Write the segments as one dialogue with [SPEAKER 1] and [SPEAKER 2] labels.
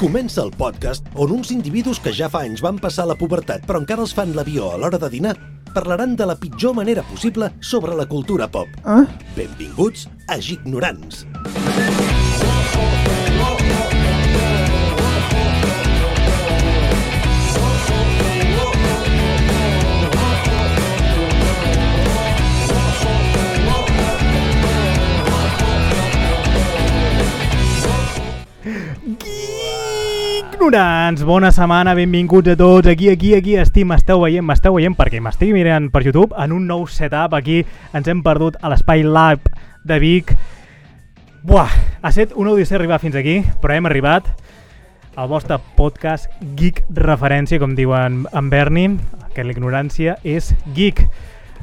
[SPEAKER 1] Comença el podcast on uns individus que ja fa anys van passar la pubertat però encara els fan l'avió a l'hora de dinar parlaran de la pitjor manera possible sobre la cultura pop.
[SPEAKER 2] Ah.
[SPEAKER 1] Benvinguts a Gignorants.
[SPEAKER 2] Ignorants, bona setmana, benvinguts a tots. Aquí, aquí, aquí, estic, m'esteu veient, m'esteu veient perquè m'estic mirant per YouTube en un nou setup. Aquí ens hem perdut a l'Espai Lab de Vic. Buah, ha estat una odissea arribar fins aquí, però hem arribat al vostre podcast Geek Referència, com diuen en Berni, que l'ignorància és geek.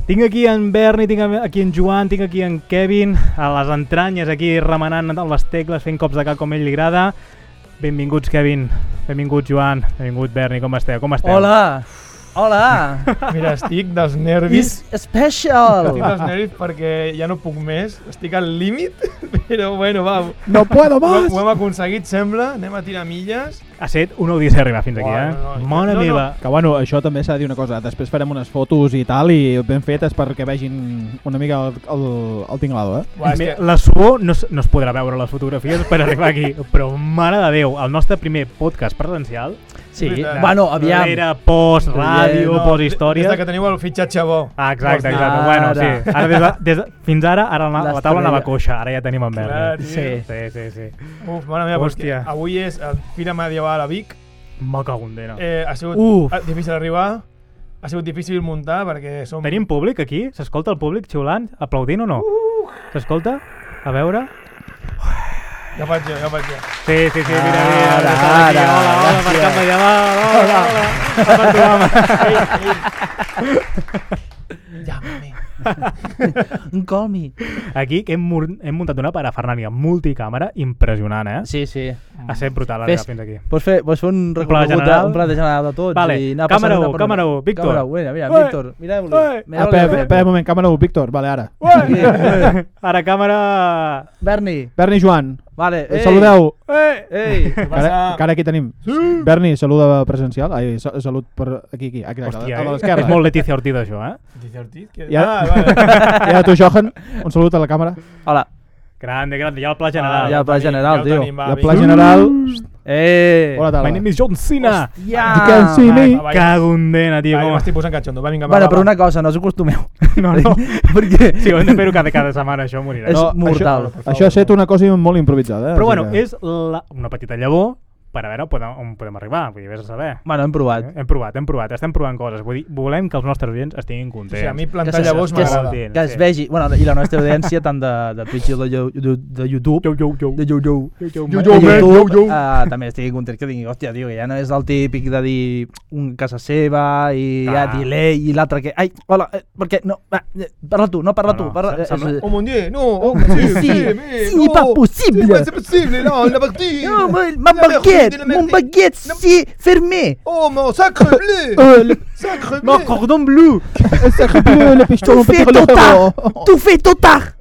[SPEAKER 2] Tinc aquí en Berni, tinc aquí en Joan, tinc aquí en Kevin, a les entranyes aquí remenant amb les tecles, fent cops de cap com a ell li agrada. Benvinguts, Kevin. Benvingut, Joan. Benvingut, Berni. Com esteu? Com esteu?
[SPEAKER 3] Hola! Hola!
[SPEAKER 4] Mira, estic dels nervis.
[SPEAKER 3] Is special!
[SPEAKER 4] Estic dels nervis perquè ja no puc més. Estic al límit, però bueno, va. Ho,
[SPEAKER 2] No puedo
[SPEAKER 4] ho hem aconseguit, sembla. Anem a tirar milles.
[SPEAKER 2] Ha set una odissea arribar fins aquí, eh?
[SPEAKER 4] Uau, no, no.
[SPEAKER 2] Mare
[SPEAKER 4] No, no.
[SPEAKER 2] meva.
[SPEAKER 5] Que bueno, això també s'ha de dir una cosa, després farem unes fotos i tal i ben fetes perquè vegin una mica el, el, el tinglado, eh?
[SPEAKER 4] Uah, és
[SPEAKER 2] Me-
[SPEAKER 4] que,
[SPEAKER 2] La suor no, es- no es podrà veure a les fotografies per arribar aquí, però mare de Déu, el nostre primer podcast presencial,
[SPEAKER 3] Sí,
[SPEAKER 4] Veritat.
[SPEAKER 3] bueno, aviam.
[SPEAKER 2] era post ràdio,
[SPEAKER 3] No,
[SPEAKER 2] post
[SPEAKER 4] des de
[SPEAKER 2] història...
[SPEAKER 4] que teniu el fitxatge bo.
[SPEAKER 2] Ah, exacte,
[SPEAKER 4] Post-
[SPEAKER 2] exacte.
[SPEAKER 3] Ara.
[SPEAKER 2] Bueno, sí. Ara des de, des de, fins ara, ara la, la taula
[SPEAKER 3] L'estorella.
[SPEAKER 2] anava coixa, ara ja tenim en
[SPEAKER 4] Clar,
[SPEAKER 2] Berni.
[SPEAKER 4] tio.
[SPEAKER 2] Sí, sí, sí.
[SPEAKER 4] Uf, mare meva,
[SPEAKER 2] Hòstia.
[SPEAKER 4] Hòstia. avui és el Fira Medieval a Vic.
[SPEAKER 2] Me cago en Déu.
[SPEAKER 4] Eh, ha sigut
[SPEAKER 2] Uf.
[SPEAKER 4] eh, difícil arribar, ha sigut difícil muntar perquè som...
[SPEAKER 2] Tenim públic aquí? S'escolta el públic xiulant, aplaudint o no? S'escolta? A veure...
[SPEAKER 4] Ja faig jo, ja faig jo.
[SPEAKER 2] Sí, sí, sí, mira, mira,
[SPEAKER 3] Ara,
[SPEAKER 2] ara, ara,
[SPEAKER 3] ara,
[SPEAKER 2] hola, hola,
[SPEAKER 3] gràcies.
[SPEAKER 2] mercat medieval, hola, hola, hola,
[SPEAKER 4] Llama-me.
[SPEAKER 3] Call me.
[SPEAKER 2] Aquí que hem, mur- hem muntat una parafernàlia multicàmera impressionant, eh?
[SPEAKER 3] Sí, sí.
[SPEAKER 2] Ha estat brutal
[SPEAKER 3] Fes-
[SPEAKER 2] arribar fins aquí.
[SPEAKER 3] Pots fer, pots fer un
[SPEAKER 2] pla
[SPEAKER 3] recorregut, de,
[SPEAKER 2] general?
[SPEAKER 3] un pla de general de tots.
[SPEAKER 2] Vale,
[SPEAKER 3] i anar
[SPEAKER 2] càmera u,
[SPEAKER 3] passant una per
[SPEAKER 2] càmera u, Víctor.
[SPEAKER 3] Càmera u, mira, mira,
[SPEAKER 2] Ué,
[SPEAKER 3] Víctor, mireu-li.
[SPEAKER 2] ué.
[SPEAKER 5] Ah,
[SPEAKER 3] Mireu-li.
[SPEAKER 5] espera, espera, espera un moment, càmera 1, Víctor, vale, ara.
[SPEAKER 3] Ué.
[SPEAKER 2] Ara càmera...
[SPEAKER 3] Berni,
[SPEAKER 5] Berni i Joan,
[SPEAKER 3] vale.
[SPEAKER 5] Ei.
[SPEAKER 3] ei.
[SPEAKER 5] saludeu.
[SPEAKER 2] Eh!
[SPEAKER 3] Ei,
[SPEAKER 5] Que ara, que ara aquí tenim. Sí. Berni, saluda presencial. Ai, sa salut per aquí, aquí, aquí
[SPEAKER 2] Hòstia,
[SPEAKER 5] a
[SPEAKER 2] eh?
[SPEAKER 5] l'esquerra.
[SPEAKER 2] és molt Letícia Ortiz, això, eh?
[SPEAKER 4] Dice Ortiz? Que...
[SPEAKER 5] I ara,
[SPEAKER 4] Ah, vale.
[SPEAKER 5] I ara tu, Johan, un salut a la càmera.
[SPEAKER 3] hola.
[SPEAKER 2] Grande, grande, ja el pla general.
[SPEAKER 3] Ah, ja el pla
[SPEAKER 4] Tenim-
[SPEAKER 3] general,
[SPEAKER 4] Ah, ja el
[SPEAKER 3] tio.
[SPEAKER 4] tenim, va,
[SPEAKER 5] La
[SPEAKER 4] vinga.
[SPEAKER 5] pla general.
[SPEAKER 3] Ei.
[SPEAKER 5] Hola,
[SPEAKER 2] My
[SPEAKER 5] tarda.
[SPEAKER 2] name is John Cena!
[SPEAKER 3] Ja.
[SPEAKER 5] You can see me.
[SPEAKER 4] va, va.
[SPEAKER 2] Cago en dena, tio,
[SPEAKER 4] Ai,
[SPEAKER 2] com
[SPEAKER 4] m'estic posant catxondo. Va, vinga, va,
[SPEAKER 3] Bueno,
[SPEAKER 4] va,
[SPEAKER 3] però
[SPEAKER 4] va.
[SPEAKER 3] una cosa, no us acostumeu.
[SPEAKER 2] No, no.
[SPEAKER 3] Perquè...
[SPEAKER 2] Sí, ho hem de fer-ho cada, cada setmana, això morirà.
[SPEAKER 3] És
[SPEAKER 5] No,
[SPEAKER 3] mortal.
[SPEAKER 5] Això, això ha estat una cosa molt improvisada. Eh?
[SPEAKER 2] Però
[SPEAKER 5] O sigui
[SPEAKER 2] bueno,
[SPEAKER 5] que-
[SPEAKER 2] és la, una petita llavor per a veure on podem, on podem arribar, vull dir, vés a saber.
[SPEAKER 3] Bueno, hem provat.
[SPEAKER 2] Eh? Hem provat, hem provat, estem provant coses. Vull dir, volem que els nostres oients estiguin
[SPEAKER 4] O
[SPEAKER 2] contents.
[SPEAKER 4] sigui, a mi
[SPEAKER 3] Que
[SPEAKER 4] plantar
[SPEAKER 3] se-
[SPEAKER 4] llavors
[SPEAKER 3] que se-
[SPEAKER 4] m'agrada.
[SPEAKER 2] Contents,
[SPEAKER 3] Que es
[SPEAKER 2] sí.
[SPEAKER 3] vegi, bueno, i la nostra audiència tant de, de Twitch i de, yo- de, de YouTube,
[SPEAKER 2] Yo, yo, yo.
[SPEAKER 3] de YouTube,
[SPEAKER 2] Yo, yo,
[SPEAKER 3] Jo,
[SPEAKER 2] man.
[SPEAKER 3] jo,
[SPEAKER 2] Yo,
[SPEAKER 3] jo,
[SPEAKER 2] yo,
[SPEAKER 3] jo. Uh, també estigui content que digui, hòstia, tio, que ja no és el típic de dir un casa seva i ah.
[SPEAKER 2] Ah.
[SPEAKER 3] delay i l'altre que... Ai, hola, eh, perquè no... Va, eh, parla tu, no parla
[SPEAKER 2] No,
[SPEAKER 3] tu.
[SPEAKER 2] no,
[SPEAKER 3] Parla,
[SPEAKER 2] se-
[SPEAKER 3] eh,
[SPEAKER 2] sembla-
[SPEAKER 3] és-
[SPEAKER 4] Oh mon dieu, no! Oh,
[SPEAKER 3] sí,
[SPEAKER 4] sí,
[SPEAKER 3] sí,
[SPEAKER 4] mais
[SPEAKER 3] sí,
[SPEAKER 4] non,
[SPEAKER 3] pas possible.
[SPEAKER 4] C'est pas c'est possible, non, la partie
[SPEAKER 3] No, ma, ma
[SPEAKER 4] La merde,
[SPEAKER 3] baguette,
[SPEAKER 4] de la
[SPEAKER 3] mon
[SPEAKER 4] merde.
[SPEAKER 3] baguette, Oh.
[SPEAKER 4] No.
[SPEAKER 3] si, fermé.
[SPEAKER 4] Oh, mon sacre bleu
[SPEAKER 5] Eh, le,
[SPEAKER 4] Sacre bleu
[SPEAKER 2] Mon cordon bleu!
[SPEAKER 5] el sacre bleu, le pistó,
[SPEAKER 3] Tu
[SPEAKER 5] un petit
[SPEAKER 3] fais ton tard,
[SPEAKER 5] rellotero.
[SPEAKER 3] tu fais tota. ton tard.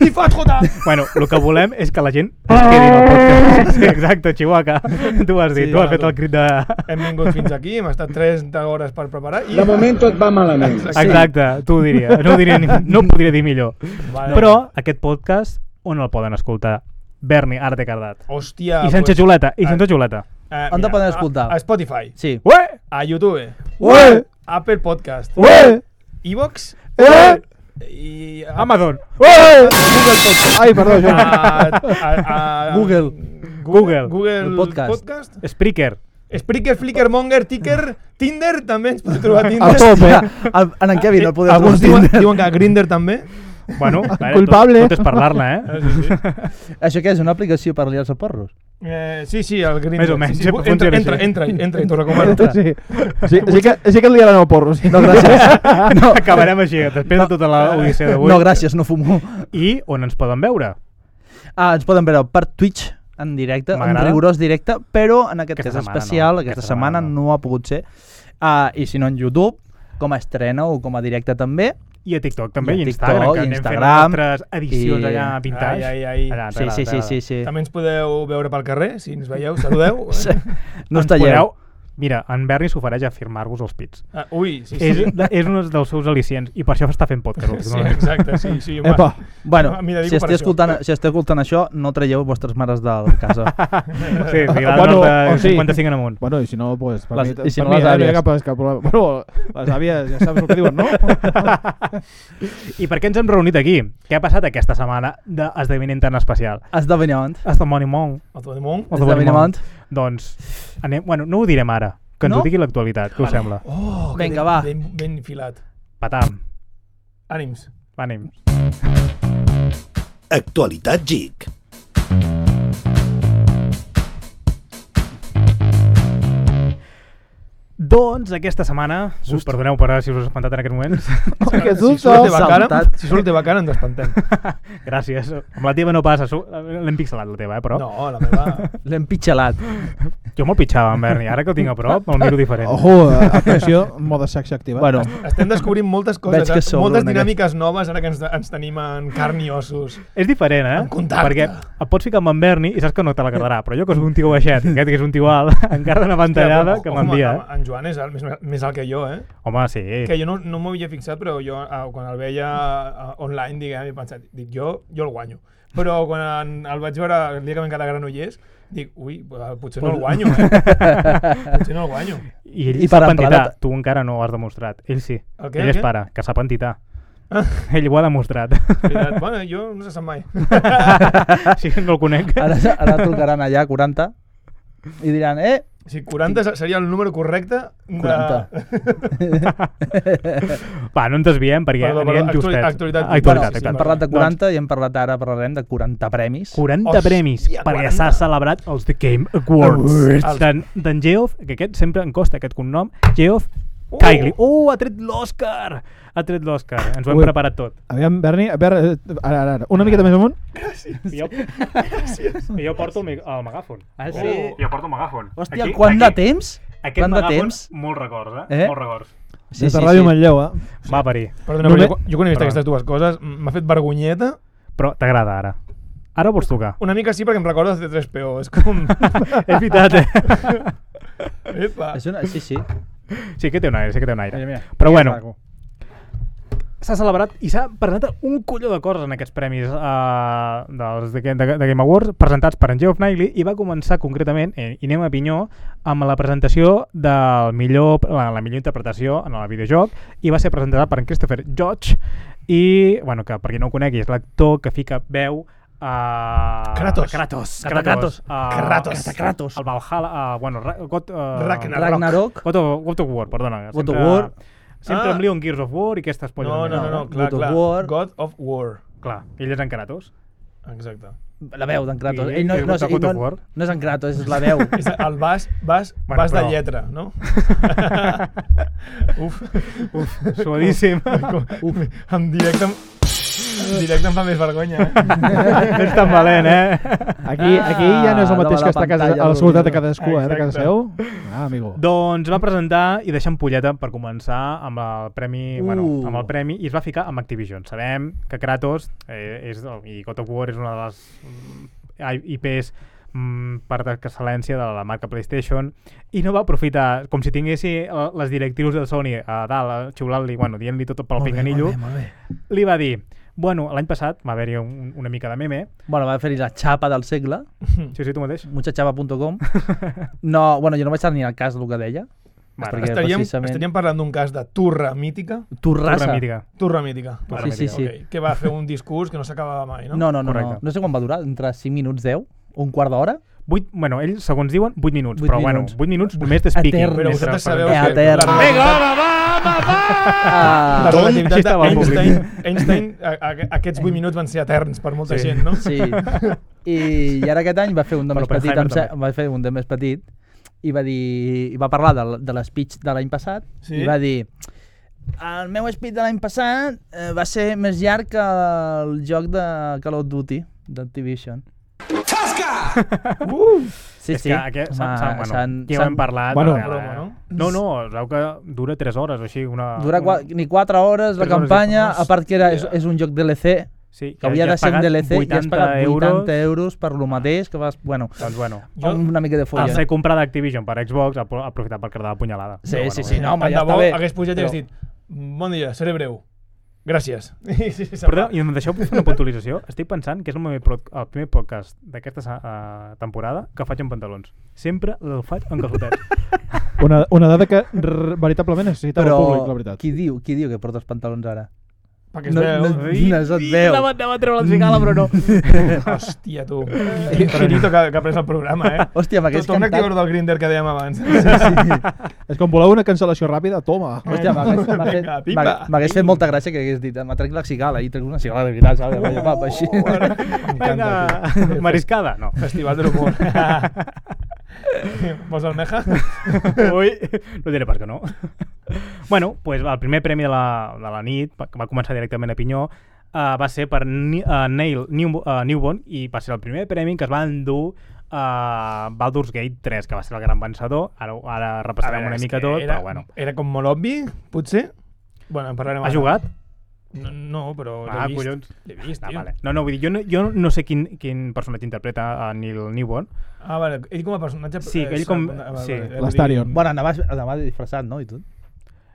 [SPEAKER 4] Il faut trop tard
[SPEAKER 2] Bueno, el que volem és que la gent es quedi en el podcast. Sí, exacte, Chihuahua. Tu ho has dit,
[SPEAKER 4] Sí,
[SPEAKER 2] tu has
[SPEAKER 4] bueno,
[SPEAKER 2] fet el crit de...
[SPEAKER 4] Hem vingut fins aquí, hem estat 30 hores per preparar i...
[SPEAKER 6] De moment tot va malament.
[SPEAKER 2] Exacte, tu ho diria. No ho, diria, ni- no ho podria dir millor.
[SPEAKER 4] Vale.
[SPEAKER 2] Però aquest podcast, on el poden escoltar? Berni, ara t'he cardat.
[SPEAKER 4] Hòstia...
[SPEAKER 2] I sense
[SPEAKER 4] Ah, pues,
[SPEAKER 2] xuleta, i
[SPEAKER 4] ah,
[SPEAKER 2] sense xuleta.
[SPEAKER 4] eh,
[SPEAKER 3] On te
[SPEAKER 4] mira,
[SPEAKER 3] poden escoltar?
[SPEAKER 4] A, a Spotify,
[SPEAKER 3] Sí.
[SPEAKER 2] Ué!
[SPEAKER 4] a YouTube,
[SPEAKER 5] Ué,
[SPEAKER 4] Apple Podcast,
[SPEAKER 5] ué,
[SPEAKER 4] Evox
[SPEAKER 5] eh,
[SPEAKER 4] i... a-
[SPEAKER 2] Amazon.
[SPEAKER 5] ué.
[SPEAKER 4] Google Podcast.
[SPEAKER 5] Ai, perdó, Joan.
[SPEAKER 4] A, a, a,
[SPEAKER 3] Google.
[SPEAKER 4] Google,
[SPEAKER 2] Google.
[SPEAKER 4] Google
[SPEAKER 3] Podcast.
[SPEAKER 4] Podcast. Podcast.
[SPEAKER 2] Spreaker.
[SPEAKER 4] Spreaker, Flickr, Monger, Ticker, Tinder, també ens pot trobar a
[SPEAKER 5] A
[SPEAKER 4] Tinder.
[SPEAKER 5] top, eh?
[SPEAKER 3] El, en en Kevin no el podem
[SPEAKER 4] Alguns diuen,
[SPEAKER 3] trobar.
[SPEAKER 4] diuen que a Grindr també.
[SPEAKER 2] Bueno, vale,
[SPEAKER 5] Culpable.
[SPEAKER 2] Tot, tot és parlar-ne,
[SPEAKER 4] Ah,
[SPEAKER 2] eh?
[SPEAKER 3] Això què és, una aplicació per liar-se porros?
[SPEAKER 4] Eh, sí, sí, el Grindr.
[SPEAKER 2] Més o menys,
[SPEAKER 4] Sí, sí.
[SPEAKER 2] funciona
[SPEAKER 4] Entra,
[SPEAKER 2] així.
[SPEAKER 4] entra, entra, entra, entra i t'ho recomano.
[SPEAKER 5] Bueno, sí. Sí, sí, que, sí que li diran el porro. Sí.
[SPEAKER 3] No, gràcies. No,
[SPEAKER 2] Acabarem així, després de tota l'odissea d'avui.
[SPEAKER 3] no gràcies, no fumo.
[SPEAKER 2] I on ens poden veure?
[SPEAKER 3] Ah, ens poden veure per Twitch en directe, en
[SPEAKER 2] M'agrada.
[SPEAKER 3] rigorós directe, però en aquest
[SPEAKER 2] Aquesta
[SPEAKER 3] cas
[SPEAKER 2] setmana
[SPEAKER 3] especial,
[SPEAKER 2] no,
[SPEAKER 3] aquesta
[SPEAKER 2] aquesta
[SPEAKER 3] setmana
[SPEAKER 2] setmana
[SPEAKER 3] no ha pogut ser. Ah, I si no en YouTube, com a estrena o com a directe també.
[SPEAKER 2] I a TikTok també,
[SPEAKER 3] I a
[SPEAKER 2] i, Instagram,
[SPEAKER 3] TikTok,
[SPEAKER 2] que
[SPEAKER 3] i
[SPEAKER 2] anem
[SPEAKER 3] Instagram,
[SPEAKER 2] fent altres edicions
[SPEAKER 3] i-
[SPEAKER 2] allà vintage.
[SPEAKER 4] Ai, ai, ai.
[SPEAKER 2] Allà, ens agrada,
[SPEAKER 3] Sí, sí,
[SPEAKER 2] ens
[SPEAKER 3] sí,
[SPEAKER 2] agrada.
[SPEAKER 3] sí, sí.
[SPEAKER 4] També ens podeu veure pel carrer, si ens veieu, saludeu. eh?
[SPEAKER 3] No
[SPEAKER 2] eh? Ens
[SPEAKER 3] us talleu.
[SPEAKER 2] podeu- Mira, en Berni s'ofereix a firmar-vos els pits.
[SPEAKER 4] Ah, ui, sí, sí.
[SPEAKER 2] És, és un dels seus al·licients i per això està fent podcast.
[SPEAKER 4] Sí,
[SPEAKER 2] últimament.
[SPEAKER 4] exacte, sí, sí. home.
[SPEAKER 5] Epa,
[SPEAKER 3] Bueno,
[SPEAKER 4] Ah, mira, dic
[SPEAKER 3] si,
[SPEAKER 4] per
[SPEAKER 3] esteu
[SPEAKER 4] això.
[SPEAKER 3] escoltant, si esteu escoltant això, no traieu vostres mares de la casa.
[SPEAKER 2] Sí, sí, l'edat
[SPEAKER 5] Bueno,
[SPEAKER 2] de
[SPEAKER 5] o sí.
[SPEAKER 2] 55 en amunt.
[SPEAKER 5] Bueno, i si no, pues, per
[SPEAKER 3] Les-
[SPEAKER 5] mi,
[SPEAKER 3] i si
[SPEAKER 5] per
[SPEAKER 3] no,
[SPEAKER 5] mi,
[SPEAKER 3] les
[SPEAKER 5] eh, no hi
[SPEAKER 3] àvies.
[SPEAKER 5] ha cap, cap problema. Bueno, les àvies ja saps el que diuen, no?
[SPEAKER 2] I per què ens hem reunit aquí? Què ha passat aquesta setmana d'esdeveniment tan especial?
[SPEAKER 3] Esdeveniment.
[SPEAKER 2] Esdeveniment.
[SPEAKER 4] El teu damunt.
[SPEAKER 3] Esdeveniment.
[SPEAKER 2] Doncs, anem, bueno, no ho direm ara, que ens
[SPEAKER 3] No?
[SPEAKER 2] ho digui l'actualitat, què us sembla?
[SPEAKER 4] Oh, que
[SPEAKER 3] Vinga,
[SPEAKER 4] ben-
[SPEAKER 3] va.
[SPEAKER 4] Ben, ben filat.
[SPEAKER 2] Patam,
[SPEAKER 4] Ànims.
[SPEAKER 2] anem.
[SPEAKER 1] Actualitat GIC.
[SPEAKER 2] Doncs aquesta setmana, us perdoneu per ara si us he espantat en aquest moment,
[SPEAKER 4] si
[SPEAKER 5] que
[SPEAKER 4] surt de
[SPEAKER 5] susto!
[SPEAKER 4] bacana,
[SPEAKER 3] Saltat.
[SPEAKER 4] si surt de bacana ens espantem.
[SPEAKER 2] gràcies. Amb la teva no passa, su- l'hem pixelat la teva, eh, però.
[SPEAKER 4] No, la meva...
[SPEAKER 3] L'hem pitxelat.
[SPEAKER 2] Jo molt pitxava en Berni, ara que el tinc a prop, me'l miro diferent.
[SPEAKER 5] Ojo, eh, atenció, mode sexe activa.
[SPEAKER 3] Bueno,
[SPEAKER 4] Estem descobrint moltes coses,
[SPEAKER 3] Veig que
[SPEAKER 4] eh?
[SPEAKER 3] s'obre
[SPEAKER 4] moltes
[SPEAKER 3] una
[SPEAKER 4] dinàmiques noves ara que ens, ens tenim en carn i ossos.
[SPEAKER 2] És diferent, eh?
[SPEAKER 4] En contacte.
[SPEAKER 2] Perquè et pots ficar amb en Berni i saps que no te la quedarà, però jo que soc un tio baixet i aquest que és un tio alt, encara una pantallada
[SPEAKER 4] Hòstia,
[SPEAKER 2] que
[SPEAKER 4] però,
[SPEAKER 2] m'envia,
[SPEAKER 4] home, En Joan és el, més, més alt que jo, eh?
[SPEAKER 2] eh? Home, sí.
[SPEAKER 4] Que jo no, no m'ho havia fixat, però jo ah, quan el veia ah, online, diguem, he pensat, dic, jo, jo el guanyo. Però quan el vaig veure el dia que vam quedar a Granollers, dic, ui, eh, potser no el guanyo, eh? potser no el guanyo.
[SPEAKER 2] I ell
[SPEAKER 3] I per
[SPEAKER 2] sap entitar,
[SPEAKER 3] emplenar-te-
[SPEAKER 2] tu encara no ho has demostrat. Ell sí.
[SPEAKER 4] El què,
[SPEAKER 2] ell
[SPEAKER 4] el
[SPEAKER 2] és
[SPEAKER 4] què?
[SPEAKER 2] pare, que sap entitar.
[SPEAKER 4] Ah.
[SPEAKER 2] Ell ho ha demostrat.
[SPEAKER 4] Veritat, bueno, jo no se sap mai.
[SPEAKER 2] sí, no el conec.
[SPEAKER 3] ara, ara trucaran allà, 40, i diran, eh,
[SPEAKER 4] Si 40 se- seria el número correcte de...
[SPEAKER 3] 40.
[SPEAKER 2] Va, no ens desviem perquè
[SPEAKER 4] Perdó, perdó,
[SPEAKER 2] anirem
[SPEAKER 4] actuali-
[SPEAKER 2] justets.
[SPEAKER 4] actualitat.
[SPEAKER 2] actualitat,
[SPEAKER 3] Bueno,
[SPEAKER 4] sí, sí,
[SPEAKER 2] actualitat.
[SPEAKER 3] hem
[SPEAKER 4] vale.
[SPEAKER 3] parlat de
[SPEAKER 2] Doncs,
[SPEAKER 3] 40 i hem parlat ara, parlarem de 40 premis.
[SPEAKER 2] 40
[SPEAKER 4] Hòstia,
[SPEAKER 2] premis, perquè s'ha
[SPEAKER 4] 40.
[SPEAKER 2] celebrat els The Game Awards.
[SPEAKER 4] Awards.
[SPEAKER 2] D'en d'en Geoff, que aquest sempre em costa aquest cognom, Geoff
[SPEAKER 4] Uh.
[SPEAKER 2] Kylie. Uh, ha tret l'Oscar! Ha tret l'Oscar, ens ho hem
[SPEAKER 5] Ui.
[SPEAKER 2] preparat tot.
[SPEAKER 5] Aviam, Berni, a veure, eh, ara, ara, ara, una miqueta més amunt.
[SPEAKER 2] Jo, jo porto el, mi- el megàfon.
[SPEAKER 3] Ah, sí?
[SPEAKER 2] Jo porto el megàfon.
[SPEAKER 3] Hòstia, quant de temps?
[SPEAKER 2] Aquest
[SPEAKER 3] quant de
[SPEAKER 2] megàfon,
[SPEAKER 3] temps?
[SPEAKER 2] molts records, eh?
[SPEAKER 3] Eh?
[SPEAKER 2] Molts records.
[SPEAKER 5] Sí, Des de Ràdio Manlleu, eh?
[SPEAKER 2] Va parir.
[SPEAKER 4] Perdona,
[SPEAKER 5] Només-
[SPEAKER 4] però jo, jo quan he vist
[SPEAKER 2] Perdó.
[SPEAKER 4] aquestes dues coses m- m'ha fet vergonyeta.
[SPEAKER 2] Però t'agrada ara. Ara ho vols tocar.
[SPEAKER 4] Una mica sí, perquè em recorda de 3PO. És com...
[SPEAKER 2] és veritat, eh?
[SPEAKER 4] Epa.
[SPEAKER 3] És una... Sí, sí.
[SPEAKER 2] Sí que té un aire, sí que té un aire. Però bueno, s'ha celebrat i s'ha presentat un colló de coses en aquests premis uh, dels de, de, de Game Awards presentats per en Geoff Knightley i va començar concretament, eh, i anem a pinyó, amb la presentació del millor, la, la millor interpretació en el videojoc i va ser presentada per en Christopher Judge i, bueno, que per qui no ho conegui és l'actor que fica veu a...
[SPEAKER 4] Kratos.
[SPEAKER 2] Ah, Kratos.
[SPEAKER 3] Kata Kratos.
[SPEAKER 2] a-
[SPEAKER 4] Kratos.
[SPEAKER 2] Kata Kratos. El Valhalla... Uh, bueno, Ra God, uh,
[SPEAKER 4] Ragnarok.
[SPEAKER 3] Ragnarok.
[SPEAKER 2] God of, God of War, perdona.
[SPEAKER 3] God of War.
[SPEAKER 2] Sempre
[SPEAKER 4] Ah.
[SPEAKER 2] amb Leon Gears of War i aquestes polles.
[SPEAKER 4] No, no, no, no,
[SPEAKER 3] God
[SPEAKER 4] clar,
[SPEAKER 3] of
[SPEAKER 4] clar.
[SPEAKER 3] War.
[SPEAKER 4] God of War.
[SPEAKER 2] Clar, ell és en Kratos.
[SPEAKER 4] Exacte.
[SPEAKER 3] La veu d'en Kratos.
[SPEAKER 2] I-
[SPEAKER 3] Ell no,
[SPEAKER 2] i
[SPEAKER 3] no, és-
[SPEAKER 2] God
[SPEAKER 3] ell
[SPEAKER 2] of
[SPEAKER 3] no,
[SPEAKER 2] War.
[SPEAKER 3] no és en Kratos, és la veu.
[SPEAKER 4] És el vas, vas,
[SPEAKER 2] Bueno,
[SPEAKER 4] bueno, vas
[SPEAKER 2] però-
[SPEAKER 4] de lletra, no? Uf.
[SPEAKER 2] Uf, suadíssim.
[SPEAKER 4] Uf. En directe, em- en directe em fa més vergonya. Eh?
[SPEAKER 2] no és tan valent, eh?
[SPEAKER 5] Aquí, aquí ja no és
[SPEAKER 3] Ah,
[SPEAKER 5] el
[SPEAKER 3] de
[SPEAKER 5] mateix
[SPEAKER 3] la
[SPEAKER 5] que està a casa,
[SPEAKER 3] pantalla
[SPEAKER 5] a la
[SPEAKER 3] del
[SPEAKER 5] seguretat de
[SPEAKER 3] vídeo.
[SPEAKER 5] cadascú, eh, de casa
[SPEAKER 4] Exacte.
[SPEAKER 5] seu. Ah, amigo.
[SPEAKER 2] Doncs va presentar i deixar ampolleta per començar amb el premi, uh. bueno,
[SPEAKER 3] Uh.
[SPEAKER 2] amb el premi i es va ficar amb Activision. Sabem que Kratos eh, és, el- i God of War és una de les mm, I- IPs mm, per excel·lència de la marca PlayStation i no va aprofitar, com si tinguessi eh, les directrius de Sony a dalt, eh, xiulant-li, bueno, dient-li tot pel pinganillo, li va dir, bueno, l'any passat va haver-hi un, una mica de meme,
[SPEAKER 3] bueno, va fer-hi la xapa del segle,
[SPEAKER 2] si sí, tu mateix,
[SPEAKER 3] muchachapa.com. No, bueno, jo no vaig estar ni al cas del que deia.
[SPEAKER 2] Vale.
[SPEAKER 3] perquè
[SPEAKER 4] Estaríem,
[SPEAKER 3] precisament-
[SPEAKER 4] estaríem parlant d'un cas de turra mítica.
[SPEAKER 3] Torrassa.
[SPEAKER 2] mítica.
[SPEAKER 4] Turra mítica.
[SPEAKER 2] Turra
[SPEAKER 3] Sí,
[SPEAKER 2] mítica,
[SPEAKER 3] sí, sí.
[SPEAKER 4] Ok, Que va fer un discurs que no s'acabava mai, no?
[SPEAKER 3] No, no, no, no.
[SPEAKER 2] Correcte.
[SPEAKER 3] No sé quan va durar, entre 5 minuts 10, o un quart d'hora.
[SPEAKER 2] Vuit, bueno, ells, segons diuen, 8 minuts,
[SPEAKER 3] Vuit
[SPEAKER 2] però
[SPEAKER 3] minuts.
[SPEAKER 2] bueno, 8 minuts només de speaking.
[SPEAKER 3] Etern.
[SPEAKER 4] Però
[SPEAKER 2] Mentre
[SPEAKER 4] vosaltres sabeu
[SPEAKER 2] parlem.
[SPEAKER 4] que...
[SPEAKER 3] Eterna.
[SPEAKER 4] la-
[SPEAKER 2] Vinga, home, va, home, va!
[SPEAKER 4] La
[SPEAKER 3] Ah,
[SPEAKER 2] Així
[SPEAKER 4] relativitat
[SPEAKER 2] estava el públic.
[SPEAKER 4] d'Einstein, Einstein, a, a, aquests 8 minuts van ser eterns per molta gent, no?
[SPEAKER 3] sí. I, I ara aquest any va fer un de
[SPEAKER 2] Per
[SPEAKER 3] més petit,
[SPEAKER 2] Oppenheimer
[SPEAKER 3] em se-
[SPEAKER 2] també.
[SPEAKER 3] va fer un de més petit i va dir i va parlar de, l- de l'espeech de l'any passat
[SPEAKER 4] Sí.
[SPEAKER 3] i va dir el meu speech de l'any passat eh, va ser més llarg que el joc de Call of Duty d'Activision.
[SPEAKER 6] Tasca!
[SPEAKER 4] Uh!
[SPEAKER 3] Sí,
[SPEAKER 2] és que aquest, s'ha- s'ha- bueno, ja ho hem parlat.
[SPEAKER 5] Bueno,
[SPEAKER 2] a veure,
[SPEAKER 4] broma, no?
[SPEAKER 2] no, no, es veu que dura 3 hores o així. Una,
[SPEAKER 3] Dura
[SPEAKER 2] una...
[SPEAKER 3] qua, ni 4 hores la
[SPEAKER 2] Tres hores i
[SPEAKER 3] campanya,
[SPEAKER 2] poc.
[SPEAKER 3] a part que era, és,
[SPEAKER 2] Hòstia.
[SPEAKER 3] és un joc DLC,
[SPEAKER 2] Sí,
[SPEAKER 3] que hauria
[SPEAKER 2] ja
[SPEAKER 3] de
[SPEAKER 2] has
[SPEAKER 3] ser un
[SPEAKER 2] pagat
[SPEAKER 3] DLC i has
[SPEAKER 2] 80
[SPEAKER 3] pagat 80
[SPEAKER 2] euros.
[SPEAKER 3] euros, euros per lo mateix que vas... Bueno,
[SPEAKER 2] Doncs bueno,
[SPEAKER 4] Jo-
[SPEAKER 3] una mica de folla.
[SPEAKER 2] al ser comprat d'Activision per Xbox, ha apro- ha aprofitat per cardar la punyalada.
[SPEAKER 3] Sí,
[SPEAKER 2] Però
[SPEAKER 3] sí,
[SPEAKER 2] bueno,
[SPEAKER 3] sí,
[SPEAKER 2] bé.
[SPEAKER 3] no, home,
[SPEAKER 4] Tant
[SPEAKER 3] ja
[SPEAKER 4] de bo
[SPEAKER 3] està bé.
[SPEAKER 4] hagués pujat i
[SPEAKER 3] però-
[SPEAKER 4] hagués dit bon dia, seré breu. Gràcies. I, sí, se'n
[SPEAKER 2] eh, Perdó,
[SPEAKER 4] va.
[SPEAKER 2] i em deixeu fer una puntualització. Estic pensant que és el, meu pro el primer podcast d'aquesta uh, temporada que faig en pantalons. Sempre el faig en calçotets.
[SPEAKER 5] Una, una dada que r- veritablement necessita
[SPEAKER 3] Però
[SPEAKER 5] el públic, la veritat.
[SPEAKER 3] qui diu, qui diu que porta els pantalons ara?
[SPEAKER 4] Perquè es veu.
[SPEAKER 3] no, no se't veu.
[SPEAKER 2] Anava, anava a treure la cigala, però no.
[SPEAKER 4] Hòstia, tu. Infinito que, que ha pres el programa, eh?
[SPEAKER 3] Hòstia, m'hagués
[SPEAKER 4] Tot un
[SPEAKER 3] cantat.
[SPEAKER 4] activador del Grindr que dèiem abans.
[SPEAKER 5] És com voleu una cancel·lació ràpida? Toma!
[SPEAKER 3] Hòstia, m'hagués- m'hagués-
[SPEAKER 4] Vinga, pipa.
[SPEAKER 3] m'hagués- m'hagués fet molta gràcia que hagués dit "Eh, m'ha tret la cigala i trec una cigala de veritat, saps? Allò, pap, així.
[SPEAKER 4] Vinga.
[SPEAKER 2] Vinga, mariscada, no.
[SPEAKER 4] Festival de l'humor. Vols almeja?
[SPEAKER 2] Ui, no diré per què no. bueno, pues el primer premi de la, de la nit, va- que va començar directament a Pinyó, uh, va ser per Ni uh, Neil New uh, Newborn i va ser el primer premi que es va endur a uh, Baldur's Gate 3, que va ser el gran vencedor. Ara, ho- ara repassarem
[SPEAKER 4] A veure,
[SPEAKER 2] una
[SPEAKER 4] és
[SPEAKER 2] mica
[SPEAKER 4] que
[SPEAKER 2] tot,
[SPEAKER 4] era,
[SPEAKER 2] però bueno.
[SPEAKER 4] Era com molt obvi, potser? Bueno, en parlarem
[SPEAKER 2] Ha jugat?
[SPEAKER 4] No, Eh, no però l'he
[SPEAKER 2] Ah,
[SPEAKER 4] vist.
[SPEAKER 2] collons.
[SPEAKER 4] L'he vist,
[SPEAKER 2] Ah,
[SPEAKER 4] tio.
[SPEAKER 2] vale. No, no, vull dir, jo no, jo no sé quin, quin personatge interpreta a Neil Newborn.
[SPEAKER 4] Ah, vale. Ell com a personatge...
[SPEAKER 2] Sí, que ell
[SPEAKER 4] eh,
[SPEAKER 2] com-
[SPEAKER 4] s'ha- ah,
[SPEAKER 2] sí.
[SPEAKER 4] vull dir-
[SPEAKER 5] L'Astarion.
[SPEAKER 3] Bueno, anaves, anaves disfressat, no? I tot.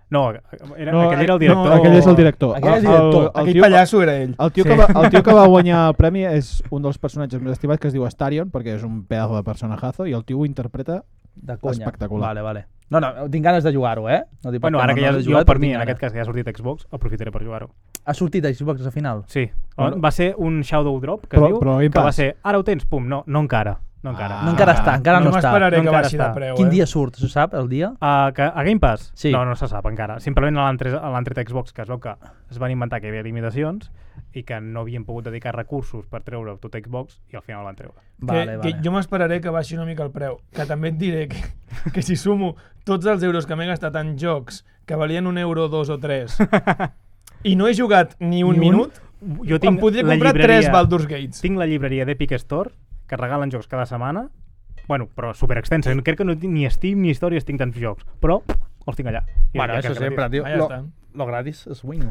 [SPEAKER 2] No, era, no aquell
[SPEAKER 4] eh,
[SPEAKER 2] era el director.
[SPEAKER 5] No, aquell és el director.
[SPEAKER 3] Aquell és el director.
[SPEAKER 5] El, el,
[SPEAKER 4] Aquell
[SPEAKER 5] tio,
[SPEAKER 4] pallasso era ell.
[SPEAKER 5] el, tio que va, el tio que va guanyar el premi és un dels personatges més estimats que es diu Astarion, perquè és un pedazo de personajazo, i el tio ho interpreta...
[SPEAKER 3] De conya.
[SPEAKER 5] Espectacular.
[SPEAKER 3] Vale, vale. No, no, tinc ganes de jugar-ho, eh? No dic
[SPEAKER 2] Bueno, ara que ja,
[SPEAKER 3] no,
[SPEAKER 2] jo per mi, en aquest cas, que ja ha sortit a Xbox, aprofitaré per jugar-ho.
[SPEAKER 3] cas... Ha sortit a Xbox al final?
[SPEAKER 2] Sí,
[SPEAKER 5] Bueno.
[SPEAKER 2] va ser un Shadow Drop, que
[SPEAKER 5] Però-
[SPEAKER 2] es diu,
[SPEAKER 5] però Game
[SPEAKER 2] que va
[SPEAKER 5] Pass.
[SPEAKER 2] ser, ara ho tens, pum, no, no encara, no encara.
[SPEAKER 5] Ah.
[SPEAKER 3] No encara està, encara no, està.
[SPEAKER 2] no
[SPEAKER 4] m'esperaré que
[SPEAKER 2] encara
[SPEAKER 4] baixi de
[SPEAKER 2] està.
[SPEAKER 4] preu,
[SPEAKER 3] Quin
[SPEAKER 4] eh?
[SPEAKER 3] dia surt, se sap, el dia?
[SPEAKER 2] A, Ah, que, a Game Pass?
[SPEAKER 3] Sí.
[SPEAKER 2] No, no se sap encara. Simplement l'han tret l'han tret a Xbox, que es veu que es van inventar que hi havia limitacions i que no havien pogut dedicar recursos per treure tot a Xbox i al final el van treure.
[SPEAKER 4] Que,
[SPEAKER 3] Vale,
[SPEAKER 4] que
[SPEAKER 3] vale.
[SPEAKER 4] jo m'esperaré que baixi una mica el preu. Que també et diré que, que si sumo tots els euros que m'he gastat en jocs que valien un euro, dos o tres, i no he jugat ni un
[SPEAKER 2] Ni un?
[SPEAKER 4] minut,
[SPEAKER 2] Jo
[SPEAKER 4] em podria comprar tres Baldur's Gates.
[SPEAKER 2] Tinc la llibreria d'Epic Store, que regalen jocs cada setmana, bueno, però super extensa. Crec que no tinc ni Steam ni històries, tinc tants jocs, però els tinc allà. I
[SPEAKER 3] Bueno,
[SPEAKER 2] ja que
[SPEAKER 3] això
[SPEAKER 2] és gratis.
[SPEAKER 3] sempre, tio.
[SPEAKER 4] Ah, ja
[SPEAKER 3] lo,
[SPEAKER 4] està.
[SPEAKER 3] lo gratis es win.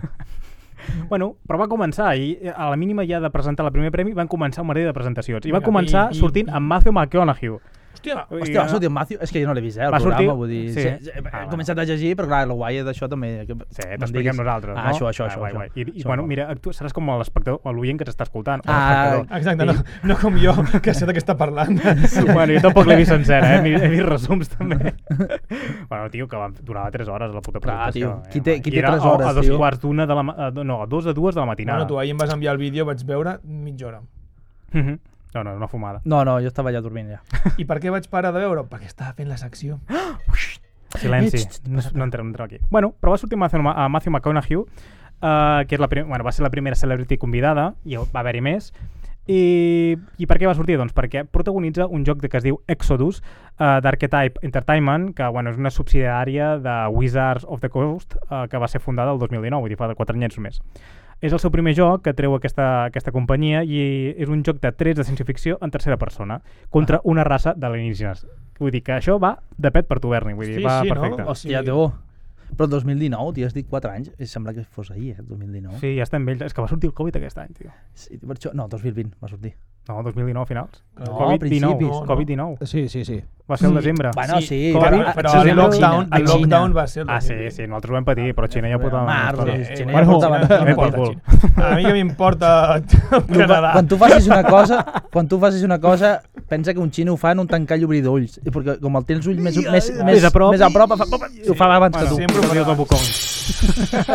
[SPEAKER 2] Bueno, però va començar i a la mínima ja de presentar el primer premi van començar un merder de presentacions i va
[SPEAKER 4] Vinga,
[SPEAKER 2] començar
[SPEAKER 4] i-
[SPEAKER 2] i,
[SPEAKER 4] i-
[SPEAKER 2] sortint amb Matthew McConaughey.
[SPEAKER 4] Hòstia,
[SPEAKER 2] Vull dir,
[SPEAKER 3] Hòstia, va sortir en Matthew? És que jo no l'he vist, eh, el
[SPEAKER 2] Va
[SPEAKER 3] programa,
[SPEAKER 2] sortir-
[SPEAKER 3] vull dir...
[SPEAKER 2] sí.
[SPEAKER 3] Sí. sí, He
[SPEAKER 2] Ah, va.
[SPEAKER 3] començat a llegir, però clar, el guai d'això també...
[SPEAKER 2] Sí,
[SPEAKER 3] Que, me'n
[SPEAKER 2] t'expliquem
[SPEAKER 3] diguis.
[SPEAKER 2] nosaltres,
[SPEAKER 3] ah,
[SPEAKER 2] no?
[SPEAKER 3] Això, això, això.
[SPEAKER 2] guai,
[SPEAKER 3] això.
[SPEAKER 2] guai. I, i
[SPEAKER 3] Això,
[SPEAKER 2] bueno,
[SPEAKER 3] guau.
[SPEAKER 2] mira, tu seràs com l'espectador o l'oient que t'està escoltant. o
[SPEAKER 3] Ah,
[SPEAKER 2] l'espectador.
[SPEAKER 4] Exacte, no, no com jo, que sé de què està parlant.
[SPEAKER 2] bueno, jo tampoc l'he vist sencera, eh? he, vist- he vist resums també. bueno, tio, que va, durava 3 hores la puta
[SPEAKER 3] Clar,
[SPEAKER 2] presentació.
[SPEAKER 3] tio, qui té-
[SPEAKER 2] home.
[SPEAKER 3] qui
[SPEAKER 2] I
[SPEAKER 3] té
[SPEAKER 2] era
[SPEAKER 3] tres
[SPEAKER 2] a- A
[SPEAKER 3] hores,
[SPEAKER 2] dos
[SPEAKER 3] tio?
[SPEAKER 2] quarts d'una de la... ma- a do- No, a dos de dues de la matinada.
[SPEAKER 4] Bueno, tu ahir em vas enviar el vídeo, vaig veure mitja hora.
[SPEAKER 2] Mhm. No, no, una fumada.
[SPEAKER 3] No, no, jo estava allà dormint ja.
[SPEAKER 4] I per què vaig parar de veure? Perquè estava fent la secció.
[SPEAKER 3] Ah,
[SPEAKER 2] Silenci.
[SPEAKER 3] Eh, xt, xt,
[SPEAKER 2] No, no entrem, entrem aquí. Bueno, però va sortir Matthew, Ma- a Matthew McConaughey, uh, que és la prim- bueno, va ser la primera celebrity convidada, i va haver-hi més. I, I per què va sortir? Doncs perquè protagonitza un joc de- que es diu Exodus uh, d'Archetype Entertainment, que bueno, és una subsidiària de Wizards of the Coast, uh, que va ser fundada el 2019, vull dir fa 4 anys més. És el seu primer joc que treu aquesta, aquesta companyia i és un joc de 3 de ciència-ficció en tercera persona contra una raça d'alienígenes. Vull dir que això va de pet per tuberni, vull dir,
[SPEAKER 4] Sí,
[SPEAKER 2] va
[SPEAKER 4] sí, no?
[SPEAKER 2] perfecte.
[SPEAKER 4] O sigui,
[SPEAKER 3] Hòstia, tio. Però el 2019, tio, has dit 4 anys. i Sembla que fos ahir, eh, el 2019.
[SPEAKER 2] Sí, ja estem vells. És que va sortir el Covid aquest any, tio.
[SPEAKER 3] Sí, per això... No, 2020 va sortir.
[SPEAKER 2] No, 2019 finals.
[SPEAKER 4] No,
[SPEAKER 2] Covid-19.
[SPEAKER 3] principis.
[SPEAKER 2] Covid-19.
[SPEAKER 5] Sí, sí, sí.
[SPEAKER 2] Va ser el desembre.
[SPEAKER 3] Bueno, sí,
[SPEAKER 4] però,
[SPEAKER 2] Covid,
[SPEAKER 4] però,
[SPEAKER 2] Ah, sí,
[SPEAKER 4] el
[SPEAKER 2] sí,
[SPEAKER 4] lockdown,
[SPEAKER 3] a
[SPEAKER 4] el
[SPEAKER 3] Xina.
[SPEAKER 4] lockdown va ser el
[SPEAKER 2] Ah, sí,
[SPEAKER 4] 2020.
[SPEAKER 2] sí, nosaltres ho vam patir, però Xina ja portava... més
[SPEAKER 3] Mar, sí,
[SPEAKER 2] coses.
[SPEAKER 3] Xina
[SPEAKER 5] Bueno,
[SPEAKER 3] ja portava...
[SPEAKER 4] Xina,
[SPEAKER 2] eh,
[SPEAKER 3] no,
[SPEAKER 2] Apple.
[SPEAKER 3] no,
[SPEAKER 2] Pitbull.
[SPEAKER 4] A mi que m'importa
[SPEAKER 3] Tu, quan,
[SPEAKER 4] Canadà.
[SPEAKER 3] quan tu facis una cosa, quan tu facis una cosa, pensa que un xino ho fa en un tancall i obrir d'ulls, i perquè com el tens ull més, més, més,
[SPEAKER 2] Més a prop.
[SPEAKER 3] més a prop fa, sí. ho fa abans
[SPEAKER 2] Bueno,
[SPEAKER 3] que tu.
[SPEAKER 4] sempre ho
[SPEAKER 2] sempre ho
[SPEAKER 4] farà.
[SPEAKER 2] del Bocón.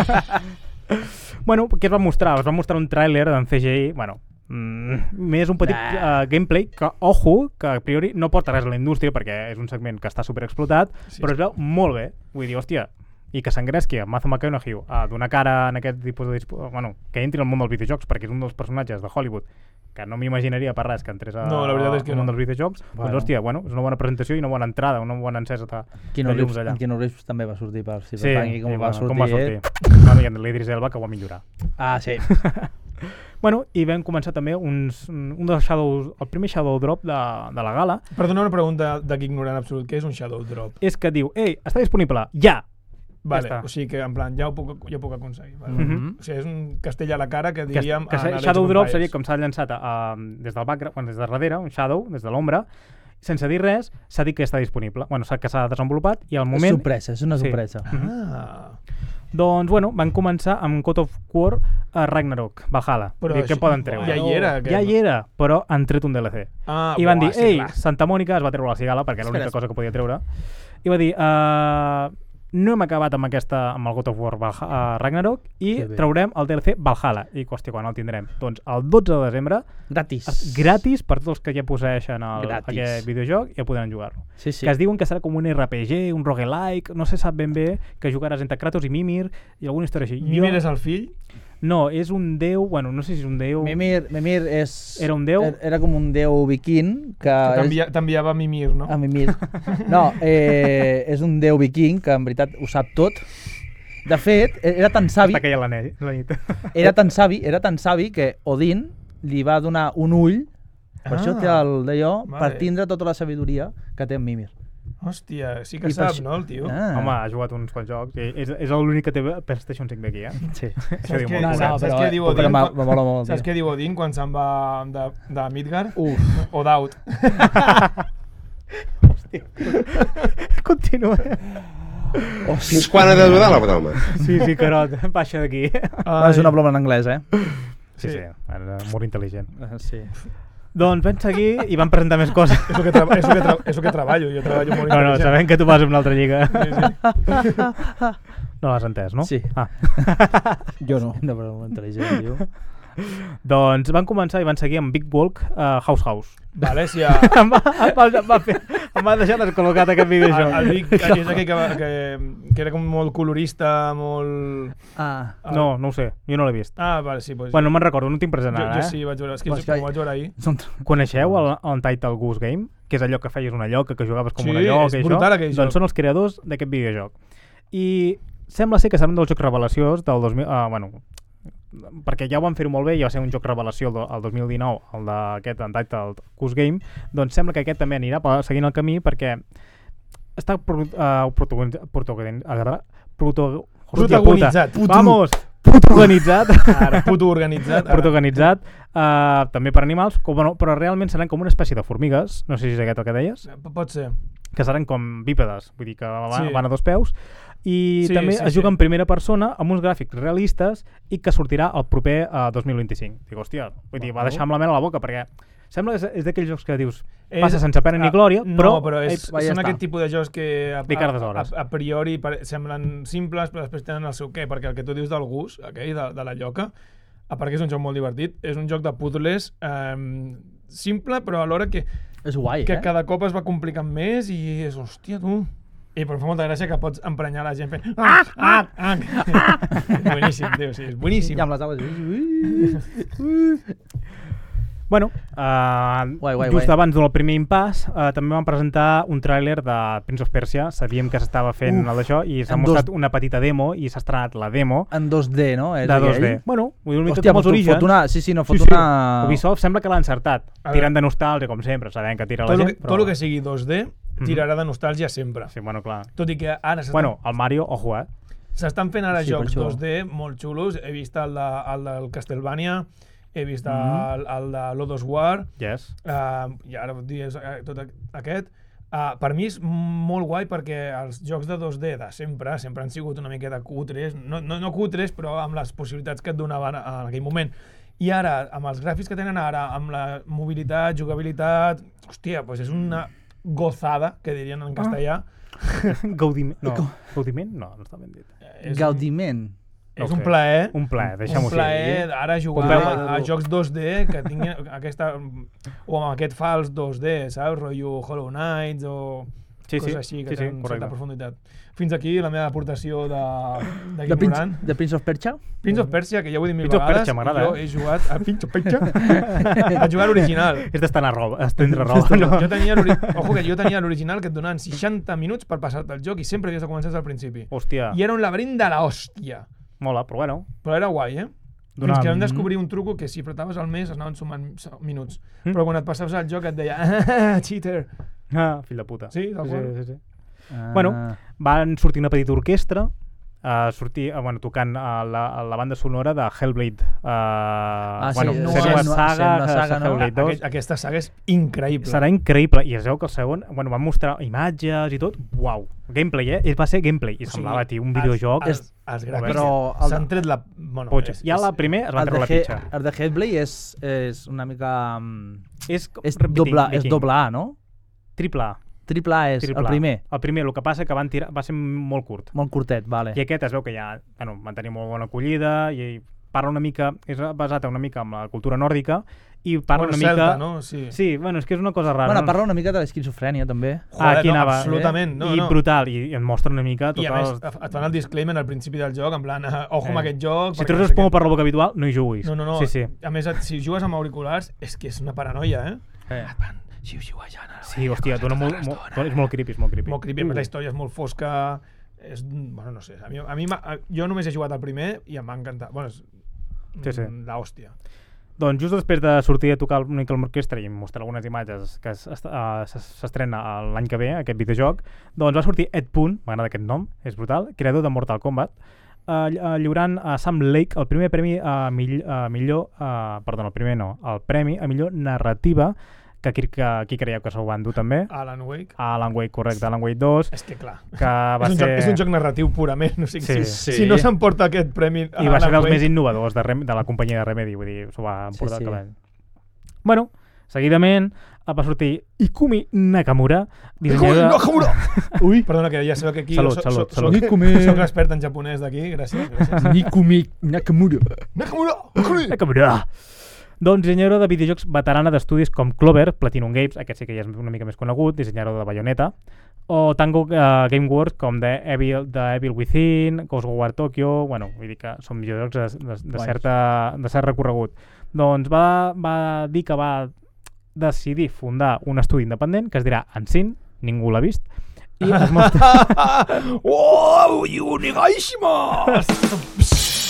[SPEAKER 2] bueno, què es va mostrar? Es va mostrar un tràiler d'en CGI, bueno, mm, més un petit
[SPEAKER 3] Nah.
[SPEAKER 2] uh, gameplay que, ojo, que a priori no porta res a la indústria perquè és un segment que està superexplotat,
[SPEAKER 4] Sí.
[SPEAKER 2] sí. però es veu molt bé. Vull dir, hòstia, i que s'engresqui a Matthew McConaughey a donar cara en aquest tipus de... dispo- Bueno, que entri al món dels videojocs, perquè és un dels personatges de Hollywood que no m'imaginaria per res que entrés a,
[SPEAKER 4] No, la veritat és que
[SPEAKER 2] al món
[SPEAKER 4] no.
[SPEAKER 2] dels videojocs. Bueno.
[SPEAKER 3] Bueno.
[SPEAKER 2] Doncs, hòstia, bueno, és una bona presentació i una bona entrada, una bona encesa de,
[SPEAKER 3] Keanu
[SPEAKER 2] de llums
[SPEAKER 3] Reeves,
[SPEAKER 2] allà.
[SPEAKER 3] en Keanu Reeves també va sortir per Cyberpunk i com,
[SPEAKER 2] i
[SPEAKER 3] va sortir,
[SPEAKER 2] com va
[SPEAKER 3] eh?
[SPEAKER 2] sortir. Bueno, i en l'Idris Elba, que ho va millorar.
[SPEAKER 3] Ah, sí.
[SPEAKER 2] Bueno, i vam començar també uns, un dels shadows, el primer shadow drop de, de la gala,
[SPEAKER 4] Perdona una pregunta de que ignorant absolut, què és un shadow drop?
[SPEAKER 2] és que diu, ei, està disponible, ja!
[SPEAKER 4] Vale,
[SPEAKER 2] està.
[SPEAKER 4] o sigui que en plan, ja ho puc, ja ho puc aconseguir. Vale.
[SPEAKER 2] Mhm.
[SPEAKER 4] O sigui, és un castell a la cara que
[SPEAKER 2] Que,
[SPEAKER 4] diríem...
[SPEAKER 2] que
[SPEAKER 4] a
[SPEAKER 2] s'ha-
[SPEAKER 4] Age of
[SPEAKER 2] shadow drop
[SPEAKER 4] Empires.
[SPEAKER 2] seria com s'ha llançat a, a, des del background, bueno, des de darrere, un shadow, des de l'ombra, sense dir res, s'ha dit que està disponible. Bueno, s'ha que s'ha desenvolupat i al
[SPEAKER 3] Moment...
[SPEAKER 2] moment...
[SPEAKER 3] Sorpresa, és una
[SPEAKER 2] Sí.
[SPEAKER 3] sorpresa.
[SPEAKER 4] Ah,
[SPEAKER 2] Doncs, bueno, van començar amb God of War a Ragnarok, Valhalla.
[SPEAKER 4] Però
[SPEAKER 2] Dir, què
[SPEAKER 4] això-
[SPEAKER 2] poden treure?
[SPEAKER 4] ja hi era,
[SPEAKER 2] Ja
[SPEAKER 4] aquest.
[SPEAKER 2] hi era, però han tret un DLC.
[SPEAKER 4] ah
[SPEAKER 2] I van
[SPEAKER 4] buah,
[SPEAKER 2] dir, ei,
[SPEAKER 4] clar.
[SPEAKER 2] Santa Mònica es va treure la cigala, perquè era l'única
[SPEAKER 3] Espera,
[SPEAKER 2] cosa que podia treure. I va dir, uh, no hem acabat amb, aquesta, amb el God of War Valha, uh, Ragnarok i
[SPEAKER 3] Que bé.
[SPEAKER 2] traurem el DLC Valhalla. I, hòstia, quan el tindrem? Doncs el 12 de desembre,
[SPEAKER 3] Gratis.
[SPEAKER 2] es- Ah, gratis per tots els que ja posseeixen el,
[SPEAKER 3] Gratis.
[SPEAKER 2] aquest videojoc, ja podran jugar-lo.
[SPEAKER 3] Sí, sí.
[SPEAKER 2] Sí. Que es diuen que serà com un RPG, un roguelike, no se sap ben bé, que jugaràs entre Kratos i Mimir i alguna història així.
[SPEAKER 4] Mimir és el fill?
[SPEAKER 2] No, és un déu, bueno, no sé si és un déu...
[SPEAKER 3] Mimir, Mimir és...
[SPEAKER 2] Era un déu?
[SPEAKER 3] Era, era com un déu viking que... Ah, és-
[SPEAKER 4] T'envia- T'enviava Mimir, no?
[SPEAKER 3] A Mimir. No, eh, és un déu viking que en veritat ho sap tot. De fet, e-, era tan savi,
[SPEAKER 2] Està caient la, ne- la nit.
[SPEAKER 3] era tan savi, era tan savi que Odin li va donar un ull per això té
[SPEAKER 4] Ah,
[SPEAKER 3] el d'allò, per
[SPEAKER 4] vale.
[SPEAKER 3] tindre tota la sabidoria que té en Mimir.
[SPEAKER 4] Hòstia, sí
[SPEAKER 3] I
[SPEAKER 4] que
[SPEAKER 3] per
[SPEAKER 4] sap,
[SPEAKER 3] això-
[SPEAKER 4] no, el tio?
[SPEAKER 3] Ah.
[SPEAKER 2] Home, ha jugat uns quants jocs. i És, és l'únic que té PlayStation 5 d'aquí, eh?
[SPEAKER 3] sí.
[SPEAKER 2] Això diu
[SPEAKER 4] què-
[SPEAKER 2] molt.
[SPEAKER 3] No,
[SPEAKER 4] saps-
[SPEAKER 3] no,
[SPEAKER 4] saps
[SPEAKER 3] però,
[SPEAKER 4] què
[SPEAKER 3] eh,
[SPEAKER 4] diu
[SPEAKER 3] però
[SPEAKER 4] Odin
[SPEAKER 3] me-
[SPEAKER 4] quan-
[SPEAKER 3] me mola molt el
[SPEAKER 4] Saps
[SPEAKER 3] tio.
[SPEAKER 4] què diu Odin quan se'n va de, de Midgar?
[SPEAKER 5] Uf.
[SPEAKER 4] O d'Out.
[SPEAKER 2] Continua.
[SPEAKER 6] Oh, Fins quan ha de durar la broma?
[SPEAKER 2] Sí, sí, Carot, baixa d'aquí.
[SPEAKER 3] Ah, és una broma en anglès, eh?
[SPEAKER 2] Sí, sí, era molt intel·ligent.
[SPEAKER 3] Sí.
[SPEAKER 2] Doncs vam seguir i vam presentar més coses.
[SPEAKER 4] És el que, tra- és el que, tra- és el que treballo, jo treballo molt
[SPEAKER 2] No, no, sabem que tu vas a una altra lliga.
[SPEAKER 4] Sí,
[SPEAKER 2] No l'has entès, no?
[SPEAKER 3] Sí.
[SPEAKER 2] Ah.
[SPEAKER 5] Jo no.
[SPEAKER 3] Una broma intel·ligent, diu.
[SPEAKER 2] Doncs van començar i van seguir amb Big Walk eh, a House House.
[SPEAKER 4] sí. Vale, si a,
[SPEAKER 2] em, va, em, va, em, va fer, em va deixar descol·locat aquest
[SPEAKER 4] el,
[SPEAKER 2] videojoc.
[SPEAKER 4] el Vic és aquell que, va- que, que era com molt colorista, molt... eh,
[SPEAKER 3] Ah,
[SPEAKER 2] No, no ho sé, jo no l'he vist.
[SPEAKER 4] Ah, vale, sí, pues,
[SPEAKER 2] Bueno, no me'n recordo, no tinc present
[SPEAKER 4] jo,
[SPEAKER 2] ara,
[SPEAKER 4] jo
[SPEAKER 2] eh?
[SPEAKER 4] sí, vaig veure, és que
[SPEAKER 3] Pues
[SPEAKER 4] jo,
[SPEAKER 3] que-
[SPEAKER 4] ho vaig veure ahir.
[SPEAKER 3] són...
[SPEAKER 2] Coneixeu el, el Title Goose Game? Que és allò que feies una lloca, que jugaves com
[SPEAKER 4] Sí,
[SPEAKER 2] una lloca
[SPEAKER 4] és
[SPEAKER 2] i
[SPEAKER 4] brutal
[SPEAKER 2] això?
[SPEAKER 4] aquell joc.
[SPEAKER 2] Doncs són els creadors d'aquest videojoc. I sembla ser que serà un dels jocs revelacions del 2000... Uh, bueno, perquè ja ho van fer molt bé i va ser un joc revelació el do- el 2019, el d'aquest Untitled Goose Game, doncs sembla que aquest també anirà pa- seguint el camí perquè està pro, uh, protagonitzat... Proto, hòstia puta.
[SPEAKER 4] Protagonitzat. Puto.
[SPEAKER 2] Vamos! Protagonitzat.
[SPEAKER 4] Ara, puto organitzat. Ara.
[SPEAKER 2] protagonitzat eh, també per animals, com, bueno, però realment seran com una espècie de formigues, no sé si és aquest el que deies,
[SPEAKER 4] P- Pot ser.
[SPEAKER 2] que seran com bípedes, vull dir que van,
[SPEAKER 4] Sí.
[SPEAKER 2] sí. van a dos peus, i
[SPEAKER 4] Sí,
[SPEAKER 2] sí, també
[SPEAKER 4] sí,
[SPEAKER 2] sí, es juga
[SPEAKER 4] sí.
[SPEAKER 2] en primera persona amb uns gràfics realistes i que sortirà el proper eh, 2025. Dic, hòstia, vull dir, va deixar amb la mena a la boca, perquè sembla que és, és d'aquells jocs que dius
[SPEAKER 4] És-
[SPEAKER 2] passa sense pena ni
[SPEAKER 4] ah,
[SPEAKER 2] glòria, però...
[SPEAKER 4] No, però és,
[SPEAKER 2] Ai,
[SPEAKER 3] va, ja
[SPEAKER 4] són
[SPEAKER 3] està.
[SPEAKER 4] aquest tipus de jocs que a,
[SPEAKER 2] Li cardes hores.
[SPEAKER 4] a, a priori pare- semblen simples, però després tenen el seu què, perquè el que tu dius del gust, aquell, de, de la lloca, a part que és un joc molt divertit, és un joc de puzzles eh, simple, però alhora que,
[SPEAKER 3] És guai,
[SPEAKER 4] que
[SPEAKER 3] eh?
[SPEAKER 4] cada cop es va complicant més i és, hòstia, tu... I però em fa molta gràcia que pots emprenyar la gent fent... Ah, ah, ah. és boníssim, tio, sí, és boníssim.
[SPEAKER 3] I amb les ales... Ui, ui.
[SPEAKER 2] Bueno, uh,
[SPEAKER 3] Guai, guai,
[SPEAKER 2] just
[SPEAKER 3] guai.
[SPEAKER 2] abans del primer impàs uh, també van presentar un tràiler de Prince of Persia, sabíem que s'estava fent
[SPEAKER 3] Uf,
[SPEAKER 2] Uf, això i s'ha
[SPEAKER 3] en
[SPEAKER 2] mostrat
[SPEAKER 3] dos-
[SPEAKER 2] una petita demo i s'ha estrenat la demo
[SPEAKER 3] En 2D, no? Ah, És
[SPEAKER 2] de 2D.
[SPEAKER 3] aquell?
[SPEAKER 2] Bueno, vull dir, una mica
[SPEAKER 3] Hòstia,
[SPEAKER 2] com els
[SPEAKER 3] fot-
[SPEAKER 2] orígens.
[SPEAKER 3] fot una- sí, sí, no, fot
[SPEAKER 2] sí, sí.
[SPEAKER 3] una-
[SPEAKER 2] Ubisoft sembla que l'ha encertat,
[SPEAKER 4] A
[SPEAKER 2] tirant
[SPEAKER 4] veure.
[SPEAKER 2] de nostàlgia, com sempre, sabem que tira
[SPEAKER 4] tot,
[SPEAKER 2] la
[SPEAKER 4] el
[SPEAKER 2] gent,
[SPEAKER 4] que, tot el que sigui 2D tirarà de nostàlgia sempre.
[SPEAKER 2] Sí, bueno, clar.
[SPEAKER 4] Tot i que ara s'estan
[SPEAKER 2] Bueno, el Mario, ojo, eh?
[SPEAKER 4] S'estan fent ara
[SPEAKER 3] Sí,
[SPEAKER 4] sí,
[SPEAKER 3] per
[SPEAKER 4] jocs
[SPEAKER 3] això.
[SPEAKER 4] 2D molt xulos. He vist el, de, el del Castlevania, he vist mm -hmm.
[SPEAKER 3] Mhm.
[SPEAKER 4] el, el de l'Odos War,
[SPEAKER 2] Yes.
[SPEAKER 4] uh, i ara ho dius eh, tot a- aquest. Uh, per mi és molt guai perquè els jocs de 2D de sempre, sempre han sigut una miqueta cutres, no, no, no cutres, però amb les possibilitats que et donaven en aquell moment. I ara, amb els gràfics que tenen ara, amb la mobilitat, jugabilitat... Hòstia, doncs és una gozada, que dirien
[SPEAKER 3] Ah.
[SPEAKER 4] en castellà.
[SPEAKER 2] Gaudiment. No, Gaudiment? No, no està ben dit.
[SPEAKER 4] És un-
[SPEAKER 3] Gaudiment.
[SPEAKER 4] És
[SPEAKER 2] No
[SPEAKER 4] un
[SPEAKER 2] sé.
[SPEAKER 4] plaer.
[SPEAKER 2] Un plaer, deixa'm-ho
[SPEAKER 4] un plaer
[SPEAKER 2] així.
[SPEAKER 4] ara jugar
[SPEAKER 2] Pompeu,
[SPEAKER 4] a, a jocs 2D que tinguin aquesta, o amb aquest fals 2D, saps? Rotllo Hollow Knights o
[SPEAKER 2] Sí, sí.
[SPEAKER 4] coses així que
[SPEAKER 2] Sí, sí,
[SPEAKER 4] tenen
[SPEAKER 2] correcte.
[SPEAKER 4] certa profunditat. Fins aquí la meva aportació de, de,
[SPEAKER 3] The Prince,
[SPEAKER 4] ignorant.
[SPEAKER 3] The Prince of Persia?
[SPEAKER 4] Prince of Persia, que ja ho he dit mil
[SPEAKER 2] Prince of
[SPEAKER 4] vegades,
[SPEAKER 2] Persia, m'agrada,
[SPEAKER 4] jo
[SPEAKER 2] eh?
[SPEAKER 4] he jugat a Prince of Persia, a jugar a l'original.
[SPEAKER 2] És d'estar a roba, estendre roba. No?
[SPEAKER 4] Jo tenia l'ori- Ojo, que jo tenia l'original que et donaven 60 minuts per passar-te el joc i sempre havies de començar des del principi.
[SPEAKER 2] Hòstia,
[SPEAKER 4] I era un laberint de la hòstia.
[SPEAKER 2] mola, però bueno.
[SPEAKER 4] Però era guai, eh? Fins que vam descobrir un truco que si apretaves al mes es anaven sumant so- minuts. Mm? Però quan et passaves al joc et deia ah, cheater.
[SPEAKER 2] Ah, fill de puta.
[SPEAKER 4] Sí, tal
[SPEAKER 2] sí,
[SPEAKER 4] qual.
[SPEAKER 2] sí, sí.
[SPEAKER 3] Ah.
[SPEAKER 2] Bueno, van sortir una petita orquestra a sortir, eh, bueno, tocant a la, a la banda sonora de Hellblade. Uh, ah,
[SPEAKER 3] sí,
[SPEAKER 2] bueno,
[SPEAKER 4] sí,
[SPEAKER 2] sent una
[SPEAKER 4] sí,
[SPEAKER 2] saga,
[SPEAKER 3] sent una
[SPEAKER 2] eh,
[SPEAKER 3] saga, no?
[SPEAKER 2] Hellblade 2.
[SPEAKER 4] Aquest, Ah, aquesta saga és increïble.
[SPEAKER 2] Serà increïble. I es veu que el segon, bueno, van mostrar imatges i tot. Uau. Gameplay, eh? Ell va ser gameplay. I semblava, tio, un videojoc.
[SPEAKER 4] Els, els, els gràfics
[SPEAKER 3] Però el-
[SPEAKER 4] s'han tret la... Bueno,
[SPEAKER 2] Potxa. Ja la primer es va
[SPEAKER 3] el,
[SPEAKER 2] treure la
[SPEAKER 3] de He-
[SPEAKER 2] pitxa.
[SPEAKER 3] el de Headblade és, és una mica... mm,
[SPEAKER 2] És, com
[SPEAKER 3] És
[SPEAKER 2] repeating,
[SPEAKER 3] doble, és
[SPEAKER 2] making.
[SPEAKER 3] doble A, no?
[SPEAKER 2] Triple A.
[SPEAKER 3] Triple A és
[SPEAKER 2] Triple
[SPEAKER 3] el
[SPEAKER 2] A.
[SPEAKER 3] primer.
[SPEAKER 2] El primer, el que passa que van tirar, va ser molt curt.
[SPEAKER 3] Molt curtet, vale.
[SPEAKER 2] I aquest es veu que ja bueno, van tenir molt bona acollida i parla una mica, és basat una mica en la cultura nòrdica i parla
[SPEAKER 4] bueno,
[SPEAKER 2] una mica...
[SPEAKER 4] Zelda, no? Sí.
[SPEAKER 2] Sí, bueno, és que és una cosa rara.
[SPEAKER 3] Bueno,
[SPEAKER 2] no?
[SPEAKER 3] parla una mica de l'esquizofrènia, també.
[SPEAKER 2] Ah, aquí
[SPEAKER 4] no,
[SPEAKER 2] anava.
[SPEAKER 4] Absolutament. No,
[SPEAKER 2] I
[SPEAKER 4] no.
[SPEAKER 2] brutal, i, i et mostra una mica tot
[SPEAKER 4] I a més,
[SPEAKER 2] el...
[SPEAKER 4] et fan el disclaimer al principi del joc, en plan, eh, ojo
[SPEAKER 2] Eh.
[SPEAKER 4] amb aquest joc...
[SPEAKER 2] Si
[SPEAKER 4] perquè
[SPEAKER 2] treus
[SPEAKER 4] no sé
[SPEAKER 2] el pomo
[SPEAKER 4] què.
[SPEAKER 2] per la boca habitual, no hi juguis.
[SPEAKER 4] No, no, no.
[SPEAKER 2] Sí, sí.
[SPEAKER 4] A més, et- si jugues amb auriculars, és que és una paranoia, eh?
[SPEAKER 2] Eh.
[SPEAKER 4] Et van xiu-xiuejant. a la
[SPEAKER 2] Sí,
[SPEAKER 4] vella,
[SPEAKER 2] hòstia,
[SPEAKER 4] coses
[SPEAKER 2] dona
[SPEAKER 4] tota
[SPEAKER 2] molt, molt,
[SPEAKER 4] l'estona.
[SPEAKER 2] és molt creepy, és molt creepy.
[SPEAKER 4] Molt creepy, uh. la història és molt fosca, és, bueno, no sé, a mi, a mi m'ha- a- jo només he jugat al primer i em va encantar, bueno, és
[SPEAKER 2] Sí, sí.
[SPEAKER 4] mm, la hòstia.
[SPEAKER 2] Doncs just després de sortir a tocar una mica amb l'orquestra i mostrar algunes imatges que es- es- eh, s'es- s'estrena l'any que ve, aquest videojoc, doncs va sortir Ed Boon, m'agrada aquest nom, és brutal, creador de Mortal Kombat, eh, ll- eh, lliurant a Sam Lake el primer premi a, mill, a millor... Eh, perdó, el primer no, el premi a millor narrativa, que aquí, que aquí creieu que se'l van dur també,
[SPEAKER 4] Alan Wake,
[SPEAKER 2] a Alan Wake, correcte, Alan Wake 2,
[SPEAKER 4] és que clar,
[SPEAKER 2] que va
[SPEAKER 4] Ah, és un,
[SPEAKER 2] ser...
[SPEAKER 4] joc, és un joc narratiu purament, no sé,
[SPEAKER 2] Sí.
[SPEAKER 4] sí, si, si no s'emporta aquest premi
[SPEAKER 2] I va ser
[SPEAKER 4] Alan
[SPEAKER 2] dels més
[SPEAKER 4] Wake,
[SPEAKER 2] innovadors de, Rem, de la companyia de Remedy, vull dir, s'ho va emportar sí, sí.
[SPEAKER 3] sí.
[SPEAKER 2] cavall. Bueno, seguidament eh, va sortir Ikumi Nakamura, dissenyadora... Nakamura!
[SPEAKER 5] Ui,
[SPEAKER 4] Perdona, que ja sabeu que aquí
[SPEAKER 2] Salut,
[SPEAKER 4] soc-
[SPEAKER 2] salut,
[SPEAKER 4] soc-
[SPEAKER 2] salut.
[SPEAKER 4] soc-
[SPEAKER 5] Nikome.
[SPEAKER 4] soc l'expert en japonès d'aquí, gràcies, gràcies.
[SPEAKER 3] Nikumi Nakamura.
[SPEAKER 4] Nakamura! Nakamura!
[SPEAKER 2] Nakamura! Eh, Doncs dissenyadora de videojocs veterana d'estudis com Clover, Platinum Games, aquest sí que ja és una mica més conegut, dissenyadora de Bayonetta, o Tango uh, Gameworks com The Evil, The Evil Within, Ghostwire Tokyo, bueno, vull dir que són videojocs de, de, de,
[SPEAKER 5] Guais.
[SPEAKER 2] certa, de cert recorregut. Doncs va, va dir que va decidir fundar un estudi independent que es dirà Ensin, ningú l'ha vist, i es mostra...
[SPEAKER 4] Oh, Unigaishima!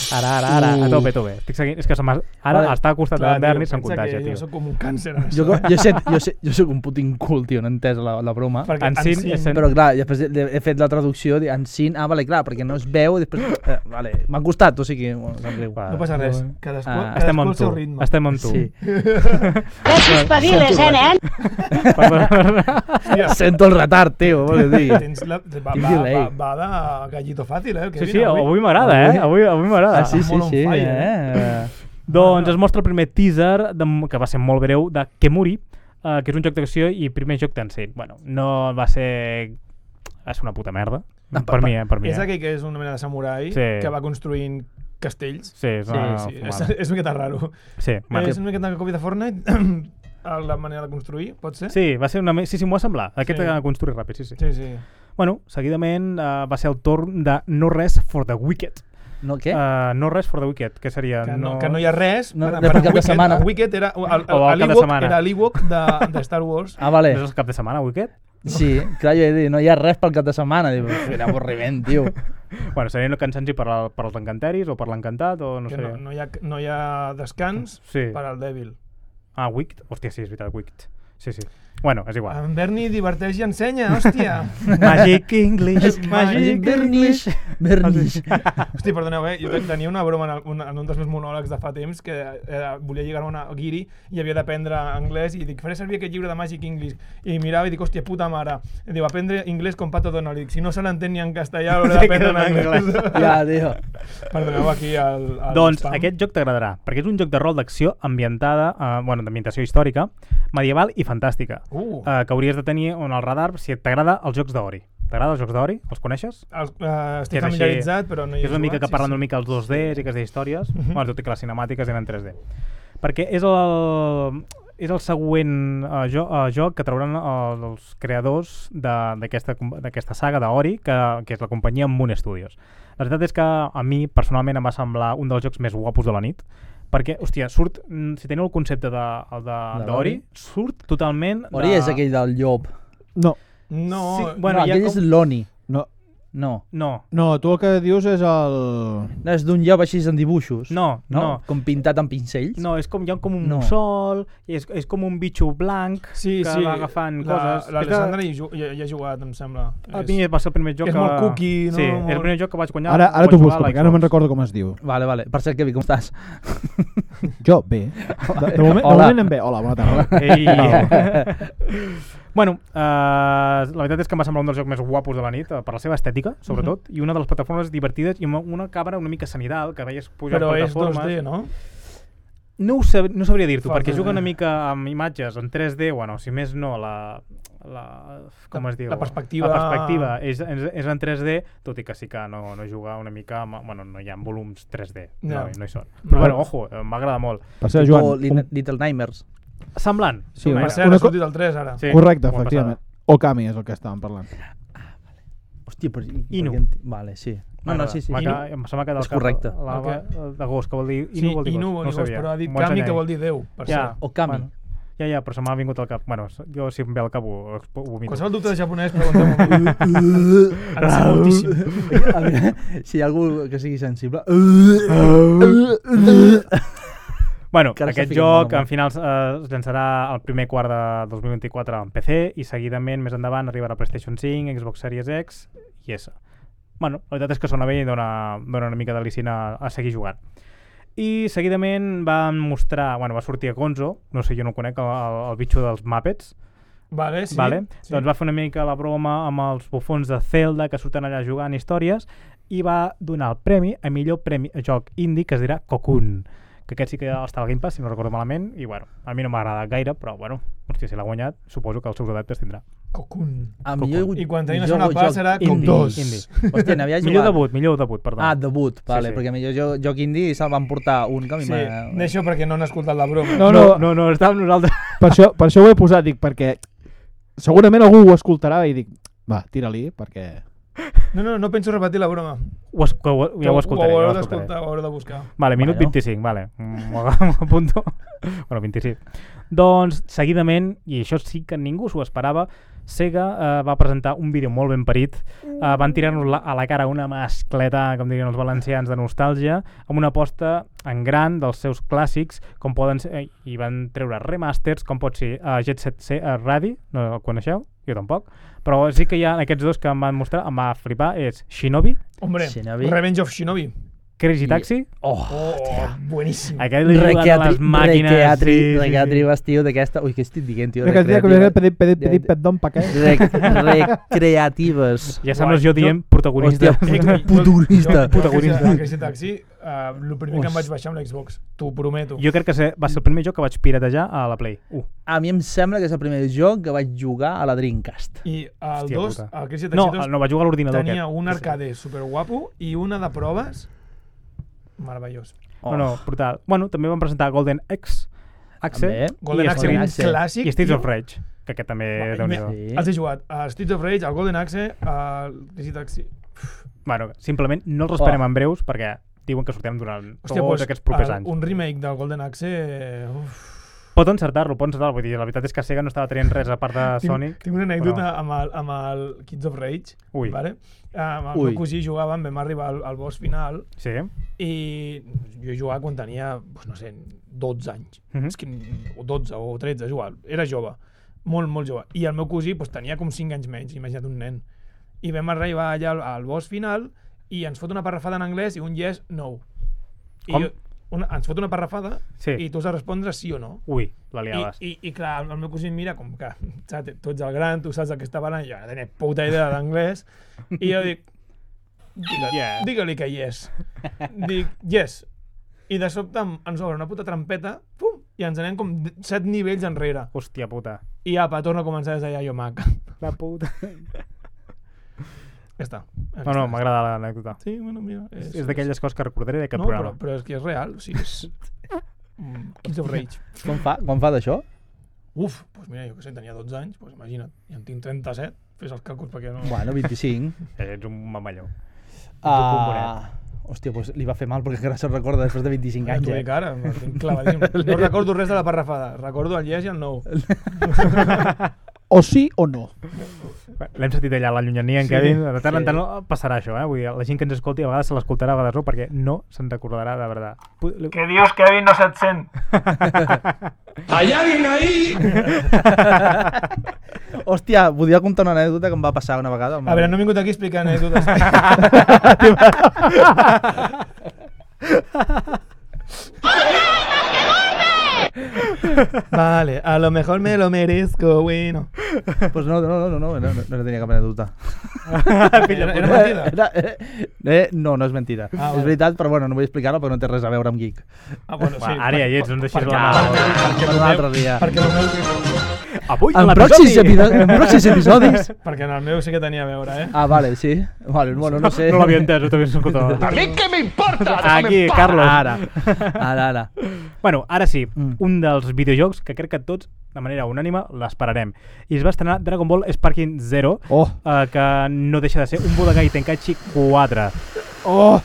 [SPEAKER 2] Ara, ara, ara, a tope, a tope. Estic seguint, és que se m'ha- ara
[SPEAKER 3] Vale.
[SPEAKER 2] està al costat de
[SPEAKER 4] Clar, tio,
[SPEAKER 2] l'Anderni i se'm
[SPEAKER 4] pensa
[SPEAKER 2] contagia,
[SPEAKER 4] que
[SPEAKER 2] tio.
[SPEAKER 4] Jo soc com un càncer. en
[SPEAKER 3] Jo,
[SPEAKER 4] això,
[SPEAKER 3] jo, sé, jo, sé, jo soc un puto incul, tio, no he entès la, la broma.
[SPEAKER 4] perquè
[SPEAKER 2] En Sin-
[SPEAKER 4] Sin-
[SPEAKER 2] en Sin-
[SPEAKER 3] Però clar, després he, he fet la traducció di- en sin, ah, vale, clar, perquè no es veu, i després, eh, vale, m'ha costat, o sigui, bueno, sap greu.
[SPEAKER 2] Va.
[SPEAKER 4] No passa res, cadascú,
[SPEAKER 3] Ah,
[SPEAKER 4] cadascú
[SPEAKER 2] Estem amb
[SPEAKER 4] al seu
[SPEAKER 2] tu,
[SPEAKER 4] ritme.
[SPEAKER 2] estem amb tu.
[SPEAKER 3] Sí.
[SPEAKER 7] Tres espaviles, eh, nen?
[SPEAKER 4] Hòstia,
[SPEAKER 3] Sento el retard, tio, vols dir.
[SPEAKER 4] Tens la, va,
[SPEAKER 3] Quin
[SPEAKER 4] va,
[SPEAKER 3] delay.
[SPEAKER 4] va, va de gallito fàcil, eh? el
[SPEAKER 2] Sí,
[SPEAKER 4] Kevin,
[SPEAKER 2] sí, avui m'agrada, eh? Avui, avui m'agrada.
[SPEAKER 3] Ah, sí, sí,
[SPEAKER 4] molt on
[SPEAKER 3] sí,
[SPEAKER 4] fire,
[SPEAKER 3] eh?
[SPEAKER 2] Doncs es mostra el primer teaser, de, que va ser molt breu, de Kemuri, eh, que és un joc d'acció i primer joc d'encén. Bueno, no va ser... Va ser una puta merda.
[SPEAKER 3] Ah,
[SPEAKER 2] per,
[SPEAKER 3] pa-
[SPEAKER 2] mi, eh? Per mi,
[SPEAKER 4] És
[SPEAKER 2] eh?
[SPEAKER 4] aquell que és una mena de samurai
[SPEAKER 2] Sí.
[SPEAKER 4] que va construint castells.
[SPEAKER 2] Sí, és una
[SPEAKER 4] sí, és,
[SPEAKER 2] fumada.
[SPEAKER 4] és una miqueta raro.
[SPEAKER 2] Sí, bueno.
[SPEAKER 4] És una miqueta que copia de Fortnite, a la manera de construir, pot ser?
[SPEAKER 2] Sí, va ser una... me- Sí, sí, m'ho va semblar. Aquest
[SPEAKER 4] Sí.
[SPEAKER 2] sí. construir ràpid, sí, sí.
[SPEAKER 4] Sí, sí.
[SPEAKER 2] Bueno, seguidament eh, va ser el torn de No Res for the Wicked.
[SPEAKER 3] No, què?
[SPEAKER 2] Eh, no Res for the Wicked, que seria...
[SPEAKER 4] Que no, que no hi ha res.
[SPEAKER 3] No,
[SPEAKER 4] per-
[SPEAKER 3] de
[SPEAKER 4] per
[SPEAKER 3] per cap de
[SPEAKER 4] Wicked-
[SPEAKER 3] setmana.
[SPEAKER 4] el Wicked era... El, el,
[SPEAKER 2] O al cap de
[SPEAKER 4] l'Ewok
[SPEAKER 2] setmana.
[SPEAKER 4] Era l'Ewok de, de Star Wars.
[SPEAKER 3] Ah, vale.
[SPEAKER 2] No és el cap de setmana, Wicked?
[SPEAKER 3] Sí, clar, jo he dit, no hi ha res pel cap de setmana. Dic, era avorriment, tio.
[SPEAKER 2] Bueno, serien cançons per, al- per als encanteris o per l'encantat o no
[SPEAKER 4] que
[SPEAKER 2] sé.
[SPEAKER 4] no, no, hi ha, no hi ha descans
[SPEAKER 2] Sí.
[SPEAKER 4] per al Devil.
[SPEAKER 2] Ah, Wicked? Hòstia, sí, és veritat, Wicked. Sí, sí. Bueno, és igual.
[SPEAKER 4] En Berni diverteix i ensenya, hòstia.
[SPEAKER 2] Magic English,
[SPEAKER 4] Magic
[SPEAKER 2] Magic English.
[SPEAKER 3] Bernish.
[SPEAKER 4] Hòstia, perdoneu, eh? Jo tenia una broma en, el- un, en un dels meus monòlegs de fa temps que eh, volia lligar-me una guiri i havia d'aprendre anglès i dic, faré servir aquest llibre de Magic English. I mirava i dic, hòstia, puta mare. I diu, aprendre anglès com Pato Donald. I dic, si no se l'entén ni en castellà, hauré d'aprendre en anglès.
[SPEAKER 3] Ja, tio.
[SPEAKER 4] Perdoneu aquí el, el
[SPEAKER 2] Doncs
[SPEAKER 4] spam.
[SPEAKER 2] aquest joc t'agradarà, perquè és un joc de rol d'acció ambientada, eh, bueno, d'ambientació històrica, medieval i fantàstica,
[SPEAKER 4] Uh.
[SPEAKER 2] eh, que hauries de tenir on al radar si et t'agrada els jocs d'Ori. T'agrada els jocs d'Ori? Els coneixes?
[SPEAKER 4] El, eh,
[SPEAKER 2] Que
[SPEAKER 4] estic
[SPEAKER 2] és així-
[SPEAKER 4] familiaritzat, però no hi he
[SPEAKER 2] és una mica
[SPEAKER 4] jugat,
[SPEAKER 2] que
[SPEAKER 4] sí,
[SPEAKER 2] parlen
[SPEAKER 4] sí.
[SPEAKER 2] una mica els 2D i que es de històries,
[SPEAKER 4] Mhm.
[SPEAKER 2] bueno, tot i que les cinemàtiques eren 3D. Perquè és el, és el següent uh, jo, uh, joc que trauran el, els creadors de- d'aquesta com- d'aquesta saga d'Ori, que, que és la companyia Moon Studios. La veritat és que a mi personalment em va semblar un dels jocs més guapos de la nit, perquè, hòstia, surt, mm, si teniu el concepte de- el de-
[SPEAKER 3] De
[SPEAKER 2] d'Ori,
[SPEAKER 3] l'Ori?
[SPEAKER 2] surt totalment...
[SPEAKER 3] Ori
[SPEAKER 2] de...
[SPEAKER 3] és aquell del llop.
[SPEAKER 5] no,
[SPEAKER 4] No,
[SPEAKER 2] Sí,
[SPEAKER 4] sí,
[SPEAKER 2] bueno,
[SPEAKER 3] no,
[SPEAKER 2] hi ha
[SPEAKER 3] aquell
[SPEAKER 2] com-
[SPEAKER 3] és l'Oni.
[SPEAKER 5] no.
[SPEAKER 3] No.
[SPEAKER 2] No,
[SPEAKER 5] No, tu el que dius és el...
[SPEAKER 3] No, és d'un llop així en dibuixos.
[SPEAKER 2] No, no.
[SPEAKER 3] Com pintat amb pincells.
[SPEAKER 2] no, és com, hi ha com un
[SPEAKER 3] No.
[SPEAKER 2] no. sol, és, és com un bitxo blanc
[SPEAKER 4] Sí,
[SPEAKER 2] que
[SPEAKER 4] sí.
[SPEAKER 2] va agafant
[SPEAKER 4] la,
[SPEAKER 2] coses.
[SPEAKER 4] L'Alessandra hi, ju- hi, hi, ha jugat, em sembla.
[SPEAKER 2] A mi va ser el primer joc
[SPEAKER 4] és
[SPEAKER 2] que...
[SPEAKER 4] molt cookie, no?
[SPEAKER 2] Sí,
[SPEAKER 4] Molt-
[SPEAKER 2] és el primer joc que vaig guanyar.
[SPEAKER 5] Ara, ara
[SPEAKER 2] vaig
[SPEAKER 5] t'ho
[SPEAKER 2] jugar
[SPEAKER 5] busco,
[SPEAKER 2] a
[SPEAKER 5] perquè ara no me'n
[SPEAKER 2] l'Xbox.
[SPEAKER 5] recordo com es diu.
[SPEAKER 3] Vale, vale. Per cert, Kevin, com estàs?
[SPEAKER 5] Jo, bé. De, de, moment, de
[SPEAKER 3] Hola.
[SPEAKER 5] moment anem bé. Hola, bona tarda.
[SPEAKER 2] Ei. bueno, eh, la veritat és que em va semblar un dels jocs més guapos de la nit, eh, per la seva estètica, sobretot, i una de les plataformes divertides i una, una càmera una mica sanidal, que veies pujar
[SPEAKER 4] Però és
[SPEAKER 2] plataformes.
[SPEAKER 4] 2D, no?
[SPEAKER 2] No, ho sab no sabria dir-t'ho,
[SPEAKER 4] Fa
[SPEAKER 2] perquè
[SPEAKER 4] 2D.
[SPEAKER 2] juga una mica amb imatges en 3D, bueno, si més no, la... la com
[SPEAKER 4] La-
[SPEAKER 2] es diu?
[SPEAKER 4] la perspectiva-
[SPEAKER 2] La perspectiva és, és, és en 3D, tot i que sí que no, no juga una mica... Amb, bueno, no hi ha volums 3D, no,
[SPEAKER 4] No.
[SPEAKER 2] no, hi són.
[SPEAKER 4] No.
[SPEAKER 2] Però bueno, ojo, eh, m'agrada molt.
[SPEAKER 5] Per ser
[SPEAKER 3] o
[SPEAKER 5] Joan,
[SPEAKER 3] Little,
[SPEAKER 5] un...
[SPEAKER 3] Little Nightmares.
[SPEAKER 2] Semblant.
[SPEAKER 5] Sí,
[SPEAKER 2] d'una
[SPEAKER 5] una-
[SPEAKER 2] manera.
[SPEAKER 4] Per cert,
[SPEAKER 5] una
[SPEAKER 4] ha
[SPEAKER 5] co-
[SPEAKER 4] sortit el 3 ara.
[SPEAKER 2] Sí,
[SPEAKER 5] correcte,
[SPEAKER 2] una
[SPEAKER 5] efectivament. Okami és el que estàvem parlant.
[SPEAKER 3] Hòstia, però... i-
[SPEAKER 2] Inu.
[SPEAKER 3] perquè enti- Vale, sí. No, no,
[SPEAKER 2] M'agrada.
[SPEAKER 3] sí, sí.
[SPEAKER 2] M'ha
[SPEAKER 3] Inu.
[SPEAKER 2] quedat- Em sembla que del
[SPEAKER 3] És correcte.
[SPEAKER 2] cap, la- la- de gos, que vol dir...
[SPEAKER 4] Sí,
[SPEAKER 2] Inu vol dir
[SPEAKER 4] Inu
[SPEAKER 2] gos.
[SPEAKER 4] vol
[SPEAKER 2] No
[SPEAKER 4] dir
[SPEAKER 2] ho
[SPEAKER 4] gos,
[SPEAKER 2] sabia.
[SPEAKER 4] però ha dit
[SPEAKER 2] M'ho han
[SPEAKER 4] Kami
[SPEAKER 2] ensenyat
[SPEAKER 4] que
[SPEAKER 2] ell.
[SPEAKER 4] vol dir Déu, per
[SPEAKER 2] Ja.
[SPEAKER 4] cert.
[SPEAKER 3] O Kami.
[SPEAKER 2] Bueno, ja, ja, però se m'ha vingut al cap. Bueno, jo si em ve al cap ho, ho vomito.
[SPEAKER 4] Qualsevol dubte de japonès, pregunteu-m'ho. Ha de ser moltíssim.
[SPEAKER 3] A veure, si hi ha algú que sigui sensible...
[SPEAKER 2] Bueno,
[SPEAKER 3] Que ara
[SPEAKER 2] aquest
[SPEAKER 3] s'ha ficat molt
[SPEAKER 2] joc
[SPEAKER 3] de
[SPEAKER 2] en finals eh, es llançarà el primer quart de 2024 en PC i seguidament més endavant arribarà a PlayStation 5, Xbox Series X i S. Bueno, la veritat és que sona bé i dona, dona una mica de licina a seguir jugant. I seguidament van mostrar, bueno, va sortir a Gonzo, no sé, jo no ho conec, el, el, el bitxo dels Muppets,
[SPEAKER 4] Vale, sí.
[SPEAKER 2] sí, vale?
[SPEAKER 4] sí.
[SPEAKER 2] Sí. Doncs va fer una mica la broma amb els bufons de Zelda que surten allà jugant històries i va donar el premi a millor premi a joc indie que es dirà Cocoon que aquest sí que està al Game Pass, si no recordo malament, i bueno, a mi no m'ha agradat gaire, però bueno, hòstia, si l'ha guanyat, suposo que els seus adeptes tindrà.
[SPEAKER 4] Cocoon.
[SPEAKER 3] A millor
[SPEAKER 2] Cocoon.
[SPEAKER 3] hi ha hagut
[SPEAKER 4] I quan tenir la
[SPEAKER 3] millor
[SPEAKER 4] segona part
[SPEAKER 3] joc
[SPEAKER 4] serà
[SPEAKER 3] indie.
[SPEAKER 4] com dos.
[SPEAKER 2] indie.
[SPEAKER 3] Hòstia, n'havia jugat.
[SPEAKER 2] Millor debut, millor debut, perdó.
[SPEAKER 3] Ah, debut, vale,
[SPEAKER 2] sí.
[SPEAKER 3] perquè millor joc, joc indie se'l van portar un que a mi
[SPEAKER 4] Sí,
[SPEAKER 3] m'ha-
[SPEAKER 4] d'això perquè no han escoltat la broma.
[SPEAKER 5] No, no,
[SPEAKER 2] no, no, no estàvem nosaltres.
[SPEAKER 5] Per, això, per això ho he posat, dic, perquè segurament algú ho escoltarà i dic, va, tira-li, perquè...
[SPEAKER 4] No, no, no penso repetir la broma.
[SPEAKER 2] Ho, es- que ho, ja ho escoltaré,
[SPEAKER 4] Ho
[SPEAKER 2] ja ho
[SPEAKER 4] haureu
[SPEAKER 2] escoltaré.
[SPEAKER 4] d'escoltar, ho haureu de buscar.
[SPEAKER 2] Vale, minut
[SPEAKER 3] Bueno.
[SPEAKER 2] 25, vale. Mm, M'ho aga- m'ho apunto. bueno, 27. Doncs, seguidament, i això sí que ningú s'ho esperava, Sega eh, va presentar un vídeo molt ben parit. Eh, van tirar-nos la, a la cara una mascleta, com dirien els valencians, de nostàlgia, amb una aposta en gran dels seus clàssics, com poden ser, eh, i van treure remasters, com pot ser eh, Jet Set C, eh, Radi, no el coneixeu? Jo tampoc. Però sí que hi ha aquests dos que em van mostrar, em va flipar, és Shinobi,
[SPEAKER 4] Hombre,
[SPEAKER 3] Shinobi.
[SPEAKER 4] Revenge of Shinobi.
[SPEAKER 2] Crazy
[SPEAKER 3] I-
[SPEAKER 2] Taxi,
[SPEAKER 3] Oh,
[SPEAKER 4] Oh, bueníssim.
[SPEAKER 2] Aquell li jugant a les màquines.
[SPEAKER 3] Requeatri,
[SPEAKER 2] sí, sí, sí.
[SPEAKER 3] requeatri, vestiu d'aquesta... Ui, què estic dient, tio?
[SPEAKER 5] Crec que tira que
[SPEAKER 3] Recreativa-
[SPEAKER 5] havia pedit, pedit,
[SPEAKER 3] Ja,
[SPEAKER 5] pedit,
[SPEAKER 3] ja.
[SPEAKER 5] perdó, pa què?
[SPEAKER 3] Rec recreatives.
[SPEAKER 2] Ja sembles
[SPEAKER 4] Guai.
[SPEAKER 2] jo dient protagonista.
[SPEAKER 3] Hòstia,
[SPEAKER 2] Hòstia,
[SPEAKER 3] Protagonista.
[SPEAKER 2] Protagonista.
[SPEAKER 4] Jo, aquest taxi, uh, el primer que em vaig baixar amb l'Xbox, t'ho prometo.
[SPEAKER 2] jo crec que se- va ser el primer joc que vaig piratejar a la Play. Uh.
[SPEAKER 3] A mi em sembla que és el primer joc que vaig jugar a la Dreamcast.
[SPEAKER 4] I el
[SPEAKER 2] Hòstia
[SPEAKER 4] 2,
[SPEAKER 2] puta.
[SPEAKER 4] el Crazy Taxi
[SPEAKER 2] No,
[SPEAKER 4] 2,
[SPEAKER 2] el- no va jugar a l'ordinador aquest.
[SPEAKER 4] tenia un arcade superguapo i una de proves meravellós.
[SPEAKER 2] No,
[SPEAKER 3] Oh.
[SPEAKER 2] no, brutal. Bueno, també van presentar Golden Axe, Axe
[SPEAKER 3] També.
[SPEAKER 4] Golden
[SPEAKER 2] I
[SPEAKER 4] Axe era un
[SPEAKER 3] Axe.
[SPEAKER 4] clàssic.
[SPEAKER 2] i Streets
[SPEAKER 4] tio.
[SPEAKER 2] of Rage, que aquest també...
[SPEAKER 4] I
[SPEAKER 2] déu
[SPEAKER 4] me-
[SPEAKER 2] nhi
[SPEAKER 3] Sí.
[SPEAKER 4] Els he jugat. A Streets of Rage, al Golden Axe, al Crazy Taxi.
[SPEAKER 2] Bueno, simplement no els esperem
[SPEAKER 3] Oh.
[SPEAKER 2] en breus perquè diuen que sortem durant
[SPEAKER 4] Hòstia,
[SPEAKER 2] tots
[SPEAKER 4] pues,
[SPEAKER 2] aquests propers
[SPEAKER 4] el-
[SPEAKER 2] anys.
[SPEAKER 4] Un remake del Golden Axe... eh, Uf.
[SPEAKER 2] Pot encertar-lo, pot encertar-lo. Vull dir, la veritat és que Sega no estava tenint res a part de
[SPEAKER 4] Tinc-
[SPEAKER 2] Sonic.
[SPEAKER 4] Tinc una anècdota
[SPEAKER 2] però-
[SPEAKER 4] amb, el, amb el Kids of Rage.
[SPEAKER 2] Ui.
[SPEAKER 4] Vale? Eh, Amb el
[SPEAKER 3] Ui.
[SPEAKER 4] meu cosí jugàvem, vam arribar al, al boss final
[SPEAKER 2] Sí?
[SPEAKER 4] i jo jugava quan tenia, doncs, no sé, 12 anys.
[SPEAKER 2] Mhm.
[SPEAKER 4] És que, o 12 o 13, és igual. Era jove, molt, molt jove. I el meu cosí doncs, tenia com 5 anys menys, imagina't un nen. I vam arribar allà al, al boss final i ens fot una parrafada en anglès i un yes, no. I
[SPEAKER 2] Com?
[SPEAKER 4] jo- una, ens fot una parrafada
[SPEAKER 2] Sí.
[SPEAKER 4] i tu has de respondre sí o no.
[SPEAKER 2] Ui, la liaves.
[SPEAKER 4] I, i, I clar, el meu cosí em mira com que saps, tu ets el gran, tu saps el que està parlant, jo no tenia puta idea d'anglès, i jo dic,
[SPEAKER 2] Yeah.
[SPEAKER 4] digue-li yeah. digue que yes. Dic, yes. I de sobte em- ens obre una puta trampeta, pum, i ens anem com d- set nivells enrere.
[SPEAKER 2] Hòstia puta.
[SPEAKER 4] I apa, torna a començar des d'allà, jo mac.
[SPEAKER 2] La puta.
[SPEAKER 4] Ja està.
[SPEAKER 2] No, no, m'agrada l'anècdota.
[SPEAKER 4] Sí, bueno, mira. És,
[SPEAKER 2] És d'aquelles coses que recordaré d'aquest
[SPEAKER 4] no,
[SPEAKER 2] programa.
[SPEAKER 4] però, però és que és real, o sigui, és... Mm, Kids of Rage.
[SPEAKER 3] Quan fa, quan fa d'això?
[SPEAKER 4] Uf, doncs mira, jo que sé, tenia 12 anys, doncs imagina't, i en tinc 37, fes els càlculs perquè no...
[SPEAKER 3] Bueno, 25.
[SPEAKER 2] Eh, Ets un mamalló.
[SPEAKER 3] Ah, hòstia, doncs li va fer mal perquè encara se'n recorda després de 25
[SPEAKER 4] T'ho
[SPEAKER 3] anys.
[SPEAKER 4] dic
[SPEAKER 3] Eh?
[SPEAKER 4] ara, em tinc clavadíssim. No recordo res de la parrafada, recordo el yes i el no.
[SPEAKER 5] O sí o no.
[SPEAKER 2] L'hem sentit allà, a la llunyania, en sí,
[SPEAKER 4] Sí,
[SPEAKER 2] Kevin. De tant en
[SPEAKER 4] sí.
[SPEAKER 2] tant passarà això, eh? Vull dir, la gent que ens escolti a vegades se l'escoltarà, a vegades no, perquè no se'n recordarà de veritat. Pu- li-
[SPEAKER 4] Que Dios, Kevin, no se't sent.
[SPEAKER 3] Hòstia, volia contar una anècdota que em va passar una vegada.
[SPEAKER 4] eh? A veure, no he vingut aquí explicant anècdotes. vale, a lo mejor me lo merezco, bueno.
[SPEAKER 3] Pues Doncs no, no, no, no, no, no, no, no tenia cap anècdota.
[SPEAKER 4] era, era mentida.
[SPEAKER 3] Era, eh, eh, no, no és mentida.
[SPEAKER 4] Ah,
[SPEAKER 3] Ah,
[SPEAKER 4] vale.
[SPEAKER 3] és veritat, però bueno, no vull explicar-ho perquè no té res a veure amb geek.
[SPEAKER 4] Ah, bueno, sí.
[SPEAKER 2] Va, ara ja hi ets, no ens deixis la mà.
[SPEAKER 3] Per un altre dia.
[SPEAKER 4] Perquè, el meu,
[SPEAKER 2] Avui, a
[SPEAKER 3] En pròxims,
[SPEAKER 2] l'episodi!
[SPEAKER 3] episo- en pròxims episodis...
[SPEAKER 4] perquè en el meu sí que tenia a veure, eh?
[SPEAKER 3] Ah, vale, sí. Vale, bueno, no sé.
[SPEAKER 2] No l'havia entès, no t'havia escoltat. A mi què m'importa? Aquí, Carlos.
[SPEAKER 3] Ara, ara, ara.
[SPEAKER 2] Bueno, ara sí,
[SPEAKER 3] Mm.
[SPEAKER 2] mm. un dels videojocs que crec que tots, de manera unànima, l'esperarem. I es va estrenar Dragon Ball Sparking Zero,
[SPEAKER 5] Oh,
[SPEAKER 2] eh, que no deixa de ser un Budokai Tenkaichi 4.
[SPEAKER 5] oh,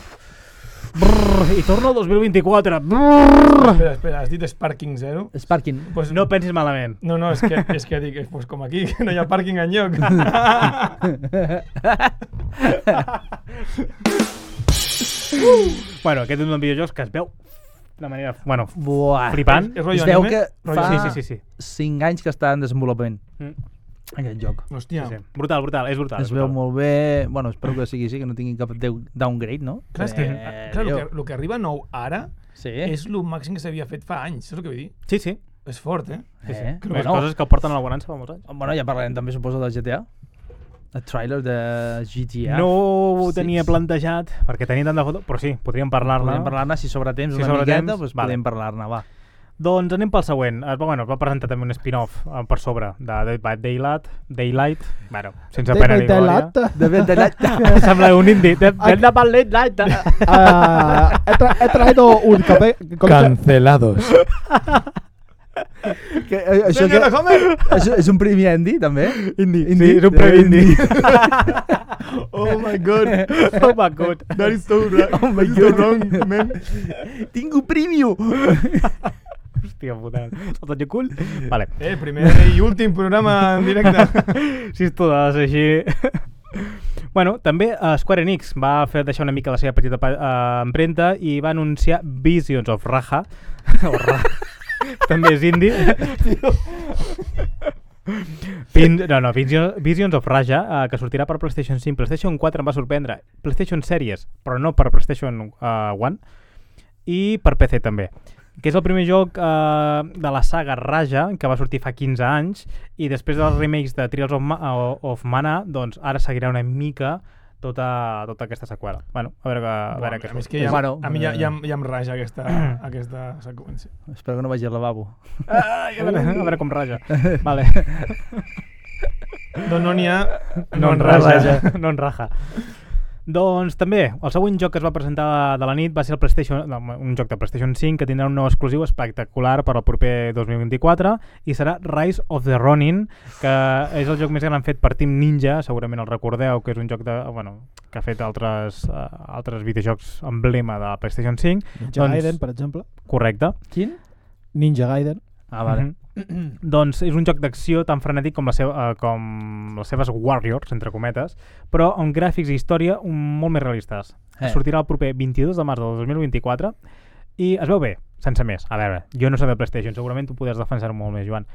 [SPEAKER 2] Brrr, I torno al 2024. Brrr.
[SPEAKER 4] Espera, espera, has dit Sparking Zero?
[SPEAKER 3] Sparking.
[SPEAKER 4] Pues,
[SPEAKER 2] No pensis malament.
[SPEAKER 4] no, no, és que, és que dic, pues com aquí, que no hi ha pàrquing enlloc.
[SPEAKER 2] Bueno, aquest és un dels videojocs que es veu de manera... Bueno,
[SPEAKER 3] Buah.
[SPEAKER 2] flipant.
[SPEAKER 4] és rotllo
[SPEAKER 3] Es veu
[SPEAKER 4] anime?
[SPEAKER 3] que
[SPEAKER 4] Rotllo-
[SPEAKER 3] fa
[SPEAKER 2] Sí, sí, sí. sí.
[SPEAKER 3] 5 anys que està en desenvolupament,
[SPEAKER 2] Mm.
[SPEAKER 3] aquest joc.
[SPEAKER 4] Hòstia,
[SPEAKER 2] sí. Brutal, brutal, és brutal.
[SPEAKER 3] Es
[SPEAKER 2] és
[SPEAKER 3] veu
[SPEAKER 2] brutal.
[SPEAKER 3] molt bé... Bueno, espero que sigui així, que no tinguin cap deu- downgrade, no?
[SPEAKER 4] clar, és que, ah,
[SPEAKER 3] Eh,
[SPEAKER 4] clar, el
[SPEAKER 3] Déu.
[SPEAKER 4] que, el que arriba nou ara
[SPEAKER 3] Sí.
[SPEAKER 4] és el màxim que s'havia fet fa anys, saps el que vull dir?
[SPEAKER 2] Eh? Sí, sí.
[SPEAKER 4] És fort, eh?
[SPEAKER 2] sí, sí.
[SPEAKER 3] Eh?
[SPEAKER 2] Les
[SPEAKER 3] Bueno.
[SPEAKER 2] coses que porten a la bonança fa molts anys.
[SPEAKER 3] Bueno, ja parlarem també, suposo, del GTA. El trailer de GTA.
[SPEAKER 2] No ho
[SPEAKER 3] Sí,
[SPEAKER 2] tenia
[SPEAKER 3] sí.
[SPEAKER 2] plantejat, perquè tenia tanta foto, però sí, podríem parlar-ne.
[SPEAKER 3] Podem parlar-ne, si sobre temps,
[SPEAKER 2] Si
[SPEAKER 3] una
[SPEAKER 2] sobre
[SPEAKER 3] miqueta,
[SPEAKER 2] temps,
[SPEAKER 3] doncs
[SPEAKER 2] vale.
[SPEAKER 3] podem parlar-ne, va.
[SPEAKER 2] Doncs anem pel següent. Es va, bueno, es va presentar també un spin-off eh, per sobre de Dead by Daylight. Daylight. Bueno, sense
[SPEAKER 5] Dead
[SPEAKER 2] pena eh?
[SPEAKER 5] by
[SPEAKER 2] ni glòria.
[SPEAKER 5] Daylight.
[SPEAKER 3] De ben de
[SPEAKER 2] Em Sembla un indi. Dead Dead by Daylight.
[SPEAKER 5] Ah, he, tra- he traído un café.
[SPEAKER 8] Cancelados.
[SPEAKER 3] que, eh, això, que,
[SPEAKER 4] Senyora Homer!
[SPEAKER 3] això és un primer indie, també?
[SPEAKER 2] Indi.
[SPEAKER 3] Indi.
[SPEAKER 2] Sí, és un premi indi.
[SPEAKER 4] Oh my god!
[SPEAKER 2] oh my god.
[SPEAKER 4] That is so wrong.
[SPEAKER 3] Oh my
[SPEAKER 4] That is so
[SPEAKER 3] God.
[SPEAKER 4] wrong, man.
[SPEAKER 3] Tinc un premio!
[SPEAKER 2] Hòstia puta. Tot el cul. Vale.
[SPEAKER 4] Eh, primer i últim programa en directe.
[SPEAKER 2] si és totes així... Bueno, també eh, Square Enix va fer deixar una mica la seva petita pa- eh, empremta i va anunciar Visions of Raja. O Ra... també és indi. Vin... No, no, Vision... Visions of Raja, eh, que sortirà per PlayStation 5. PlayStation 4 em va sorprendre. PlayStation Series, però no per PlayStation eh, 1. I per PC també que és el primer joc eh, de la saga Raja, que va sortir fa 15 anys, i després dels remakes de Trials of, Ma o- of Mana, doncs ara seguirà una mica tota, tota aquesta seqüela. Bueno, a veure, que, a veure què
[SPEAKER 4] a mi és
[SPEAKER 2] surt.
[SPEAKER 4] que ja,
[SPEAKER 3] Bueno,
[SPEAKER 4] a mi ja, ja, em- ja em raja aquesta, aquesta seqüència.
[SPEAKER 3] Espero que no vagi al lavabo.
[SPEAKER 2] Ai, a, veure, a veure com raja. Vale.
[SPEAKER 4] Doncs no n'hi ha...
[SPEAKER 2] No en raja. No en raja. Doncs també, el següent joc que es va presentar de la nit va ser el PlayStation, no, un joc de PlayStation 5 que tindrà un nou exclusiu espectacular per al proper 2024 i serà Rise of the Ronin, que és el joc més gran fet per Team Ninja, segurament el recordeu, que és un joc de, bueno, que ha fet altres, uh, altres videojocs emblema de la PlayStation 5.
[SPEAKER 5] Ninja Gaiden, per exemple.
[SPEAKER 2] Correcte.
[SPEAKER 3] Quin?
[SPEAKER 5] Ninja Gaiden.
[SPEAKER 3] Ah, vale.
[SPEAKER 2] Mhm. doncs és un joc d'acció tan frenètic com, la seva, eh, com les seves Warriors, entre cometes, però amb gràfics i història un, molt més realistes.
[SPEAKER 3] Eh.
[SPEAKER 2] Eh. Sortirà el proper 22 de març del 2024 i es veu bé, sense més. A veure, jo no sé de PlayStation, segurament tu podràs defensar molt més, Joan.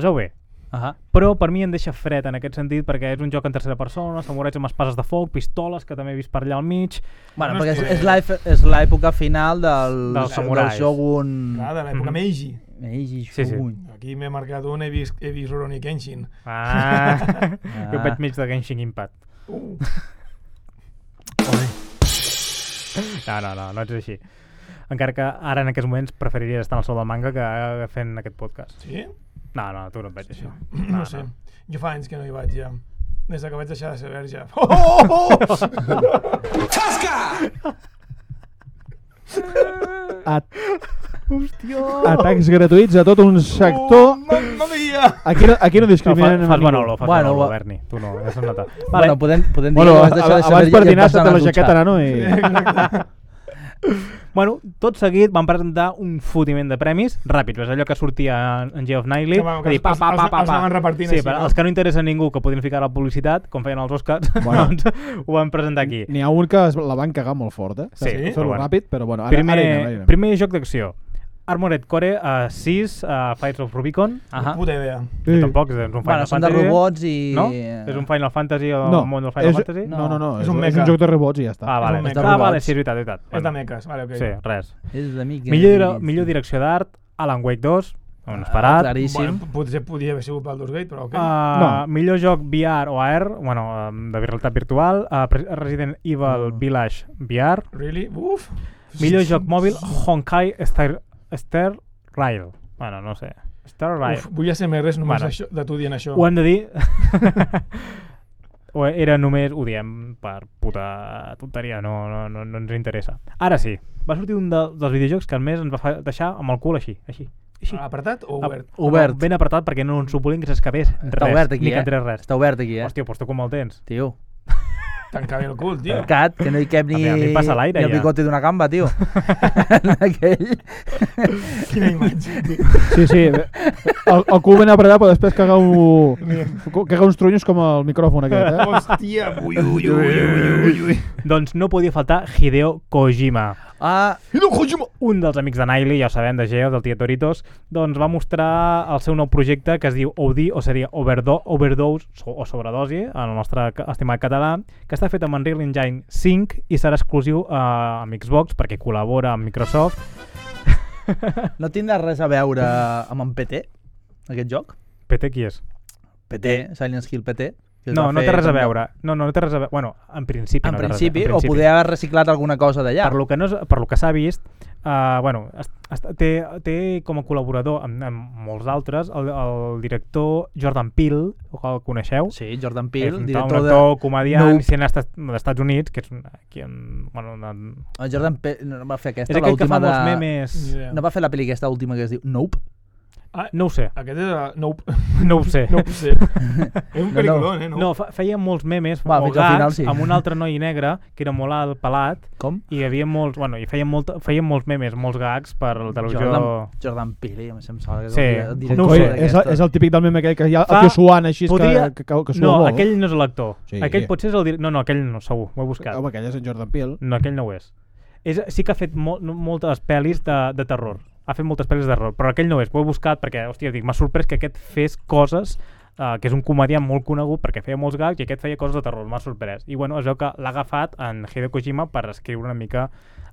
[SPEAKER 2] Es veu bé,
[SPEAKER 3] Ahà.
[SPEAKER 2] però per mi em deixa fred en aquest sentit perquè és un joc en tercera persona, samurais amb espases de foc, pistoles, que també he vist per allà al mig...
[SPEAKER 3] Bueno,
[SPEAKER 4] No
[SPEAKER 3] perquè
[SPEAKER 4] és
[SPEAKER 3] és,
[SPEAKER 4] que-
[SPEAKER 3] és l'èp- és l'època final del,
[SPEAKER 2] Dels samurais.
[SPEAKER 3] del Shogun...
[SPEAKER 4] Clar, de l'època
[SPEAKER 2] Mhm.
[SPEAKER 4] Meiji.
[SPEAKER 3] Meiji
[SPEAKER 2] Sí, sí.
[SPEAKER 3] Shogun.
[SPEAKER 4] Aquí m'he marcat un, he vist, he vist Rurouni Kenshin.
[SPEAKER 2] Ah, jo
[SPEAKER 3] Ah.
[SPEAKER 2] vaig mig de Genshin Impact.
[SPEAKER 4] Uh,
[SPEAKER 2] No, no, no, no ets així. Encara que ara en aquests moments preferiries estar al sol del manga que fent aquest podcast.
[SPEAKER 4] sí?
[SPEAKER 2] No, no, tu no et veig així.
[SPEAKER 4] No, no sé. Jo fa anys que no hi vaig ja. Des de que vaig deixar de ser verge.
[SPEAKER 5] At Atacs gratuïts a tot un sector.
[SPEAKER 4] Mamma mia!
[SPEAKER 5] Aquí no, aquí
[SPEAKER 2] No,
[SPEAKER 5] no
[SPEAKER 2] fa,
[SPEAKER 5] discriminen a
[SPEAKER 2] fas
[SPEAKER 5] ningú.
[SPEAKER 2] bona olor, fas
[SPEAKER 3] Bueno,
[SPEAKER 2] bona olor,
[SPEAKER 3] va-
[SPEAKER 2] Berni. Tu no, ja se'n nota. Vale,
[SPEAKER 3] Bueno, podem, podem dir
[SPEAKER 5] Bueno,
[SPEAKER 3] que vas
[SPEAKER 5] a-
[SPEAKER 3] deixar de
[SPEAKER 5] a-
[SPEAKER 3] saber
[SPEAKER 5] abans per
[SPEAKER 3] i et
[SPEAKER 5] dinar
[SPEAKER 3] vas anar
[SPEAKER 5] s'ha
[SPEAKER 3] a
[SPEAKER 5] la
[SPEAKER 3] dutxar.
[SPEAKER 5] jaqueta nano i...
[SPEAKER 2] Bueno, tot seguit van presentar un fotiment de premis ràpids, és allò que sortia en- en Geoff Nightly,
[SPEAKER 4] Que, bueno, que
[SPEAKER 2] a dir, pa,
[SPEAKER 4] els-
[SPEAKER 2] pa,
[SPEAKER 4] els-
[SPEAKER 2] pa, pa,
[SPEAKER 4] els
[SPEAKER 2] pa.
[SPEAKER 4] anaven repartint
[SPEAKER 2] sí,
[SPEAKER 4] així,
[SPEAKER 2] per
[SPEAKER 4] no?
[SPEAKER 2] als que no interessa a ningú que podien ficar a la publicitat, com feien els Oscars,
[SPEAKER 5] Bueno.
[SPEAKER 2] doncs ho van presentar aquí.
[SPEAKER 5] N'hi ha un que es, la van cagar molt fort, eh?
[SPEAKER 2] Sí,
[SPEAKER 5] Fer-ho
[SPEAKER 2] però bueno.
[SPEAKER 5] ràpid, però bueno, ara,
[SPEAKER 2] primer,
[SPEAKER 5] ara hi anem, ara hi anem.
[SPEAKER 2] primer joc d'acció. Armored Core uh, 6, uh, Fires of Rubicon.
[SPEAKER 3] Ahà.
[SPEAKER 4] Puta idea.
[SPEAKER 2] Que tampoc és un Final
[SPEAKER 3] Bueno, són de
[SPEAKER 2] Fantasy.
[SPEAKER 3] robots i... eh,
[SPEAKER 2] No? És un Final Fantasy o
[SPEAKER 5] eh, No,
[SPEAKER 2] el món del Final
[SPEAKER 5] és,
[SPEAKER 2] Fantasy?
[SPEAKER 5] no, no, no,
[SPEAKER 4] És
[SPEAKER 5] és,
[SPEAKER 4] un
[SPEAKER 5] un, és
[SPEAKER 4] meca.
[SPEAKER 5] un joc de rebots i ja està.
[SPEAKER 2] Ah, vale.
[SPEAKER 4] meca.
[SPEAKER 2] Ah, vale,
[SPEAKER 3] Robots.
[SPEAKER 2] sí, és veritat, és veritat.
[SPEAKER 4] És de
[SPEAKER 2] Bueno,
[SPEAKER 4] meques, vale, ok.
[SPEAKER 2] Sí, res.
[SPEAKER 3] És una mica...
[SPEAKER 2] Millor, millor direcció d'art, Alan Wake 2, on
[SPEAKER 3] Ah,
[SPEAKER 2] esperat.
[SPEAKER 3] claríssim.
[SPEAKER 4] Bueno, potser podia haver sigut pel Dosgate, però ok.
[SPEAKER 2] Uh, no. Millor joc VR o AR, bueno, um, de realitat virtual, uh, Pre- Resident Evil
[SPEAKER 3] Mm.
[SPEAKER 2] Village VR.
[SPEAKER 4] Really? Uf!
[SPEAKER 2] Millor joc mòbil, Honkai Star, Star Rail. Bueno, no sé. Star Rail.
[SPEAKER 4] Uf, vull ser més res només
[SPEAKER 2] Bueno.
[SPEAKER 4] això, de tu dient això.
[SPEAKER 2] Ho hem de dir... o era només, ho diem per puta tonteria, no, no, no, no ens interessa. Ara sí, va sortir un de, dels videojocs que més ens va fa- deixar amb el cul així, així. així.
[SPEAKER 4] Apretat
[SPEAKER 2] Ah.
[SPEAKER 4] o obert?
[SPEAKER 3] Obert.
[SPEAKER 2] Ben apretat perquè no ens ho volien que s'escapés res.
[SPEAKER 3] Està obert aquí,
[SPEAKER 2] ni que
[SPEAKER 3] eh?
[SPEAKER 2] entrés res.
[SPEAKER 3] Està obert aquí, eh?
[SPEAKER 2] Hòstia, però tu com el tens?
[SPEAKER 3] Tio,
[SPEAKER 4] Tancar bé el cul, tio.
[SPEAKER 3] tancat, que no hi cap ni,
[SPEAKER 2] A mi- a mi em passa l'aire,
[SPEAKER 3] ni el
[SPEAKER 2] ja.
[SPEAKER 3] picote d'una gamba, tio. Aquell...
[SPEAKER 4] Quina imatge, tio.
[SPEAKER 5] Sí, sí. bé. El, el cul ben apretat, però després caga, un, caga uns trunyos com el micròfon aquest, eh?
[SPEAKER 4] Hòstia, ui, ui, ui, ui, ui, ui.
[SPEAKER 2] doncs no podia faltar Hideo Kojima.
[SPEAKER 3] Ah,
[SPEAKER 2] Un dels amics de Nightly, ja ho sabem, de Geo, del Tietoritos, doncs va mostrar el seu nou projecte que es diu OD, o seria Overdo Overdose so- o Sobredosi, en el nostre ca- estimat català, que està fet amb Unreal Engine 5 i serà exclusiu eh, amb Xbox perquè col·labora amb Microsoft.
[SPEAKER 3] no tindrà res a veure amb en PT, aquest joc?
[SPEAKER 2] PT qui és?
[SPEAKER 3] PT, Silent Hill PT. que es
[SPEAKER 2] No,
[SPEAKER 3] va
[SPEAKER 2] no
[SPEAKER 3] fer
[SPEAKER 2] té res a
[SPEAKER 3] també.
[SPEAKER 2] veure. No, no, no té res a veure. Bueno, en principi
[SPEAKER 3] En
[SPEAKER 2] no té res a-
[SPEAKER 3] principi,
[SPEAKER 2] en
[SPEAKER 3] o poder haver reciclat alguna cosa d'allà.
[SPEAKER 2] Per lo que, no, es- per lo que s'ha vist, uh, bueno, es, es, té, té com a col·laborador amb, amb molts altres el, el director Jordan Peele, o que el coneixeu.
[SPEAKER 3] Sí, Jordan
[SPEAKER 2] és
[SPEAKER 3] Peele,
[SPEAKER 2] un,
[SPEAKER 3] director
[SPEAKER 2] Eh, un
[SPEAKER 3] de...
[SPEAKER 2] actor, comediant,
[SPEAKER 3] Nope.
[SPEAKER 2] no. cineasta dels Estats Units, que és un- aquí en, bueno, en,
[SPEAKER 3] El Ah, Jordan Peele no, no va fer
[SPEAKER 2] és
[SPEAKER 3] aquesta,
[SPEAKER 2] aquell que
[SPEAKER 3] l'última
[SPEAKER 2] fa
[SPEAKER 3] de...
[SPEAKER 2] molts memes... Ah,
[SPEAKER 4] Ni idea.
[SPEAKER 3] No va fer la pel·li aquesta última que es diu Nope?
[SPEAKER 2] No ho sé,
[SPEAKER 4] Aquest és... eh, No, ho-
[SPEAKER 2] no ho sé.
[SPEAKER 4] no ho sé. és un peliculón, eh?
[SPEAKER 2] No, fa- feia molts memes
[SPEAKER 3] Va,
[SPEAKER 2] o
[SPEAKER 3] fins al final,
[SPEAKER 2] gags
[SPEAKER 3] sí.
[SPEAKER 2] amb un altre noi negre que era molt alt pelat
[SPEAKER 3] Com?
[SPEAKER 2] i hi havia molts, bueno, i feien, molt, feien molts memes, molts gags per la televisió...
[SPEAKER 3] Jordan, Jordan Peele, em sembla que és
[SPEAKER 2] Sí,
[SPEAKER 3] el director
[SPEAKER 2] no ho
[SPEAKER 5] Coi,
[SPEAKER 2] sé,
[SPEAKER 5] és, el, és el típic del meme aquell que hi ha
[SPEAKER 2] Fa-
[SPEAKER 5] el tio suant així
[SPEAKER 2] podria-
[SPEAKER 5] que, que, que, que sua
[SPEAKER 2] No,
[SPEAKER 5] molt.
[SPEAKER 2] aquell no és l'actor. Sí.
[SPEAKER 5] Sí.
[SPEAKER 2] Aquell potser és el... dir- No, no, aquell no, segur, ho he buscat.
[SPEAKER 5] Home, aquell és en Jordan Peele.
[SPEAKER 2] No, aquell no ho és. és sí que ha fet mol, no- moltes pel·lis de, de terror. Ha fet moltes pel·lis de terror, però aquell no ho és. Ho he buscat perquè, hòstia, dic, m'ha sorprès que aquest fes coses Uh, que és un comediant molt conegut perquè feia molts gags i aquest feia coses de terror, m'ha sorprès. I bueno, es veu que l'ha agafat en Hideo Kojima per escriure una mica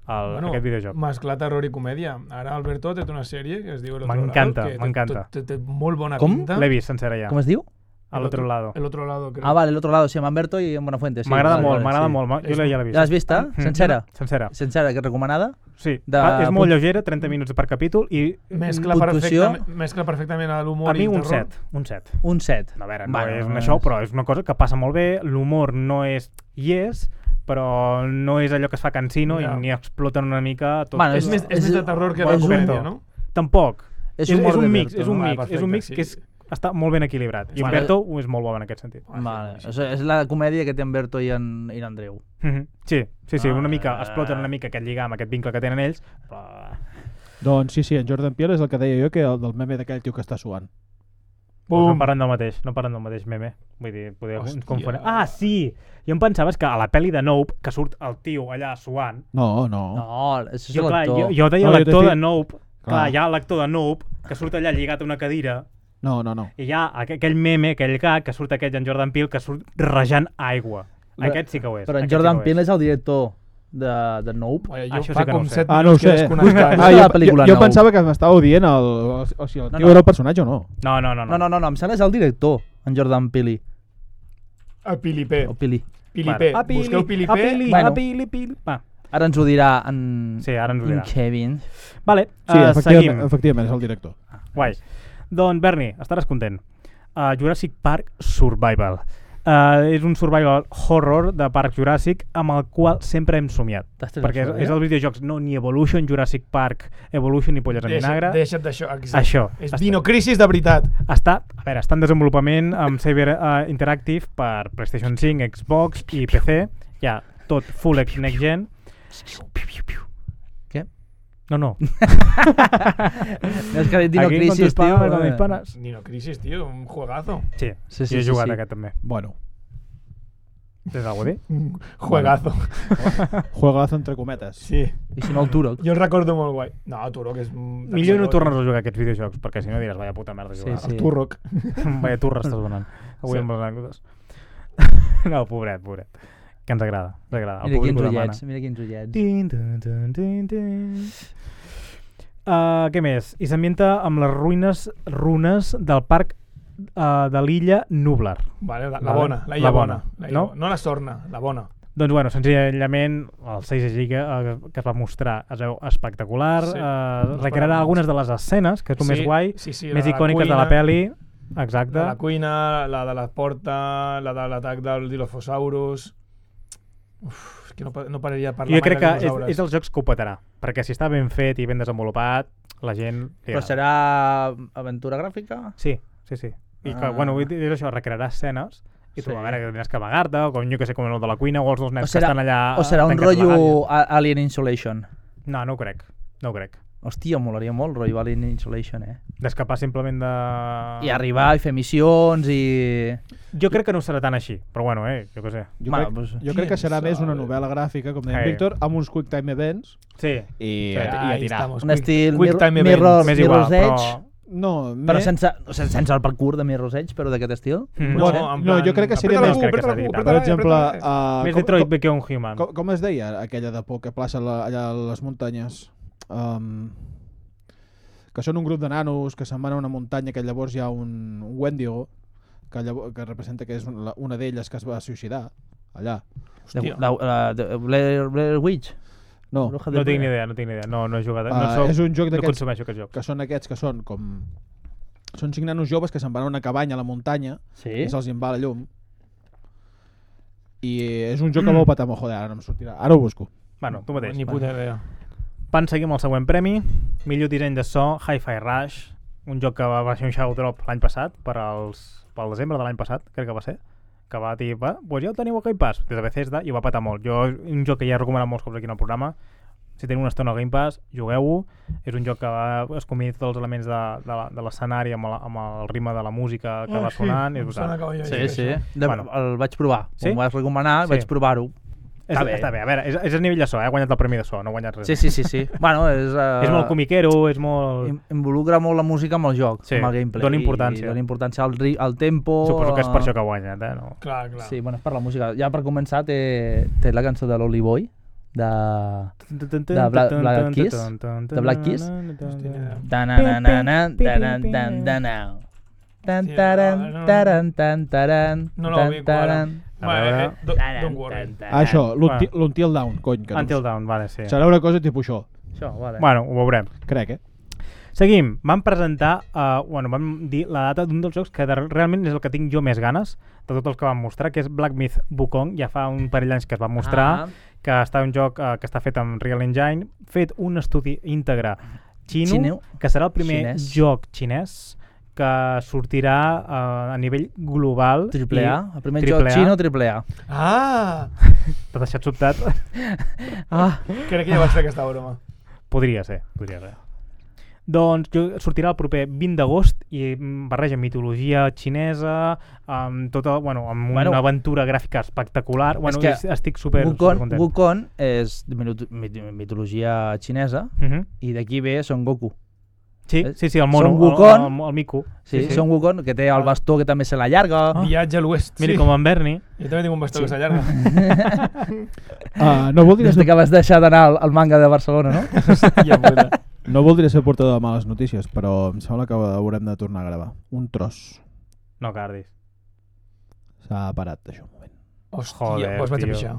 [SPEAKER 2] el, bueno, aquest videojoc.
[SPEAKER 4] Mesclar terror i comèdia. Ara Alberto ha tret una sèrie que es diu El otro
[SPEAKER 2] M'encanta,
[SPEAKER 4] lado, que té-
[SPEAKER 2] m'encanta.
[SPEAKER 4] Té, té, molt bona
[SPEAKER 3] Com?
[SPEAKER 4] pinta.
[SPEAKER 2] L'he vist sencera ja,
[SPEAKER 3] Com es diu?
[SPEAKER 2] a l'altre lado.
[SPEAKER 4] El otro lado, crec.
[SPEAKER 3] Ah, vale, l'altre lado, sí, amb Humberto i amb Buenafuente. Sí,
[SPEAKER 2] M'agrada
[SPEAKER 3] vale,
[SPEAKER 2] molt,
[SPEAKER 3] vale,
[SPEAKER 2] m'agrada
[SPEAKER 3] sí.
[SPEAKER 2] molt. ma- Jo ja l'he vist.
[SPEAKER 3] L'has vista?
[SPEAKER 2] Mm.
[SPEAKER 3] eh? Sencera?
[SPEAKER 2] Sencera.
[SPEAKER 3] Sencera, que recomanada?
[SPEAKER 2] Sí,
[SPEAKER 3] De-
[SPEAKER 2] de... és molt
[SPEAKER 3] punt-
[SPEAKER 2] lleugera, 30 minuts per capítol i
[SPEAKER 4] Mescla,
[SPEAKER 3] puntuació?
[SPEAKER 4] perfectament, mescla perfectament l'humor
[SPEAKER 2] a mi
[SPEAKER 4] i el
[SPEAKER 2] un
[SPEAKER 4] terror.
[SPEAKER 2] 7, un 7.
[SPEAKER 3] Un set.
[SPEAKER 2] A veure, no bueno, és un això, però és una cosa que passa molt bé, l'humor no és hi és, però no és allò que es fa cansino
[SPEAKER 4] Ja.
[SPEAKER 2] yeah. i ni exploten una mica tot.
[SPEAKER 3] Bueno,
[SPEAKER 4] És més, és,
[SPEAKER 3] És-
[SPEAKER 4] més de terror que de
[SPEAKER 3] és un-
[SPEAKER 4] comèdia, no?
[SPEAKER 2] Tampoc.
[SPEAKER 3] És
[SPEAKER 2] És, és,
[SPEAKER 3] humor
[SPEAKER 2] és un
[SPEAKER 3] de
[SPEAKER 2] mix,
[SPEAKER 3] Berto,
[SPEAKER 2] és un
[SPEAKER 4] no?
[SPEAKER 2] mix,
[SPEAKER 4] Ah,
[SPEAKER 2] és un mix
[SPEAKER 4] perfecte,
[SPEAKER 2] que és,
[SPEAKER 4] sí,
[SPEAKER 2] està molt ben equilibrat. I
[SPEAKER 4] Vale.
[SPEAKER 2] Humberto ho és molt bo en aquest sentit.
[SPEAKER 3] Vale, o sigui, és la comèdia que té Humberto i en, i en Andreu.
[SPEAKER 2] Mhm. Sí, sí, sí, una mica,
[SPEAKER 3] Ah.
[SPEAKER 2] exploten una mica aquest lligam, aquest vincle que tenen ells, però...
[SPEAKER 5] Doncs sí, sí, en Jordan Peele és el que deia jo, que el del meme d'aquell tio que està suant.
[SPEAKER 2] Bum.
[SPEAKER 4] Bum.
[SPEAKER 2] No parlen del mateix, no parlen del mateix meme. Vull dir, poder Hòstia.
[SPEAKER 4] Hòstia.
[SPEAKER 2] ens confonem. Ah, sí! Jo em pensava és que a la pel·li de Nope, que surt el tio allà suant,
[SPEAKER 5] No, no.
[SPEAKER 3] No, això és
[SPEAKER 2] jo, clar, jo,
[SPEAKER 3] l'actor.
[SPEAKER 2] jo deia
[SPEAKER 5] No,
[SPEAKER 2] no,
[SPEAKER 5] jo
[SPEAKER 2] l'actor
[SPEAKER 5] t'estic-
[SPEAKER 2] de Nope, clar, clar
[SPEAKER 5] Clar.
[SPEAKER 2] hi ha l'actor de Nope, que surt allà lligat a una cadira,
[SPEAKER 5] No, no, no.
[SPEAKER 2] i hi ha aqu- aquell meme, aquell gag, que surt aquell en Jordan Peele, que surt rejant aigua. Aquest sí que ho és.
[SPEAKER 3] Però en
[SPEAKER 2] aquest
[SPEAKER 3] Jordan
[SPEAKER 2] sí que ho
[SPEAKER 3] Peele és el director de, de Nope.
[SPEAKER 4] Vaja,
[SPEAKER 2] Això
[SPEAKER 4] jo
[SPEAKER 2] sí
[SPEAKER 4] fa
[SPEAKER 2] que no ho
[SPEAKER 4] com
[SPEAKER 2] sé.
[SPEAKER 4] 7
[SPEAKER 5] Ah, no ho
[SPEAKER 4] minuts que
[SPEAKER 5] sé.
[SPEAKER 4] desconnectat.
[SPEAKER 3] Ah,
[SPEAKER 5] jo,
[SPEAKER 3] la pel·lícula
[SPEAKER 5] jo, jo
[SPEAKER 3] nou.
[SPEAKER 5] pensava que m'estava odient el, o, o sigui, el
[SPEAKER 3] No,
[SPEAKER 5] tio
[SPEAKER 3] no.
[SPEAKER 5] era el personatge o no.
[SPEAKER 2] No, no, no.
[SPEAKER 3] No, no, no, no, em sembla és el director, en Jordan Peele.
[SPEAKER 4] A Pilipé.
[SPEAKER 3] O Pili.
[SPEAKER 4] Pilipé.
[SPEAKER 2] A Ah, Pili,
[SPEAKER 4] Busqueu
[SPEAKER 2] a
[SPEAKER 4] Pilipé.
[SPEAKER 2] Pili,
[SPEAKER 3] Bueno.
[SPEAKER 2] a Pili, Pili. Va,
[SPEAKER 3] Ara ens ho dirà en,
[SPEAKER 2] sí, ara ens ho dirà.
[SPEAKER 3] en Kevin.
[SPEAKER 2] Vale,
[SPEAKER 3] Ah,
[SPEAKER 5] Sí,
[SPEAKER 2] eh, seguim.
[SPEAKER 5] efectivament, efectivament, és el director.
[SPEAKER 2] Guai. Doncs, Berni, estaràs content. Uh, Jurassic Park Survival. Uh, és un survival horror de Parc Juràssic amb el qual sempre hem somiat.
[SPEAKER 3] T'has tret eh?
[SPEAKER 2] Perquè
[SPEAKER 3] això,
[SPEAKER 2] és,
[SPEAKER 3] ja?
[SPEAKER 2] és el videojocs no ni Evolution, Jurassic Park, Evolution i Polles en
[SPEAKER 4] Deixa-
[SPEAKER 2] Vinagre.
[SPEAKER 4] Deixa't d'això, exacte.
[SPEAKER 2] Això.
[SPEAKER 4] És
[SPEAKER 2] Està-
[SPEAKER 4] Dinocrisis de veritat.
[SPEAKER 2] Està, a veure, està en desenvolupament amb Saber uh, Interactive per PlayStation 5, Xbox i PC. Ja, tot full next gen. No, no.
[SPEAKER 3] No, és que Dino
[SPEAKER 2] Aquí, con
[SPEAKER 3] Crisis,
[SPEAKER 2] tus
[SPEAKER 3] tio...
[SPEAKER 2] palabras, con mis
[SPEAKER 3] eh,
[SPEAKER 2] panas.
[SPEAKER 4] Nino Crisis, tio, un juegazo.
[SPEAKER 2] Sí,
[SPEAKER 3] Sí,
[SPEAKER 2] sí,
[SPEAKER 3] sí,
[SPEAKER 2] sí, he
[SPEAKER 3] sí,
[SPEAKER 2] jugat
[SPEAKER 3] sí.
[SPEAKER 2] sí. aquest també.
[SPEAKER 5] Bueno,
[SPEAKER 2] Tens alguna cosa a dir?
[SPEAKER 4] Un juegazo,
[SPEAKER 5] juegazo entre cometes.
[SPEAKER 4] sí.
[SPEAKER 3] I si no el Turok.
[SPEAKER 4] Jo el recordo molt guai. No, Turok és... un-
[SPEAKER 2] Millor no tornes a jugar aquests videojocs, perquè si no diràs, vaya puta merda jugar.
[SPEAKER 3] Sí.
[SPEAKER 4] El Turok.
[SPEAKER 2] Vaya turra estàs donant. Avui
[SPEAKER 4] Sí.
[SPEAKER 2] sí. amb les anècdotes. no, pobret, pobret. Que ens agrada, ens agrada. El
[SPEAKER 3] Mira
[SPEAKER 2] públic
[SPEAKER 3] quins
[SPEAKER 2] ho demana.
[SPEAKER 3] ullets, mira quins ullets.
[SPEAKER 2] Tin, tin, tin, tin, tin. Uh, què més? I s'ambienta amb les ruïnes runes del parc uh, de l'illa Nublar.
[SPEAKER 4] Vale, la, la
[SPEAKER 2] Vale.
[SPEAKER 4] bona, la,
[SPEAKER 2] La
[SPEAKER 4] illa bona.
[SPEAKER 2] bona,
[SPEAKER 4] La illa
[SPEAKER 2] no?
[SPEAKER 4] bona. no la sorna, la bona.
[SPEAKER 2] Doncs bueno, senzillament el 6G que, eh, que es va mostrar es veu espectacular,
[SPEAKER 4] Sí.
[SPEAKER 2] sí. eh, recrearà algunes de les escenes, que és el sí. més guai,
[SPEAKER 4] sí, sí,
[SPEAKER 2] més
[SPEAKER 4] la de la
[SPEAKER 2] icòniques de
[SPEAKER 4] cuina,
[SPEAKER 2] la peli,
[SPEAKER 4] La de
[SPEAKER 2] exacte.
[SPEAKER 4] la cuina, la de la porta, la de l'atac del Dilophosaurus... Uf, és que no, pa- no pararia de parlar
[SPEAKER 2] I jo crec que
[SPEAKER 4] mai de
[SPEAKER 2] és, és dels jocs que ho petarà, perquè si està ben fet i ben desenvolupat, la gent... li
[SPEAKER 3] Però
[SPEAKER 2] agrada.
[SPEAKER 3] serà aventura gràfica?
[SPEAKER 2] Sí, sí, sí. I que,
[SPEAKER 3] Ah.
[SPEAKER 2] bueno, vull dir, és això, recrearà escenes i tu,
[SPEAKER 3] Sí.
[SPEAKER 2] a veure, que tindràs que amagar-te, o com jo que sé, com el de la cuina, o els dos
[SPEAKER 3] O
[SPEAKER 2] nens
[SPEAKER 3] serà-
[SPEAKER 2] que estan allà...
[SPEAKER 3] O serà un
[SPEAKER 2] tancats a Ah, la
[SPEAKER 3] rotllo a- Alien Insolation?
[SPEAKER 2] gàbia. No, no ho crec, no ho crec.
[SPEAKER 3] Hòstia, molaria molt, rotllo Alien Insolation, eh?
[SPEAKER 2] D'escapar simplement de... Ah.
[SPEAKER 3] I arribar i fer missions i...
[SPEAKER 2] Jo crec que no serà tan així, però bueno, eh, jo què sé.
[SPEAKER 5] Jo,
[SPEAKER 3] Bueno,
[SPEAKER 5] crec,
[SPEAKER 3] pues,
[SPEAKER 5] jo crec que serà
[SPEAKER 4] quién
[SPEAKER 5] més una
[SPEAKER 4] sabe?
[SPEAKER 5] novel·la gràfica, com deia en
[SPEAKER 2] Hey.
[SPEAKER 5] Víctor, amb uns quick time events
[SPEAKER 2] Sí,
[SPEAKER 5] i,
[SPEAKER 2] Sí,
[SPEAKER 5] a, i a
[SPEAKER 4] ahí
[SPEAKER 5] tirar.
[SPEAKER 4] estamos.
[SPEAKER 3] Un
[SPEAKER 4] Quick-
[SPEAKER 3] estil
[SPEAKER 4] Quick
[SPEAKER 3] Mirror-
[SPEAKER 4] Time
[SPEAKER 3] Mirror-
[SPEAKER 4] Mirror,
[SPEAKER 2] m'és igual,
[SPEAKER 3] Mirror's
[SPEAKER 2] però...
[SPEAKER 3] Edge?
[SPEAKER 5] No,
[SPEAKER 3] Però
[SPEAKER 5] me-
[SPEAKER 3] sense, o sigui, sense el parkour de Mirror's Edge, però d'aquest estil?
[SPEAKER 2] Mm.
[SPEAKER 5] Bueno, no, jo crec que seria més-
[SPEAKER 2] crec que
[SPEAKER 5] per exemple, uh,
[SPEAKER 2] Més Detroit Become Human.
[SPEAKER 5] com, com es deia aquella de por que plaça la, allà a les muntanyes? Um, que són un grup de nanos que se'n van a una muntanya que llavors hi ha un, un Wendigo que, llavors, que representa que és un- la- una d'elles que es va suïcidar allà.
[SPEAKER 3] De,
[SPEAKER 4] Hòstia.
[SPEAKER 3] la, la, de Blair, Blair Witch?
[SPEAKER 5] No,
[SPEAKER 3] Bruja de
[SPEAKER 2] No tinc ni
[SPEAKER 3] Blair.
[SPEAKER 2] idea, no tinc ni idea. No, no he jugat...
[SPEAKER 5] uh,
[SPEAKER 2] no,
[SPEAKER 3] Ah,
[SPEAKER 2] soc,
[SPEAKER 5] és un joc
[SPEAKER 2] no
[SPEAKER 5] d'aquests
[SPEAKER 2] consumeixo aquests jocs.
[SPEAKER 5] que són aquests que són com... Són cinc nanos joves que se'n van a una cabanya a la muntanya
[SPEAKER 3] Sí?
[SPEAKER 5] i se'ls en va la llum. I és un joc que vau patar molt, joder, ara no em sortirà. Ara ho busco.
[SPEAKER 2] Bueno, tu mateix.
[SPEAKER 4] Ni
[SPEAKER 2] va.
[SPEAKER 4] puta idea.
[SPEAKER 2] Van seguir amb el següent premi, millor disseny de so, Hi-Fi Rush, un joc que va, va ser un shout drop l'any passat, per als, pel desembre de l'any passat, crec que va ser, que va dir, va, pues ja el teniu a Game Pass, des de Bethesda, i ho va patar molt. Jo, un joc que ja he recomanat molts cops aquí en el programa, si teniu una estona al Game Pass, jugueu-ho, és un joc que va escombrir tots els elements de, de, la- de l'escenari amb, la- amb el ritme de la música que
[SPEAKER 4] Ah,
[SPEAKER 2] va
[SPEAKER 4] sí,
[SPEAKER 2] sonant, és
[SPEAKER 4] em sona
[SPEAKER 2] brutal.
[SPEAKER 4] que ho havia
[SPEAKER 3] Sí,
[SPEAKER 4] vist,
[SPEAKER 3] sí.
[SPEAKER 4] això.
[SPEAKER 3] De,
[SPEAKER 2] Bueno.
[SPEAKER 3] El vaig provar.
[SPEAKER 2] Sí?
[SPEAKER 3] Ho vas recomanar,
[SPEAKER 2] Sí.
[SPEAKER 3] vaig provar-ho.
[SPEAKER 2] Està, bé. està bé, a veure, és, és a nivell de so, eh? ha guanyat el premi de so, no ha guanyat res.
[SPEAKER 3] Sí, sí, sí, sí. bueno, és... Uh,
[SPEAKER 2] És molt comiquero, és molt...
[SPEAKER 3] im- Involucra molt la música amb el joc,
[SPEAKER 2] Sí,
[SPEAKER 3] amb el gameplay.
[SPEAKER 2] dona importància.
[SPEAKER 3] I dona importància al, ri- al tempo...
[SPEAKER 2] Suposo que és per
[SPEAKER 3] a-
[SPEAKER 2] això que ha guanyat, eh? No.
[SPEAKER 4] Clar, clar.
[SPEAKER 3] Sí, bueno, és per la música. Ja per començar té, té la cançó de l'Oli Boy, de...
[SPEAKER 2] de
[SPEAKER 3] Bla- Black Keys? De Black Keys?
[SPEAKER 4] Hòstia.
[SPEAKER 3] Tananana, taran, tan, tanau. Tan,
[SPEAKER 4] Sí,
[SPEAKER 3] taran,
[SPEAKER 4] no, no.
[SPEAKER 3] taran, tan, taran,
[SPEAKER 4] No la
[SPEAKER 3] tan,
[SPEAKER 4] ubico,
[SPEAKER 3] taran,
[SPEAKER 2] A
[SPEAKER 4] Vale, eh,
[SPEAKER 2] veure.
[SPEAKER 4] don't,
[SPEAKER 3] taran,
[SPEAKER 4] don't worry.
[SPEAKER 3] tan, taran.
[SPEAKER 5] Ah, això, l'Unti-
[SPEAKER 2] Va.
[SPEAKER 5] l'Until Down, cony. Que no em
[SPEAKER 2] Until Dawn, vale, sí.
[SPEAKER 5] Serà una cosa tipus això,
[SPEAKER 3] Això, vale.
[SPEAKER 2] Bueno, ho veurem.
[SPEAKER 5] crec, eh?
[SPEAKER 2] Seguim. Vam presentar, uh, bueno, vam dir la data d'un dels jocs que de, realment és el que tinc jo més ganes de tots els que vam mostrar, que és Black Myth Wukong. Ja fa un parell d'anys que es va mostrar,
[SPEAKER 3] Ah.
[SPEAKER 2] ah. que està un joc uh, que està fet amb Real Engine, fet un estudi íntegre xino,
[SPEAKER 3] Xineu.
[SPEAKER 2] que serà el primer
[SPEAKER 3] Xinès.
[SPEAKER 2] joc xinès que sortirà uh, a nivell global.
[SPEAKER 3] Triple A, el primer
[SPEAKER 2] Triple
[SPEAKER 3] joc
[SPEAKER 2] A.
[SPEAKER 3] xino, triple A.
[SPEAKER 4] Ah!
[SPEAKER 2] T'ha deixat sobtat?
[SPEAKER 3] Ah,
[SPEAKER 4] Crec que ja vaig fer aquesta broma.
[SPEAKER 2] Podria ser, podria ser. Doncs jo sortirà el proper 20 d'agost i mm, barreja mitologia xinesa amb, tota, bueno, amb
[SPEAKER 3] Bueno.
[SPEAKER 2] bueno, una aventura gràfica espectacular. Bueno,
[SPEAKER 3] que
[SPEAKER 2] es- estic super, super
[SPEAKER 3] Wukong,
[SPEAKER 2] content.
[SPEAKER 3] Wukong és de mito- mit- mitologia xinesa
[SPEAKER 2] Mhm.
[SPEAKER 3] i d'aquí ve Son Goku.
[SPEAKER 2] sí,
[SPEAKER 3] Eh,
[SPEAKER 2] sí, sí, el mono,
[SPEAKER 3] Son
[SPEAKER 2] el-
[SPEAKER 3] Wukong.
[SPEAKER 2] el, el, el Miku.
[SPEAKER 3] Sí, sí, Son Wukong, que té el bastó que també se l'allarga.
[SPEAKER 2] Ah.
[SPEAKER 4] Viatge a l'oest.
[SPEAKER 2] Mira,
[SPEAKER 4] sí.
[SPEAKER 2] com en Bernie.
[SPEAKER 4] Jo també tinc un bastó que s'allarga.
[SPEAKER 5] Uh, no, voldria
[SPEAKER 3] Des de
[SPEAKER 5] ser,
[SPEAKER 3] que vas deixar d'anar al, al manga de Barcelona, no?
[SPEAKER 4] Hòstia puta.
[SPEAKER 5] no voldria ser portador de males notícies, però em sembla que haurem de tornar a gravar. Un tros.
[SPEAKER 2] No cardis.
[SPEAKER 5] S'ha parat, això, un moment.
[SPEAKER 4] Hòstia,
[SPEAKER 2] Joder,
[SPEAKER 4] doncs vaig a
[SPEAKER 2] tio.
[SPEAKER 4] pixar.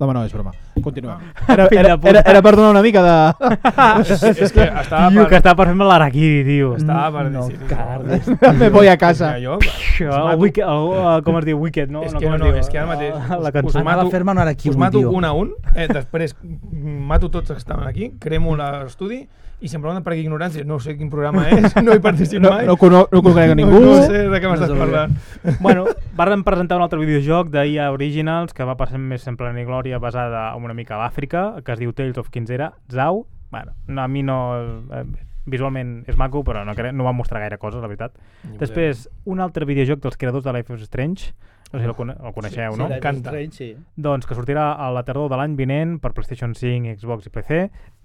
[SPEAKER 5] No, no, és broma. Continuem.
[SPEAKER 2] Era,
[SPEAKER 5] Era, era, era per donar una mica de...
[SPEAKER 4] És, és que estava
[SPEAKER 2] Tio,
[SPEAKER 4] per...
[SPEAKER 2] que està per fer-me l'araquiri, tio.
[SPEAKER 4] Estava per
[SPEAKER 3] No,
[SPEAKER 4] decidir.
[SPEAKER 3] Carles.
[SPEAKER 5] Me voy a casa.
[SPEAKER 4] Mira, Jo,
[SPEAKER 2] Això, el
[SPEAKER 4] mato.
[SPEAKER 2] wicked, el, uh, com es diu, Wicked, no?
[SPEAKER 4] És
[SPEAKER 2] no,
[SPEAKER 4] que
[SPEAKER 2] com
[SPEAKER 4] no,
[SPEAKER 2] es
[SPEAKER 4] no,
[SPEAKER 2] diu,
[SPEAKER 4] és que ara mateix
[SPEAKER 2] uh, La
[SPEAKER 4] us-
[SPEAKER 2] cançó.
[SPEAKER 4] us
[SPEAKER 3] Anava
[SPEAKER 4] mato-
[SPEAKER 3] a fer-me un araquiri,
[SPEAKER 4] us Pues mato
[SPEAKER 3] tio.
[SPEAKER 4] un a un, eh, després mm, mato tots els que estaven aquí, cremo l'estudi i se'n pregunten per què ignorància. No sé quin programa és, no hi participo
[SPEAKER 5] No,
[SPEAKER 4] mai.
[SPEAKER 5] no, cono, no conec a ningú.
[SPEAKER 4] No sé de què m'estàs
[SPEAKER 3] No sé
[SPEAKER 4] parlant.
[SPEAKER 2] Bueno, varen presentar un altre videojoc d'IA Originals que va passar més en plena glòria basada en una mica a l'Àfrica, que es diu Tales of Quinzera, Zau, Bueno, no, a mi no... eh, Visualment és maco, però no, crec, no va mostrar gaire coses, la veritat. Després, un altre videojoc dels creadors de Life is Strange, no sé si el, cone el coneixeu, no?
[SPEAKER 4] M'encanta.
[SPEAKER 8] Strange, sí.
[SPEAKER 2] Doncs que sortirà a la tardor de l'any vinent per PlayStation 5, Xbox i PC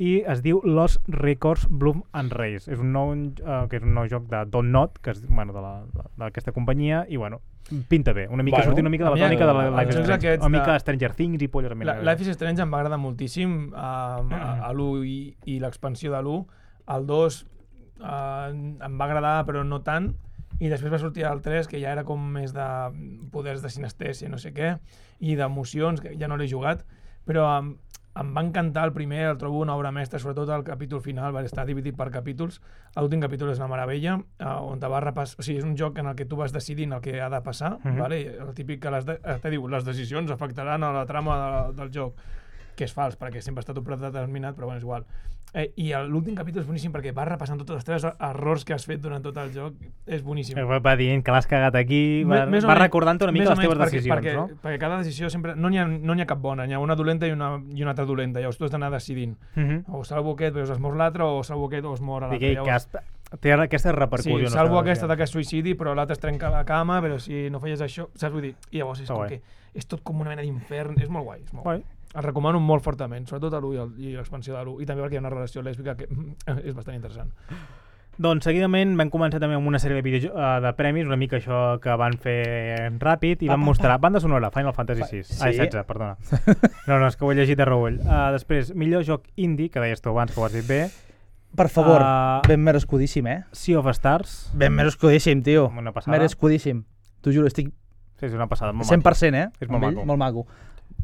[SPEAKER 2] i es diu Los Records Bloom and Race. És un nou, uh, que és un nou joc de Don't Not, que és bueno, de la- de- d'aquesta companyia, i bueno, pinta bé. Una mica,
[SPEAKER 8] Bueno,
[SPEAKER 2] bueno, sortint una mica de
[SPEAKER 4] a
[SPEAKER 2] la
[SPEAKER 4] mi el-
[SPEAKER 2] tònica de la
[SPEAKER 4] els
[SPEAKER 2] Life is
[SPEAKER 4] jocs
[SPEAKER 2] Strange.
[SPEAKER 4] aquests
[SPEAKER 2] Una mica
[SPEAKER 4] de-
[SPEAKER 2] Stranger Things i polles
[SPEAKER 4] La,
[SPEAKER 2] mena.
[SPEAKER 4] Life is Strange em va agradar moltíssim eh, a, a l'1 i, i l'expansió de l'1. El 2 eh, em va agradar, però no tant. I després va sortir el 3, que ja era com més de poders de sinestèsia, no sé què, i d'emocions, que ja no l'he jugat. Però em, em va encantar el primer, el trobo una obra mestra, sobretot el capítol final, va estar dividit per capítols. L'últim capítol és una meravella, eh, on te va repassar... O sigui, és un joc en el que tu vas decidint el que ha de passar, mm
[SPEAKER 2] Mhm.
[SPEAKER 4] -hmm. vale? el típic que les, de... eh, te diu les decisions afectaran a la trama de, del joc que és fals, perquè sempre està tot predeterminat, però bueno, és igual. Eh, I el- l'últim capítol és boníssim perquè vas repassant tots els teus errors que has fet durant tot el joc. És boníssim.
[SPEAKER 2] Va, va dient que l'has cagat aquí, Eh, va,
[SPEAKER 4] Me- més o
[SPEAKER 2] va
[SPEAKER 4] menys-
[SPEAKER 2] recordant una mica
[SPEAKER 4] més o
[SPEAKER 2] les teves
[SPEAKER 4] menys
[SPEAKER 2] decisions,
[SPEAKER 4] perquè,
[SPEAKER 2] no?
[SPEAKER 4] perquè, Perquè cada decisió sempre... No n'hi ha, no n'hi ha cap bona, n'hi ha una dolenta i una, i una altra dolenta, llavors tu has d'anar decidint.
[SPEAKER 2] Mhm.
[SPEAKER 4] O salvo aquest, veus, es mor l'altre, o salvo aquest, o es mor l'altre.
[SPEAKER 2] Digui que has, té ara aquestes
[SPEAKER 4] Sí,
[SPEAKER 2] repercussions.
[SPEAKER 4] salvo
[SPEAKER 2] no?
[SPEAKER 4] aquesta de que es suïcidi, però l'altre es trenca la cama, però si no feies això... Saps? Vull dir, i llavors és,
[SPEAKER 2] Està
[SPEAKER 4] com
[SPEAKER 2] guai.
[SPEAKER 4] que, és tot com una mena d'infern, és molt guai. És molt guai.
[SPEAKER 2] Guai.
[SPEAKER 4] El recomano molt fortament, sobretot a l'1 i el- i l'expansió de l'1, i també perquè hi ha una relació lèsbica que mm, és bastant interessant.
[SPEAKER 2] Doncs seguidament vam començar també amb una sèrie de, video, eh, de premis, una mica això que van fer ràpid i van mostrar banda sonora, Final Fantasy VI.
[SPEAKER 8] sí.
[SPEAKER 2] Ah, 16, perdona. No, no, és que ho he llegit de reull. Uh, després, millor joc indie, que deies tu abans que ho has dit bé,
[SPEAKER 3] Per favor,
[SPEAKER 2] Ah.
[SPEAKER 3] ben merescudíssim, eh?
[SPEAKER 2] Sea of Stars.
[SPEAKER 3] Ben merescudíssim, tio.
[SPEAKER 2] Una passada.
[SPEAKER 3] Merescudíssim. T'ho juro, estic
[SPEAKER 2] Sí, és una passada. Molt
[SPEAKER 3] 100%,
[SPEAKER 2] maco.
[SPEAKER 3] eh?
[SPEAKER 2] És molt
[SPEAKER 3] amb ell,
[SPEAKER 2] maco.
[SPEAKER 3] Molt maco.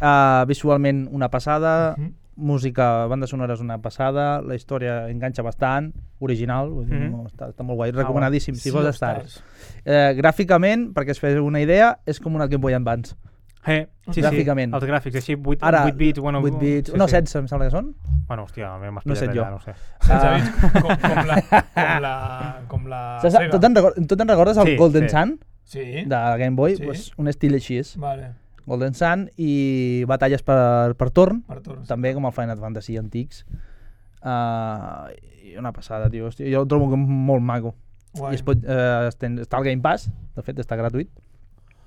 [SPEAKER 3] Uh, visualment una passada,
[SPEAKER 4] Mhm.
[SPEAKER 3] música, banda sonora és una passada, la història enganxa bastant, original, vull dir,
[SPEAKER 2] Mhm.
[SPEAKER 3] no, està, està molt guai, recomanadíssim, si vols estar.
[SPEAKER 4] Stars.
[SPEAKER 3] Eh, gràficament, perquè es fes una idea, és com un Game Boy Advance.
[SPEAKER 2] Eh, sí,
[SPEAKER 3] Gràficament.
[SPEAKER 2] Sí, els gràfics, així 8,
[SPEAKER 3] Ara,
[SPEAKER 2] 8 bits. Bueno,
[SPEAKER 3] 8 bits,
[SPEAKER 2] sí,
[SPEAKER 3] no,
[SPEAKER 2] sí.
[SPEAKER 3] 16 em sembla que són.
[SPEAKER 2] Bueno, hòstia, m'has
[SPEAKER 3] No
[SPEAKER 2] pillat
[SPEAKER 3] sé
[SPEAKER 2] allà,
[SPEAKER 3] jo.
[SPEAKER 2] no sé.
[SPEAKER 3] Ah.
[SPEAKER 4] Saps? Com, com la... Com la... Com la
[SPEAKER 3] Saps,
[SPEAKER 4] Sega.
[SPEAKER 3] tu te'n recordes, tu te'n recordes el
[SPEAKER 2] Ah, Sí, sí.
[SPEAKER 3] Golden Sun
[SPEAKER 4] Sí.
[SPEAKER 3] de Game Boy?
[SPEAKER 4] Sí.
[SPEAKER 3] Pues, un estil així és.
[SPEAKER 4] Vale,
[SPEAKER 3] Golden Sun i batalles per, per torn,
[SPEAKER 4] per torns.
[SPEAKER 3] també com el Final Fantasy antics. Uh, i una passada, tio. Hòstia, jo el trobo com molt maco.
[SPEAKER 4] Guai.
[SPEAKER 3] I es pot, eh, estén, està al Game Pass, de fet està gratuït.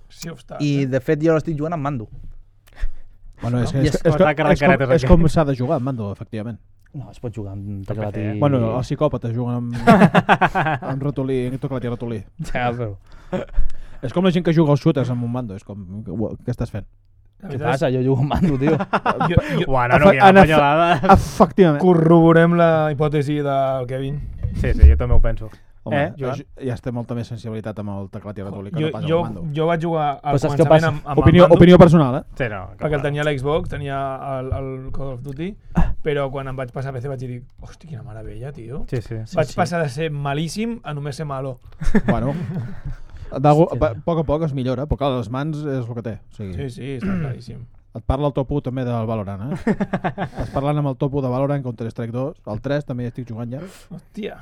[SPEAKER 4] Sea of Stars,
[SPEAKER 3] I
[SPEAKER 4] eh?
[SPEAKER 3] de fet jo l'estic jugant amb mando.
[SPEAKER 5] Bueno, és,
[SPEAKER 3] I
[SPEAKER 5] que, és,
[SPEAKER 3] es
[SPEAKER 5] és,
[SPEAKER 2] posa
[SPEAKER 5] com-
[SPEAKER 2] cara-
[SPEAKER 5] és, com,
[SPEAKER 2] caretes
[SPEAKER 5] és com s'ha de jugar amb mando, efectivament.
[SPEAKER 3] No, es pot jugar amb
[SPEAKER 2] teclat
[SPEAKER 3] teclat
[SPEAKER 2] i-
[SPEAKER 3] i...
[SPEAKER 2] I-
[SPEAKER 5] Bueno, els psicòpates juguen amb, amb ratolí, amb teclat i ratolí.
[SPEAKER 3] ja, però...
[SPEAKER 5] És com la gent que juga als shooters amb un mando, és com, "Ua, què estàs fent?
[SPEAKER 4] La
[SPEAKER 3] Què
[SPEAKER 4] veritat és-
[SPEAKER 3] passa? Jo jugo amb mando, tio.
[SPEAKER 4] Jo, jo,
[SPEAKER 2] Bueno, no,
[SPEAKER 5] Efe-
[SPEAKER 2] que hi ha
[SPEAKER 5] en efe-
[SPEAKER 2] punyalades.
[SPEAKER 5] Efectivament.
[SPEAKER 4] corroborem la hipòtesi del Kevin.
[SPEAKER 2] Sí, sí, jo també ho penso.
[SPEAKER 5] Home,
[SPEAKER 2] Eh, Joan?
[SPEAKER 5] jo- ja té molta més sensibilitat amb el teclat i ratolí que
[SPEAKER 4] Jo,
[SPEAKER 5] no pas amb
[SPEAKER 4] jo,
[SPEAKER 5] el mando.
[SPEAKER 4] jo vaig jugar al
[SPEAKER 3] Però saps què
[SPEAKER 4] començament
[SPEAKER 3] passa?
[SPEAKER 4] amb, amb
[SPEAKER 5] Opinió,
[SPEAKER 4] el mando,
[SPEAKER 5] opinió personal, eh?
[SPEAKER 2] Sí, no. que
[SPEAKER 4] perquè el
[SPEAKER 2] clar.
[SPEAKER 4] tenia a l'Xbox, tenia el, el Call of Duty,
[SPEAKER 2] Ah.
[SPEAKER 4] però quan em vaig passar a PC vaig dir, hosti, quina meravella, tio.
[SPEAKER 2] Sí, sí.
[SPEAKER 4] vaig passar de ser malíssim a només ser malo.
[SPEAKER 5] Bueno, d'algú- a poc a poc es millora, però clar, les mans és el que té. O sigui,
[SPEAKER 4] Sí, sí, està claríssim.
[SPEAKER 5] Et parla el top 1 també del Valorant, eh? Estàs parlant amb el top 1 de Valorant contra Strike 2, el 3 també hi estic jugant ja.
[SPEAKER 4] Hòstia.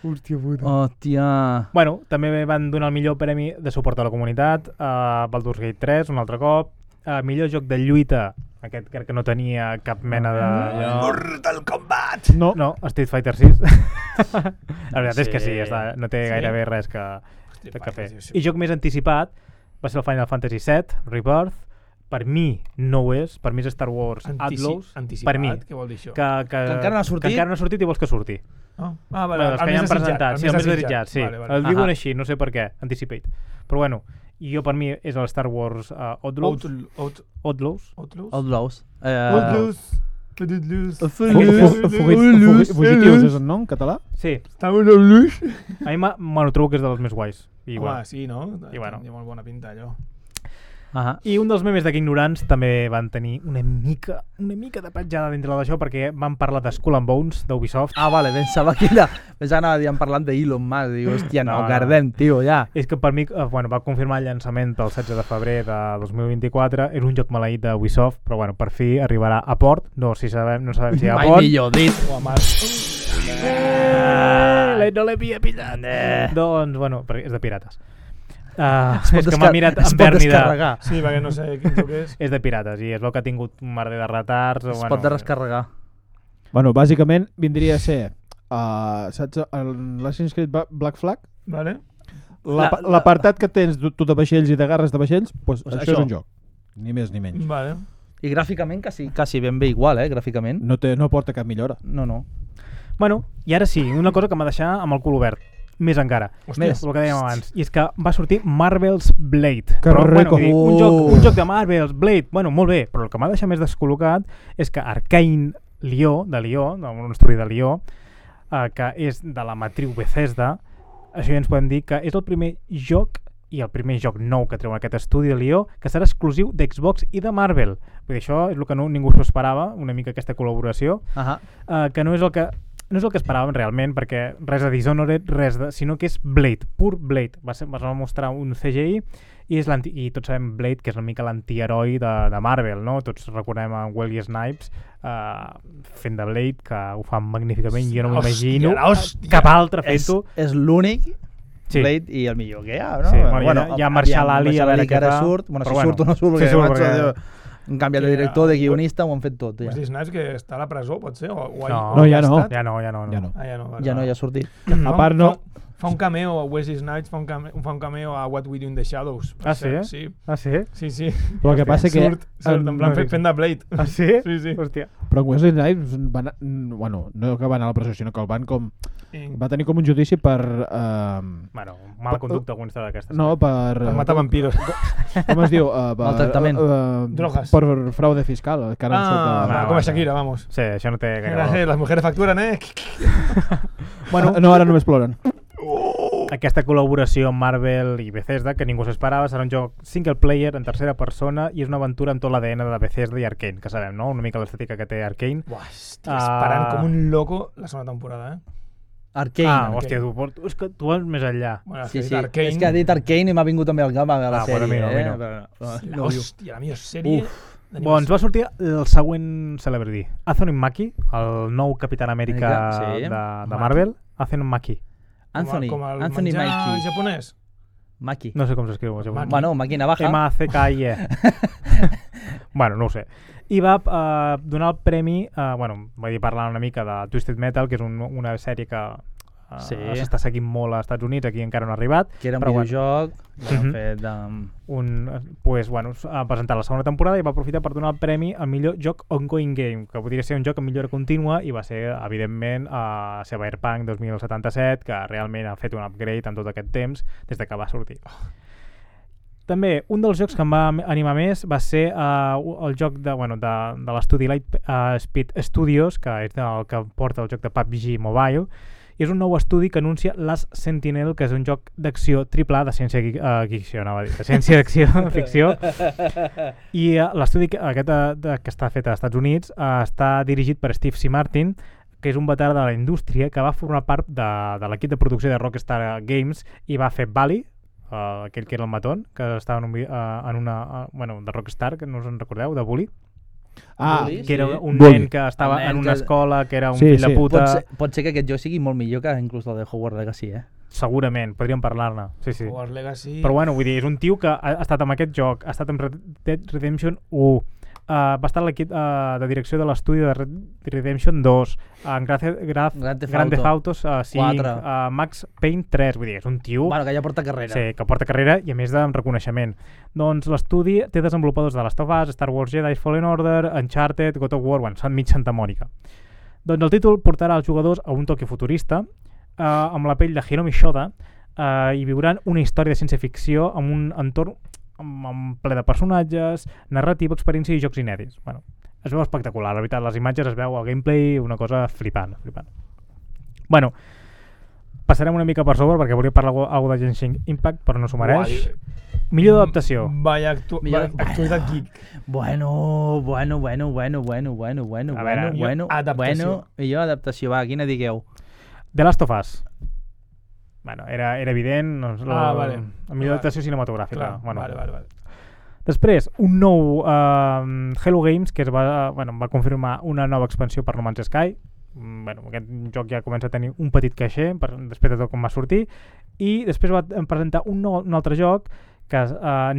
[SPEAKER 3] Hòstia...
[SPEAKER 2] Bueno, també van donar el millor premi de suport a la comunitat, a uh, Baldur's Gate 3, un altre cop, uh, millor joc de lluita, aquest crec que no tenia cap mena de... Mortal Kombat! No, no Street Fighter 6. la veritat sí. és que sí, està, no té sí. gairebé res que,
[SPEAKER 4] Street
[SPEAKER 2] que fer.
[SPEAKER 4] Fighter, sí, sí.
[SPEAKER 2] I joc més anticipat va ser el Final Fantasy VII, Rebirth, per mi no ho és, per mi és Star Wars
[SPEAKER 4] Antici-
[SPEAKER 2] Outlaws,
[SPEAKER 4] anticipat,
[SPEAKER 2] per mi,
[SPEAKER 4] què vol dir això?
[SPEAKER 2] que, que,
[SPEAKER 3] Que encara no ha sortit?
[SPEAKER 2] que encara no ha sortit i vols que surti.
[SPEAKER 4] Oh. Ah,
[SPEAKER 2] Bueno, els que
[SPEAKER 4] més
[SPEAKER 2] ja han
[SPEAKER 4] desitjat,
[SPEAKER 2] presentat, sí, el més desitjat, sí.
[SPEAKER 4] Vale, vale.
[SPEAKER 2] El diuen
[SPEAKER 3] Ahà.
[SPEAKER 2] així, no sé per què, Anticipate. Però bueno, jo per mi és el Star Wars uh, Outlaws.
[SPEAKER 4] Outl- out-
[SPEAKER 2] Outlaws.
[SPEAKER 4] Outlaws?
[SPEAKER 3] Outlaws. Eh,
[SPEAKER 4] Outlaws. Outlaws.
[SPEAKER 5] Fu- fu- fugi- Fugitius és el nom en català?
[SPEAKER 2] Sí,
[SPEAKER 4] Estava en Outlaws.
[SPEAKER 2] a mi m'a- bueno, trobo que és dels més guais. I,
[SPEAKER 4] Home,
[SPEAKER 2] bueno.
[SPEAKER 4] sí, no?
[SPEAKER 2] I bueno.
[SPEAKER 4] Té molt bona pinta, allò.
[SPEAKER 3] ahà.
[SPEAKER 2] I un dels memes de Ignorants també van tenir una mica, una mica de petjada dintre d'això perquè van parlar de Skull and Bones d'Ubisoft.
[SPEAKER 3] Ah, vale, pensava que era... Pensava que anàvem parlant d'Elon Musk. Digo, hòstia, no,
[SPEAKER 2] No, no.
[SPEAKER 3] guardem, tio, ja.
[SPEAKER 2] És que per mi, eh, bueno, va confirmar el llançament del 16 de febrer de 2024. És un joc maleït de Ubisoft, però bueno, per fi arribarà a port. No, si sabem, no sabem si a
[SPEAKER 3] Mai
[SPEAKER 2] port.
[SPEAKER 3] millor dit.
[SPEAKER 4] O a Mars.
[SPEAKER 2] Eh, no l'havia pillat. Eh. Doncs, bueno, perquè és de pirates. Uh, és que m'ha
[SPEAKER 3] descar-
[SPEAKER 2] mirat
[SPEAKER 3] es
[SPEAKER 2] en
[SPEAKER 3] pot
[SPEAKER 2] Berni de...
[SPEAKER 3] descarregar.
[SPEAKER 4] Sí, perquè no sé quin joc és.
[SPEAKER 2] És de pirates i es veu que ha tingut un merder de retards. o,
[SPEAKER 3] Es
[SPEAKER 2] bueno,
[SPEAKER 3] pot de descarregar.
[SPEAKER 5] Bueno, bàsicament vindria a ser... Uh, saps, en l'Assassin's Creed Ba- Black Flag,
[SPEAKER 4] Vale?
[SPEAKER 5] la-
[SPEAKER 2] La- la-
[SPEAKER 5] l'apartat que tens tu tu de vaixells i de garres de vaixells, doncs
[SPEAKER 3] Pues
[SPEAKER 5] això
[SPEAKER 3] això.
[SPEAKER 5] és un joc. Ni més ni menys.
[SPEAKER 4] Vale.
[SPEAKER 3] I gràficament quasi, quasi ben bé igual, eh, gràficament.
[SPEAKER 5] No, té, no porta cap millora.
[SPEAKER 3] No, no.
[SPEAKER 2] Bueno, i ara sí, una cosa que m'ha deixat amb el cul obert. Més encara.
[SPEAKER 4] Hòstia.
[SPEAKER 2] Més, el que dèiem abans. I és que va sortir Marvel's Blade.
[SPEAKER 5] Que rico.
[SPEAKER 2] bueno, dic, un, joc,
[SPEAKER 3] Oh.
[SPEAKER 2] un joc de Marvel's Blade, bueno, molt bé, però el que m'ha deixat més descol·locat és que Arkane Lió, de Lió, d'un estudi de Lió, eh, que és de la matriu Bethesda, això ja ens podem dir que és el primer joc i el primer joc nou que treu aquest estudi de Lió que serà exclusiu d'Xbox i de Marvel. Vull dir, això és el que no, ningú s'ho esperava, una mica aquesta col·laboració
[SPEAKER 3] Ahà.
[SPEAKER 2] eh, que no és el que no és el que esperàvem realment, perquè res de Dishonored, res de, sinó que és Blade, pur Blade. Va, ser, va mostrar un CGI i, és l'anti- i tots sabem Blade, que és una mica l'antiheroi de, de Marvel, no? Tots recordem a Wesley Snipes eh, fent de Blade, que ho fan magníficament, jo no
[SPEAKER 4] Hòstia,
[SPEAKER 2] m'imagino
[SPEAKER 4] hòstia.
[SPEAKER 2] cap altre
[SPEAKER 3] És,
[SPEAKER 2] fent-ho.
[SPEAKER 3] és l'únic
[SPEAKER 2] Sí.
[SPEAKER 3] sí. Blade i el millor que hi ha, no?
[SPEAKER 2] Sí, bueno, ja- ja marxar l'Ali a veure
[SPEAKER 3] que
[SPEAKER 2] què
[SPEAKER 3] ara
[SPEAKER 2] fa.
[SPEAKER 3] surt, bueno,
[SPEAKER 2] Però
[SPEAKER 3] si
[SPEAKER 2] bueno,
[SPEAKER 3] surt o no surt,
[SPEAKER 2] sí,
[SPEAKER 3] perquè,
[SPEAKER 2] surt,
[SPEAKER 3] abans,
[SPEAKER 2] perquè-
[SPEAKER 3] eh, han canviat de
[SPEAKER 4] Sí,
[SPEAKER 3] director, de
[SPEAKER 4] ja.
[SPEAKER 3] guionista, ho han fet tot.
[SPEAKER 4] Ja.
[SPEAKER 3] Ja,
[SPEAKER 4] Wesley Snipes Pues que està a la presó, pot ser? O, o ha-
[SPEAKER 2] No,
[SPEAKER 4] o
[SPEAKER 5] ja no.
[SPEAKER 4] estat?
[SPEAKER 2] Ja no, ja no. no.
[SPEAKER 5] Ja no.
[SPEAKER 4] Ah, ja no. Vale.
[SPEAKER 3] ja no hi ha sortit.
[SPEAKER 5] A part no...
[SPEAKER 4] Fa, fa un cameo a Wesley Snipes, fa un cameo, fa un cameo a What We Do in the Shadows. per
[SPEAKER 2] Ah, sí?
[SPEAKER 4] cert, Sí,
[SPEAKER 2] Ah, sí?
[SPEAKER 4] sí, sí.
[SPEAKER 5] Però el que passa que...
[SPEAKER 4] Surt, surt, en plan
[SPEAKER 2] no he
[SPEAKER 4] fent, fent de Blade.
[SPEAKER 2] Ah, sí?
[SPEAKER 4] Sí, sí.
[SPEAKER 2] Hòstia.
[SPEAKER 5] Però en Wesley Snipes va anar, mm, bueno, no que va anar a la presó, sinó que el van com...
[SPEAKER 4] I,
[SPEAKER 5] Va tenir com un judici per... Eh,
[SPEAKER 2] Bueno, mal conducta alguns d'aquestes.
[SPEAKER 5] no, per...
[SPEAKER 4] per matar vampiros.
[SPEAKER 5] Com es diu? Uh, per,
[SPEAKER 3] Maltractament.
[SPEAKER 5] eh,
[SPEAKER 4] Drogues.
[SPEAKER 5] Per fraude fiscal, que ara em
[SPEAKER 4] Ah,
[SPEAKER 5] surt...
[SPEAKER 4] va,
[SPEAKER 5] de-
[SPEAKER 4] com a Shakira, vamos.
[SPEAKER 2] Sí, això no té gaire
[SPEAKER 4] Eh,
[SPEAKER 2] valor.
[SPEAKER 4] les mujeres facturen, eh?
[SPEAKER 5] Bueno, no, ara només ploren.
[SPEAKER 2] aquesta col·laboració amb Marvel i Bethesda que ningú s'esperava serà un joc single player en tercera persona i és una aventura amb tot l'ADN de Bethesda i Arkane, que sabem, no? Una mica l'estètica que té Arkane.
[SPEAKER 4] Buah, estic
[SPEAKER 2] Ah.
[SPEAKER 4] esperant com un loco la segona temporada, eh?
[SPEAKER 3] Arcane.
[SPEAKER 2] ah,
[SPEAKER 3] Arcane.
[SPEAKER 2] hòstia, tu, port- és que tu vas més enllà.
[SPEAKER 4] Bueno,
[SPEAKER 3] Sí, sí,
[SPEAKER 4] Arcane,
[SPEAKER 3] és que ha dit Arcane i m'ha vingut també al cap a la
[SPEAKER 2] Ah,
[SPEAKER 3] sèrie.
[SPEAKER 2] bueno, a mi no, a mi no.
[SPEAKER 3] eh? Però no,
[SPEAKER 4] La,
[SPEAKER 3] no, no,
[SPEAKER 4] hòstia, la millor sèrie... d'animació.
[SPEAKER 2] Bon, ens Doncs va sortir el següent celebrity. Anthony Mackie, el nou Capitán Amèrica
[SPEAKER 3] Amèrica,
[SPEAKER 2] de,
[SPEAKER 3] sí.
[SPEAKER 2] de
[SPEAKER 4] Mackie.
[SPEAKER 2] Marvel. Anthony Mackie.
[SPEAKER 4] Com a-
[SPEAKER 3] Anthony,
[SPEAKER 4] com el
[SPEAKER 3] Anthony
[SPEAKER 4] menjar
[SPEAKER 3] Mackie.
[SPEAKER 4] japonès.
[SPEAKER 3] Maki.
[SPEAKER 2] No sé com s'escriu. això.
[SPEAKER 4] Mackie.
[SPEAKER 3] Bueno, Maki Navaja.
[SPEAKER 2] M-A-C-K-I-E. E. bueno, no ho sé. I va eh, donar el premi, eh, bueno, va dir parlant una mica de Twisted Metal, que és un, una sèrie que eh,
[SPEAKER 3] Sí.
[SPEAKER 2] s'està seguint molt als Estats Units, aquí encara no ha arribat.
[SPEAKER 3] que era un
[SPEAKER 2] però bueno,
[SPEAKER 3] videojoc l'han
[SPEAKER 2] Mhm.
[SPEAKER 3] fet amb...
[SPEAKER 2] un, eh, pues, bueno, s- ha presentat la segona temporada i va aprofitar per donar el premi al millor joc ongoing game, que podria ser un joc amb millora contínua i va ser, evidentment, a Cyberpunk 2077, que realment ha fet un upgrade en tot aquest temps des de que va sortir. També, un dels jocs que em va animar més va ser uh, el joc de, bueno, de, de l'estudi Light uh, Speed Studios, que és el que porta el joc de PUBG Mobile, i és un nou estudi que anuncia Last Sentinel, que és un joc d'acció triple A de ciència gui- eh, ficció, anava a dir, de ciència d'acció, ficció. I eh, l'estudi que- aquest eh, de, que està fet als Estats Units eh, està dirigit per Steve C. Martin, que és un veterà de la indústria que va formar part de, de l'equip de producció de Rockstar Games i va fer Bali, uh, aquell que era el matón, que estava en, un, vi- eh, en una... eh, bueno, de Rockstar, que no us en recordeu, de Bully,
[SPEAKER 5] Ah,
[SPEAKER 3] Bully?
[SPEAKER 2] que era un
[SPEAKER 5] Bully.
[SPEAKER 2] nen que estava
[SPEAKER 3] El nen
[SPEAKER 2] en una
[SPEAKER 3] que-
[SPEAKER 2] escola, que era un
[SPEAKER 5] Sí,
[SPEAKER 2] fill de
[SPEAKER 5] sí.
[SPEAKER 2] puta...
[SPEAKER 3] Pot ser, pot ser que aquest joc sigui molt millor que inclús el de Hogwarts Legacy, eh?
[SPEAKER 2] Segurament, podríem parlar-ne. Sí, sí.
[SPEAKER 4] Hogwarts Legacy...
[SPEAKER 2] Però bueno, vull dir, és un tio que ha ha estat amb aquest joc, ha estat amb Red Dead Redemption 1, Uh, va estar a l'equip uh, de direcció de l'estudi de Red Dead Redemption 2, en Graf, Graf,
[SPEAKER 3] Grand Theft
[SPEAKER 2] Grand Theft
[SPEAKER 3] Auto.
[SPEAKER 2] Autos uh, 5,
[SPEAKER 3] Quatre.
[SPEAKER 2] uh, Max Payne 3, vull dir, és un tio
[SPEAKER 3] Bueno, que ja porta carrera.
[SPEAKER 2] sí, que porta carrera i a més de reconeixement. Doncs l'estudi té desenvolupadors de Last of Us, Star Wars Jedi Fallen Order, Uncharted, God of War, bueno, Sant Mig Santa Mònica. Doncs el títol portarà els jugadors a un Tòquio futurista eh, amb la pell de Hiromi Shoda eh, i viuran una història de ciència-ficció amb un entorn amb, amb ple de personatges, narrativa, experiència i jocs inèdits. Bueno, es veu espectacular, la veritat, les imatges es veu, el gameplay, una cosa flipant, flipant. Bueno, passarem una mica per sobre perquè volia parlar algo, algo de Genshin Impact, però no s'ho mereix. Millor adaptació.
[SPEAKER 4] Mm,
[SPEAKER 2] Ah,
[SPEAKER 4] Vaya, actu
[SPEAKER 3] Millor-
[SPEAKER 4] vaya actualitat geek.
[SPEAKER 3] Bueno, bueno, bueno, bueno, bueno, bueno, bueno,
[SPEAKER 2] A veure,
[SPEAKER 3] bueno,
[SPEAKER 4] millor
[SPEAKER 3] bueno,
[SPEAKER 4] adaptació.
[SPEAKER 3] bueno, millor adaptació, va, quina digueu?
[SPEAKER 2] The Last of Us. Bueno, era, era evident, doncs, la,
[SPEAKER 4] Ah, vale.
[SPEAKER 2] la millor adaptació cinematogràfica.
[SPEAKER 4] Clar,
[SPEAKER 2] bueno,
[SPEAKER 4] vale, vale, vale.
[SPEAKER 2] Després, un nou uh, Hello Games que es va, bueno, va confirmar una nova expansió per No Man's Sky. Mm, bueno, aquest joc ja comença a tenir un petit caixer per, després de tot com va sortir. I després va eh, presentar un, nou, un altre joc que uh,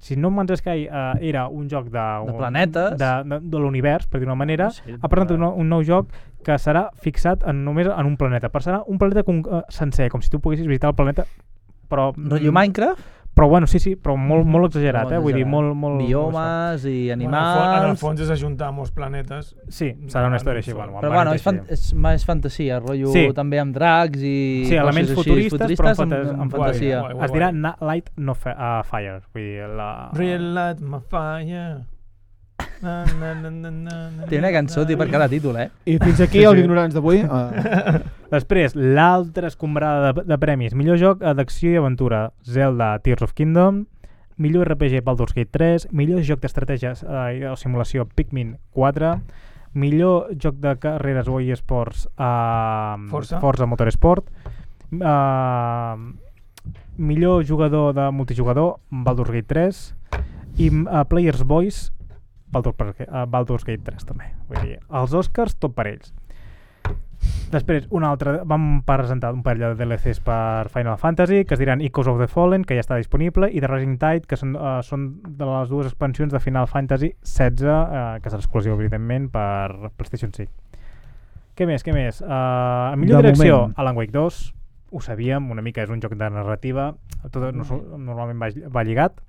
[SPEAKER 2] si no me'n escai uh, era un joc de,
[SPEAKER 3] De planetes.
[SPEAKER 2] de, de, de l'univers, per dir una manera,
[SPEAKER 3] No sé,
[SPEAKER 2] ha presentat un,
[SPEAKER 3] de-
[SPEAKER 2] nou- un nou joc que serà fixat en, només en un planeta, però serà un planeta con, uh, sencer, com si tu poguessis visitar el planeta però...
[SPEAKER 3] Rotllo Minecraft,
[SPEAKER 2] Però bueno, sí, sí, però molt, molt exagerat,
[SPEAKER 3] Molt
[SPEAKER 2] eh? Vull dir,
[SPEAKER 3] exagerat.
[SPEAKER 2] molt... molt
[SPEAKER 3] biomes i
[SPEAKER 4] Bueno, al fons- En el
[SPEAKER 3] animals...
[SPEAKER 4] fons és ajuntar molts planetes.
[SPEAKER 2] Sí, serà una història així, bueno,
[SPEAKER 3] Però bueno,
[SPEAKER 2] Planeta
[SPEAKER 3] és, fan
[SPEAKER 2] així.
[SPEAKER 3] és més fantasia, rotllo
[SPEAKER 2] Sí.
[SPEAKER 3] també amb dracs i...
[SPEAKER 2] Sí, elements
[SPEAKER 3] coses així,
[SPEAKER 2] futuristes, però amb
[SPEAKER 3] futuristes amb,
[SPEAKER 2] fantas-
[SPEAKER 3] amb,
[SPEAKER 2] amb
[SPEAKER 3] fantasia.
[SPEAKER 4] guai, guai.
[SPEAKER 2] Es dirà Na Light No Fa- uh, Fire, vull dir, la...
[SPEAKER 4] Real light my fire. Na, na, na, na, na, na,
[SPEAKER 3] Té una cançó, tio, per cada títol, eh?
[SPEAKER 5] I fins aquí
[SPEAKER 2] Sí,
[SPEAKER 5] els
[SPEAKER 2] sí.
[SPEAKER 5] ignorants d'avui. Uh,
[SPEAKER 2] Després, l'altra escombrada de, de premis. Millor joc eh, d'acció i aventura, Zelda Tears of Kingdom. Millor RPG, Baldur's Gate 3. Millor joc d'estratègia eh, o simulació, Pikmin 4. Millor joc de carreres o esports, eh,
[SPEAKER 4] Forza.
[SPEAKER 2] Forza Motorsport. Eh, millor jugador de multijugador, Baldur's Gate 3. I eh, Players Voice, Baldur, uh, Baldur's Gate 3 també. Vull dir, els Oscars tot per ells. Després, un altre, vam presentar un parell de DLCs per Final Fantasy, que es diran Echoes of the Fallen, que ja està disponible, i The Rising Tide, que són, uh, són de les dues expansions de Final Fantasy 16, uh, que serà exclusiu, evidentment, per PlayStation 5. Què més, què més? Uh, millor
[SPEAKER 3] De
[SPEAKER 2] direcció,
[SPEAKER 3] moment.
[SPEAKER 2] Alan Wake 2, ho sabíem, una mica és un joc de narrativa, tot
[SPEAKER 3] Mm.
[SPEAKER 2] no, normalment va, va lligat.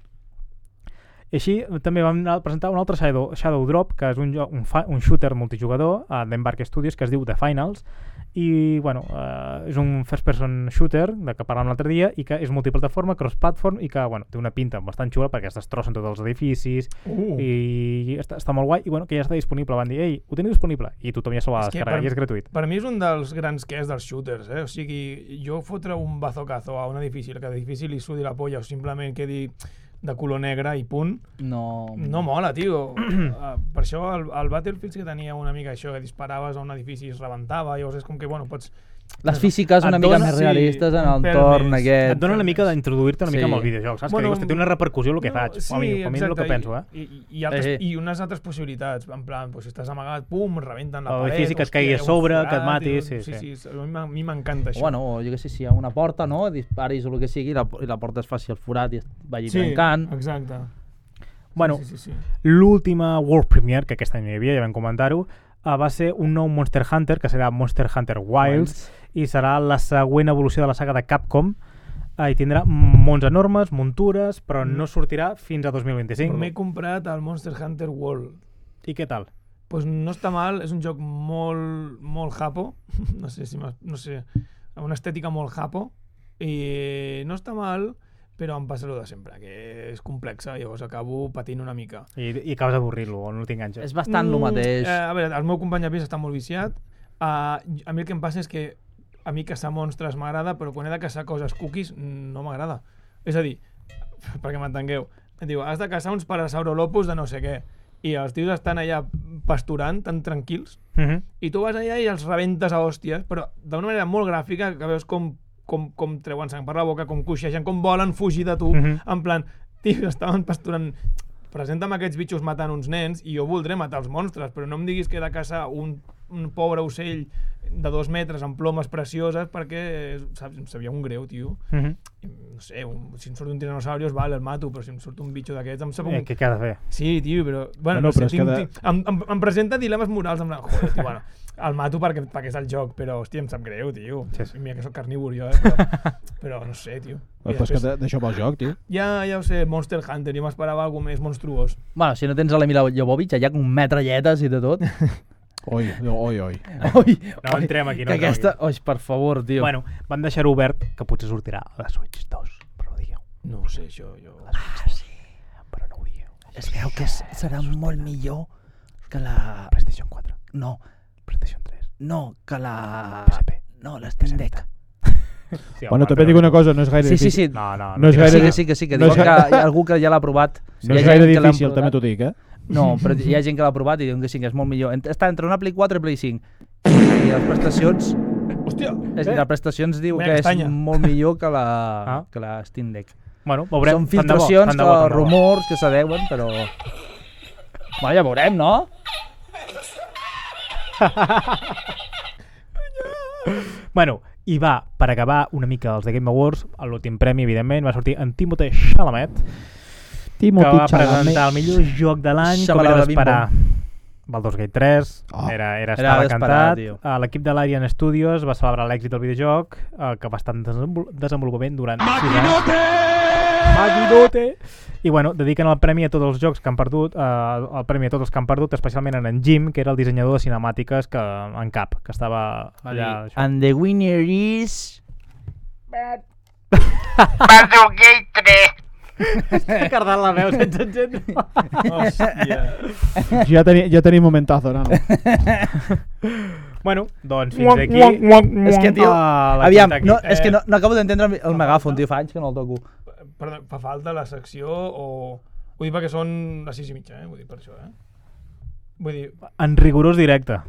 [SPEAKER 2] I així també vam anar a presentar un altre Shadow, Shadow Drop, que és un, joc, un, fa, un shooter multijugador a Denmark Studios que es diu The Finals i bueno, eh, és un first person shooter de que parlàvem l'altre dia i que és multiplataforma, cross-platform i que bueno, té una pinta bastant xula perquè es destrossen tots els edificis
[SPEAKER 4] Uh,
[SPEAKER 2] i està, està molt guai i bueno, que ja està disponible, van dir, ei, ho teniu disponible i tothom ja se l'ha
[SPEAKER 4] És que
[SPEAKER 2] descarregat
[SPEAKER 4] per-
[SPEAKER 2] i és gratuït
[SPEAKER 4] per mi és un dels grans que és dels shooters, eh? O sigui, jo fotre un bazocazo a un edifici, que l'edifici li sudi la polla o simplement quedi de color negre i punt,
[SPEAKER 3] No...
[SPEAKER 4] no mola, tio. Ah, per això el, el Battlefield sí que tenia una mica això, que disparaves a un edifici i es rebentava, llavors és com que, bueno, pots...
[SPEAKER 3] Les físiques una
[SPEAKER 2] Et
[SPEAKER 3] mica
[SPEAKER 2] dona-
[SPEAKER 3] més
[SPEAKER 4] sí,
[SPEAKER 3] realistes en
[SPEAKER 4] un pèl
[SPEAKER 3] l'entorn
[SPEAKER 2] et
[SPEAKER 4] més.
[SPEAKER 3] aquest.
[SPEAKER 2] dona una mica d'introduir-te una mica
[SPEAKER 3] Eh, Sí.
[SPEAKER 2] amb el videojoc, saps?
[SPEAKER 4] Bueno,
[SPEAKER 2] Bueno, que dius, té una repercussió el que faig, o a mi, a mi és el que
[SPEAKER 4] exacte,
[SPEAKER 2] penso, eh?
[SPEAKER 4] I, i, i, altres,
[SPEAKER 3] Eh, eh.
[SPEAKER 4] I unes altres possibilitats, en plan, doncs, si estàs amagat, pum, rebenten la
[SPEAKER 2] O
[SPEAKER 4] paret...
[SPEAKER 2] edifici que et
[SPEAKER 4] hòstia,
[SPEAKER 2] caigui a
[SPEAKER 4] un
[SPEAKER 2] sobre,
[SPEAKER 4] forat,
[SPEAKER 2] que et mati,
[SPEAKER 4] i tot.
[SPEAKER 2] sí, sí.
[SPEAKER 4] sí, sí. A mi m'en- a mi m'encanta això.
[SPEAKER 3] Bueno, o jo què sé, si hi ha una porta, no? Disparis o el que sigui i la, i la porta es faci el forat i es vagi
[SPEAKER 4] sí,
[SPEAKER 3] trencant.
[SPEAKER 4] exacte.
[SPEAKER 2] Bueno,
[SPEAKER 4] sí, sí, sí, sí.
[SPEAKER 2] l'última World Premiere, que aquest any hi havia, ja vam comentar-ho, eh, va ser un nou Monster Hunter, que serà Monster Hunter Wilds, i serà la següent evolució de la saga de Capcom, eh, i tindrà mons enormes, muntures, però
[SPEAKER 3] Mm.
[SPEAKER 2] no sortirà fins a 2025.
[SPEAKER 4] M'he comprat el Monster Hunter World.
[SPEAKER 2] I què tal?
[SPEAKER 4] pues no està mal, és un joc molt, molt japo, no sé si m'ha- no sé, amb una estètica molt japo, i no està mal, però em passa el de sempre, que és complexa, llavors acabo patint una mica.
[SPEAKER 2] I, i acabes d'avorrir-lo, o no t'enganxes?
[SPEAKER 3] És bastant el
[SPEAKER 4] Mm,
[SPEAKER 3] mateix.
[SPEAKER 4] Eh, a veure, el meu company de pis està molt viciat, uh, a mi el que em passa és que a mi caçar monstres m'agrada, però quan he de caçar coses cookies no m'agrada. És a dir, perquè m'entengueu, em diu, has de caçar uns parasaurolopus de no sé què, i els tios estan allà pasturant, tan tranquils,
[SPEAKER 2] Mm -hmm.
[SPEAKER 4] i tu vas allà i els rebentes a hòsties, però d'una manera molt gràfica, que veus com, com, com treuen sang per la boca, com coixegen, com volen fugir de tu,
[SPEAKER 2] Mhm.
[SPEAKER 4] en plan, tio, estaven pasturant... Presenta'm aquests bitxos matant uns nens i jo voldré matar els monstres, però no em diguis que he de caçar un, un pobre ocell de dos metres amb plomes precioses perquè eh, saps, em sabia un greu, tio.
[SPEAKER 2] Mm -hmm.
[SPEAKER 4] No sé, un, si em surt un tiranosaurios, val, el mato, però si em surt un bitxo d'aquests, em sap un...
[SPEAKER 2] Eh, què, què has de fer?
[SPEAKER 4] Sí, tio, però... Bueno,
[SPEAKER 5] Bueno,
[SPEAKER 4] no,
[SPEAKER 5] però
[SPEAKER 4] sé,
[SPEAKER 5] és
[SPEAKER 4] tinc,
[SPEAKER 5] que de-
[SPEAKER 4] tinc, em, em, em presenta dilemes morals, em plan, joder, tio, bueno, el mato perquè, perquè és el joc, però, hòstia, em sap greu, tio.
[SPEAKER 2] Sí, sí.
[SPEAKER 4] Mira que sóc carnívor, jo, eh, però, però no sé, tio. I
[SPEAKER 5] però és que
[SPEAKER 4] després-
[SPEAKER 5] de- d'això va el joc, tio.
[SPEAKER 4] Ja, ja ho sé, Monster Hunter, jo m'esperava alguna més monstruós.
[SPEAKER 3] Bueno, si no tens l'Emila Jovovich, allà com metralletes i de tot.
[SPEAKER 5] Oi, oi, oi.
[SPEAKER 3] oi,
[SPEAKER 2] No entrem aquí, no
[SPEAKER 3] que
[SPEAKER 2] entrem
[SPEAKER 3] aquesta... Oi, per favor, tio.
[SPEAKER 2] Bueno, van deixar obert que potser sortirà a la Switch 2, però ho digueu.
[SPEAKER 4] No ho sé, això, jo...
[SPEAKER 2] Però no ho digueu.
[SPEAKER 8] Es veu que s- serà molt millor que la...
[SPEAKER 2] PlayStation 4,
[SPEAKER 8] No,
[SPEAKER 2] PlayStation 3,
[SPEAKER 8] no, que la...
[SPEAKER 2] PSP.
[SPEAKER 8] No, l'Steam Deck.
[SPEAKER 2] Sí, home,
[SPEAKER 5] Bueno, també
[SPEAKER 2] però-
[SPEAKER 5] dic una cosa, no és gaire
[SPEAKER 3] Sí, sí,
[SPEAKER 5] difícil.
[SPEAKER 3] sí.
[SPEAKER 2] No, no,
[SPEAKER 5] No és
[SPEAKER 2] té
[SPEAKER 3] Que
[SPEAKER 5] gaire
[SPEAKER 3] sí,
[SPEAKER 2] gràcia.
[SPEAKER 3] que sí, que sí, que
[SPEAKER 5] No
[SPEAKER 3] diuen
[SPEAKER 5] és
[SPEAKER 3] que
[SPEAKER 5] gaire-
[SPEAKER 3] hi ha algú que ja l'ha provat.
[SPEAKER 5] No
[SPEAKER 3] Hi ha
[SPEAKER 5] és
[SPEAKER 3] gent
[SPEAKER 5] gaire
[SPEAKER 3] que l'ha
[SPEAKER 5] difícil,
[SPEAKER 3] provat.
[SPEAKER 5] també t'ho dic, eh?
[SPEAKER 3] No, però hi ha gent que l'ha provat i diuen que sí, que és molt millor. Ent- Està entre una Play 4 i Play 5. I les prestacions...
[SPEAKER 4] Hòstia!
[SPEAKER 3] És,
[SPEAKER 4] Eh?
[SPEAKER 3] les prestacions diu
[SPEAKER 4] Mira
[SPEAKER 3] que és
[SPEAKER 4] castanya.
[SPEAKER 3] molt millor que la,
[SPEAKER 2] Ah.
[SPEAKER 3] que la Steam Deck.
[SPEAKER 2] Bueno, veurem.
[SPEAKER 3] Són
[SPEAKER 2] tant de bo,
[SPEAKER 3] filtracions,
[SPEAKER 2] tant de bo, tant
[SPEAKER 3] que,
[SPEAKER 2] de bo.
[SPEAKER 3] rumors que s'adeuen, però... Bueno, ja veurem, no?
[SPEAKER 2] Bueno, i i va, per acabar una mica els de Game Awards, a l'últim premi, evidentment, va sortir en Timothée Chalamet, que va presentar el millor joc de l'any, com era
[SPEAKER 3] Xabalala
[SPEAKER 2] d'esperar. Baldur's Gate 3,
[SPEAKER 5] Oh.
[SPEAKER 2] era, era, estava
[SPEAKER 3] Ah.
[SPEAKER 2] cantat.
[SPEAKER 3] d'esperar, tio.
[SPEAKER 2] Eh, L'equip de l'Arian Studios va celebrar l'èxit del videojoc, eh, que va estar en desenvol- desenvolupament durant... Maquinote! Maquinote! I bueno, dediquen el premi a tots els jocs que han perdut, eh, el premi a tots els que han perdut, especialment en en Jim, que era el dissenyador de cinemàtiques que, en cap, que estava allà...
[SPEAKER 3] Allà,
[SPEAKER 2] Això.
[SPEAKER 3] And the winner is...
[SPEAKER 2] Cardant la veu sense gent.
[SPEAKER 4] Hòstia.
[SPEAKER 5] Ja tenia, ja tenia momentazo, nano.
[SPEAKER 2] bueno, doncs fins aquí...
[SPEAKER 3] És que, tio,
[SPEAKER 2] Ah, la
[SPEAKER 3] Aviam,
[SPEAKER 2] quinta aquí.
[SPEAKER 3] no, és que
[SPEAKER 4] Eh,
[SPEAKER 3] no, no acabo d'entendre el, el megàfon, tio, fa anys que no el toco.
[SPEAKER 4] Perdó, fa falta la secció o... Vull dir perquè són les sis i mitja, eh? Vull dir per això, eh? Vull dir,
[SPEAKER 2] En rigorós directe.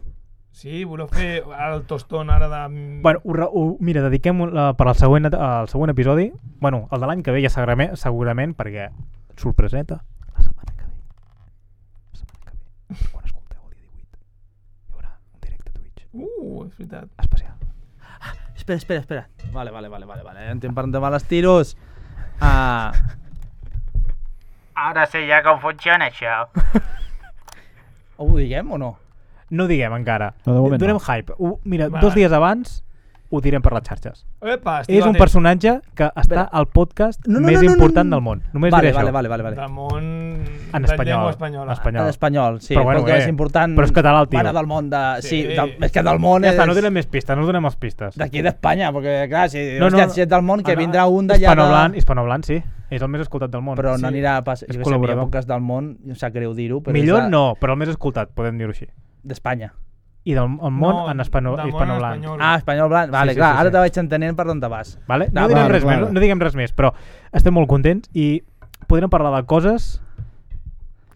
[SPEAKER 4] sí, voleu fer el tostón ara de...
[SPEAKER 2] Bueno, ho, re- ho, mira, dediquem la, per al següent, al següent episodi. Bueno, el de l'any que ve ja segurament, segurament perquè sorpreseta. La setmana que ve. La setmana que ve. Quan escolteu el dia 18 hi haurà un directe a Twitch
[SPEAKER 4] Uh, és veritat.
[SPEAKER 2] especial.
[SPEAKER 3] Espera, espera, espera. Vale, vale, vale, vale, vale. Anem per endavant els tiros. Ah,
[SPEAKER 9] Ara sé ja com funciona això.
[SPEAKER 3] ho diguem o no?
[SPEAKER 2] No diguem encara.
[SPEAKER 5] No, de moment
[SPEAKER 2] Donem
[SPEAKER 5] no.
[SPEAKER 2] hype. Ho, mira,
[SPEAKER 4] Vale.
[SPEAKER 2] dos dies abans ho direm per les xarxes.
[SPEAKER 4] Epa, estic
[SPEAKER 2] És un
[SPEAKER 4] atent.
[SPEAKER 2] personatge que està
[SPEAKER 3] Espera.
[SPEAKER 2] al podcast
[SPEAKER 3] No, no,
[SPEAKER 2] més
[SPEAKER 3] no, no, no,
[SPEAKER 2] important
[SPEAKER 3] no.
[SPEAKER 2] del món. Només
[SPEAKER 3] vale,
[SPEAKER 2] diré
[SPEAKER 3] vale,
[SPEAKER 2] això.
[SPEAKER 3] vale, vale, vale.
[SPEAKER 4] Del món...
[SPEAKER 2] En
[SPEAKER 4] de
[SPEAKER 2] espanyol.
[SPEAKER 4] llengua espanyola.
[SPEAKER 2] En espanyol.
[SPEAKER 3] En espanyol, sí.
[SPEAKER 2] Però
[SPEAKER 3] Però
[SPEAKER 2] bueno,
[SPEAKER 3] bueno, és
[SPEAKER 2] eh,
[SPEAKER 3] important.
[SPEAKER 2] però és català, el tio.
[SPEAKER 3] Bueno, del món de... Sí,
[SPEAKER 4] Sí.
[SPEAKER 3] del, és que del món
[SPEAKER 2] Ja
[SPEAKER 3] és...
[SPEAKER 2] està, no donem més pistes, no us donem més pistes.
[SPEAKER 3] D'aquí d'Espanya, perquè clar, si,
[SPEAKER 2] No,
[SPEAKER 3] no,
[SPEAKER 2] no,
[SPEAKER 3] hòstia,
[SPEAKER 2] no.
[SPEAKER 3] si ets del món, que
[SPEAKER 2] Ah, no,
[SPEAKER 3] vindrà un d'allà...
[SPEAKER 2] Hispanohablant,
[SPEAKER 3] de...
[SPEAKER 2] hispanohablant, sí. És el més escoltat del món.
[SPEAKER 3] Però no
[SPEAKER 2] sí.
[SPEAKER 3] anirà a passar...
[SPEAKER 2] És
[SPEAKER 3] Jo que sé, hi ha
[SPEAKER 2] col·laborador.
[SPEAKER 3] poques del món, em sap greu dir-ho, però
[SPEAKER 2] Millor
[SPEAKER 3] és de...
[SPEAKER 2] no, però el més escoltat, podem dir-ho així.
[SPEAKER 3] d'Espanya.
[SPEAKER 2] I del el món
[SPEAKER 4] No,
[SPEAKER 2] en hispano,
[SPEAKER 4] del món en
[SPEAKER 2] hispanohablant.
[SPEAKER 4] espanyol.
[SPEAKER 3] Ah, espanyol blanc. Vale,
[SPEAKER 2] Sí, sí,
[SPEAKER 3] clar,
[SPEAKER 2] sí,
[SPEAKER 3] ara
[SPEAKER 2] sí.
[SPEAKER 3] te vaig entenent per on te vas.
[SPEAKER 2] Vale? No,
[SPEAKER 3] No,
[SPEAKER 2] direm
[SPEAKER 5] clar,
[SPEAKER 2] res
[SPEAKER 5] clar.
[SPEAKER 2] més, no, no diguem res més, però estem molt contents i podrem parlar de coses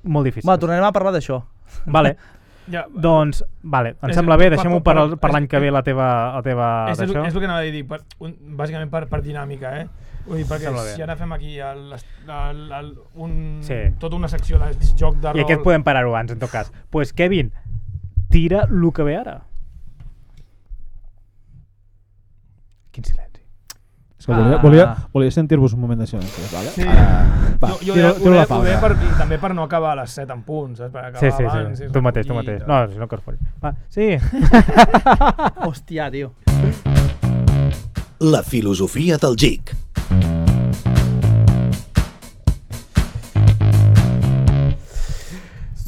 [SPEAKER 2] molt difícils.
[SPEAKER 3] Bueno, tornarem a parlar d'això.
[SPEAKER 2] Vale,
[SPEAKER 4] Ja,
[SPEAKER 2] doncs, vale, em
[SPEAKER 4] És-
[SPEAKER 2] sembla bé,
[SPEAKER 4] per-
[SPEAKER 2] deixem-ho per,
[SPEAKER 4] per-
[SPEAKER 2] al- per l'any que ve la teva... La teva
[SPEAKER 4] és, és, el-
[SPEAKER 2] ah, d'això.
[SPEAKER 4] és el que anava a dir, per, un, bàsicament per, per dinàmica, eh? Vull dir, perquè
[SPEAKER 2] Sembla bé.
[SPEAKER 4] si ara fem aquí el, el, el, un,
[SPEAKER 2] Sí.
[SPEAKER 4] tota una secció de joc de rol...
[SPEAKER 2] I aquest podem parar-ho abans, en tot cas. Doncs pues, Kevin, tira el que ve ara. Quin silenci.
[SPEAKER 5] És que volia,
[SPEAKER 3] Ah.
[SPEAKER 5] volia, volia sentir-vos un moment de silenci, vale?
[SPEAKER 4] Sí.
[SPEAKER 2] Ah,
[SPEAKER 5] Ara, va,
[SPEAKER 4] jo, jo
[SPEAKER 5] tiro,
[SPEAKER 4] ho
[SPEAKER 5] tiro
[SPEAKER 4] deia-
[SPEAKER 5] la
[SPEAKER 4] ho deia
[SPEAKER 5] falta.
[SPEAKER 4] per, i també per no acabar a les 7 en punt, saps? Per acabar
[SPEAKER 2] Sí, sí,
[SPEAKER 4] abans,
[SPEAKER 2] sí.
[SPEAKER 4] és
[SPEAKER 2] Tu
[SPEAKER 4] una
[SPEAKER 2] mateix, tu
[SPEAKER 4] collita.
[SPEAKER 2] mateix. No, si no que es folli. Va, sí.
[SPEAKER 3] Hòstia, tio.
[SPEAKER 1] La filosofia del GIC.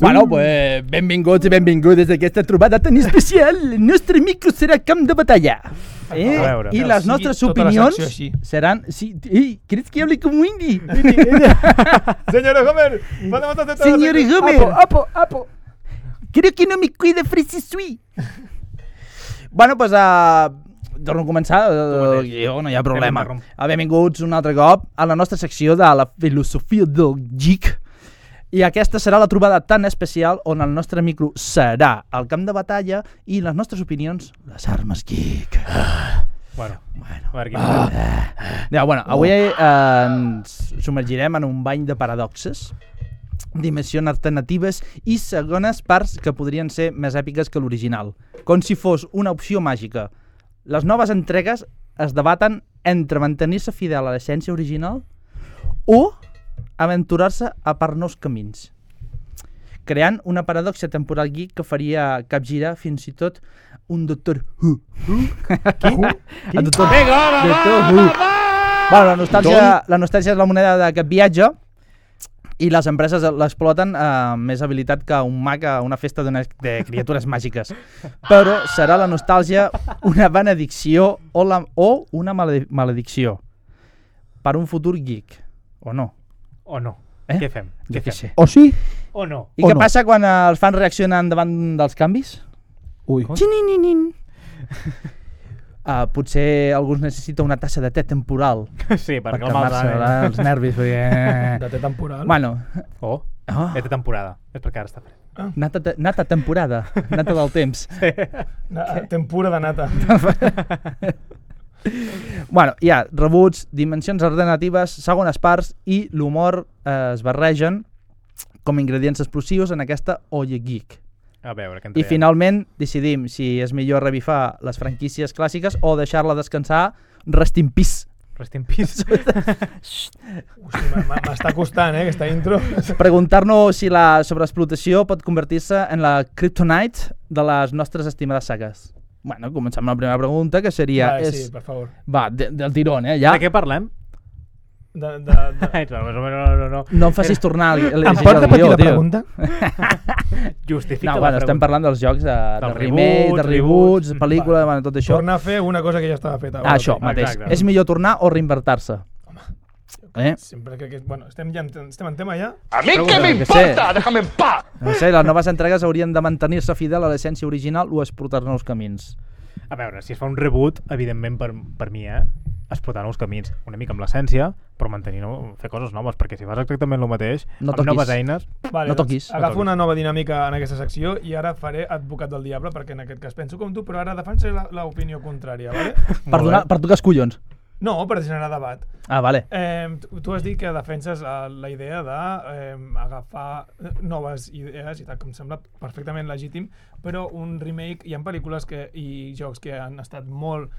[SPEAKER 3] Bueno, pues, benvinguts i benvingudes a aquesta trobada tan especial. El nostre micro serà camp de batalla. Eh?
[SPEAKER 2] A veure.
[SPEAKER 3] I
[SPEAKER 4] Que
[SPEAKER 3] les
[SPEAKER 4] sigui
[SPEAKER 3] nostres
[SPEAKER 4] tota la
[SPEAKER 3] opinions
[SPEAKER 4] secció així.
[SPEAKER 3] seran... Sí, ei, creus que hable com un indi?
[SPEAKER 4] Senyora Homer, podem estar tot
[SPEAKER 3] Señor Homer.
[SPEAKER 4] Apo, apo,
[SPEAKER 3] Creo que no me cuida Fresi Sui. bueno, pues... Uh, torno a començar, uh, jo no hi ha problema.
[SPEAKER 2] m'interromp.
[SPEAKER 3] Ah, Benvinguts un altre cop a la nostra secció de la filosofia del geek. I aquesta serà la trobada tan especial on el nostre micro serà el camp de batalla i les nostres opinions, les armes geek.
[SPEAKER 2] Bueno, bueno. A veure, quin ah.
[SPEAKER 3] Ja, bueno, avui eh, ens submergirem en un bany de paradoxes, dimensions alternatives i segones parts que podrien ser més èpiques que l'original, com si fos una opció màgica. Les noves entregues es debaten entre mantenir-se fidel a l'essència original o aventurar-se a per nous camins, creant una paradoxa temporal geek que faria capgirar fins i tot un doctor Who. Qui? El doctor, doctor Who. Bueno, la nostàlgia, la nostàlgia és la moneda d'aquest viatge i les empreses l'exploten eh, amb més habilitat que un mag a una festa d'una- de criatures màgiques. Però serà la nostàlgia una benedicció o, la, o una maledi- maledicció per un futur geek, o no?
[SPEAKER 2] O no. Eh?
[SPEAKER 3] Eh?
[SPEAKER 2] Què fem?
[SPEAKER 3] Jo
[SPEAKER 2] Què
[SPEAKER 3] què
[SPEAKER 2] fem?
[SPEAKER 3] sé.
[SPEAKER 5] O sí?
[SPEAKER 2] O no.
[SPEAKER 3] I
[SPEAKER 5] O
[SPEAKER 3] què
[SPEAKER 5] no.
[SPEAKER 3] passa quan eh, els fans reaccionen davant dels canvis?
[SPEAKER 5] Ui.
[SPEAKER 3] Xininin. Uh, potser alguns necessita una tassa de te temporal
[SPEAKER 2] Sí, per eh?
[SPEAKER 3] per
[SPEAKER 2] calmar
[SPEAKER 3] calmar-se
[SPEAKER 2] la...
[SPEAKER 3] els nervis. Perquè...
[SPEAKER 4] De té temporal.
[SPEAKER 3] Bueno,
[SPEAKER 2] Oh,
[SPEAKER 3] oh,
[SPEAKER 2] aquesta temporada. És perquè ara està fred.
[SPEAKER 3] nata, te- nata temporada, nata del temps.
[SPEAKER 4] Na, tempura de nata.
[SPEAKER 3] Bueno, hi ha rebuts, dimensions alternatives, segones parts i l'humor eh, es barregen com a ingredients explosius en aquesta olla geek.
[SPEAKER 2] A veure, què en
[SPEAKER 3] I
[SPEAKER 2] traiem.
[SPEAKER 3] finalment decidim si és millor revifar les franquícies clàssiques o deixar-la descansar rest in peace.
[SPEAKER 2] Rest in peace.
[SPEAKER 4] Hosti, m- m- M'està costant, eh, aquesta intro.
[SPEAKER 3] Preguntar-nos si la sobreexplotació pot convertir-se en la kryptonite de les nostres estimades sagues. Bueno, comencem amb la primera pregunta, que seria...
[SPEAKER 4] vale,
[SPEAKER 3] és...
[SPEAKER 4] sí, per favor.
[SPEAKER 3] Va, de, del tirón, eh,
[SPEAKER 2] Ja.
[SPEAKER 3] ja.
[SPEAKER 2] De què parlem?
[SPEAKER 4] De, de, de...
[SPEAKER 2] Ai, no, no, no, no, no.
[SPEAKER 3] No em facis tornar a llegir
[SPEAKER 4] Em pots
[SPEAKER 3] el
[SPEAKER 4] repetir
[SPEAKER 3] guió,
[SPEAKER 4] la
[SPEAKER 3] tio.
[SPEAKER 4] pregunta?
[SPEAKER 2] Justifica
[SPEAKER 3] No,
[SPEAKER 2] la
[SPEAKER 3] bueno, estem
[SPEAKER 2] pregunta.
[SPEAKER 3] parlant dels jocs de,
[SPEAKER 2] Dels
[SPEAKER 3] del remake,
[SPEAKER 2] reboots,
[SPEAKER 3] de reboots,
[SPEAKER 2] reboots.
[SPEAKER 3] pel·lícules,
[SPEAKER 4] Vale.
[SPEAKER 3] bueno, tot això.
[SPEAKER 4] Tornar a fer una cosa que ja estava feta.
[SPEAKER 3] Ah, això,
[SPEAKER 4] Vale,
[SPEAKER 3] mateix.
[SPEAKER 2] Exacte.
[SPEAKER 3] És millor tornar o reinvertar-se? Eh?
[SPEAKER 4] Sempre que... que bueno, estem, ja, en- estem en tema ja?
[SPEAKER 3] Què m'importa? Déjame en paz! No sé, les noves entregues haurien de mantenir-se fidel a l'essència original o explotar nous camins.
[SPEAKER 2] A veure, si es fa un reboot, evidentment per, per mi, eh, explotar nous camins, una mica amb l'essència, però mantenir, no, fer coses noves, perquè si fas exactament el mateix,
[SPEAKER 3] No
[SPEAKER 2] amb
[SPEAKER 3] toquis.
[SPEAKER 2] noves eines...
[SPEAKER 4] Vale,
[SPEAKER 3] No toquis.
[SPEAKER 4] Doncs, agafo
[SPEAKER 2] No toquis.
[SPEAKER 4] una nova dinàmica en aquesta secció i ara faré advocat del diable, perquè en aquest cas penso com tu, però ara defensaré la- l'opinió contrària, vale?
[SPEAKER 3] Per, donar, per tocar els collons.
[SPEAKER 4] No, per generar debat.
[SPEAKER 3] Ah, vale.
[SPEAKER 4] Eh, tu- tu has dit que defenses eh, la idea de eh, agafar eh, noves idees i tal, que em sembla perfectament legítim, però un remake, hi ha pel·lícules que, i jocs que han estat molt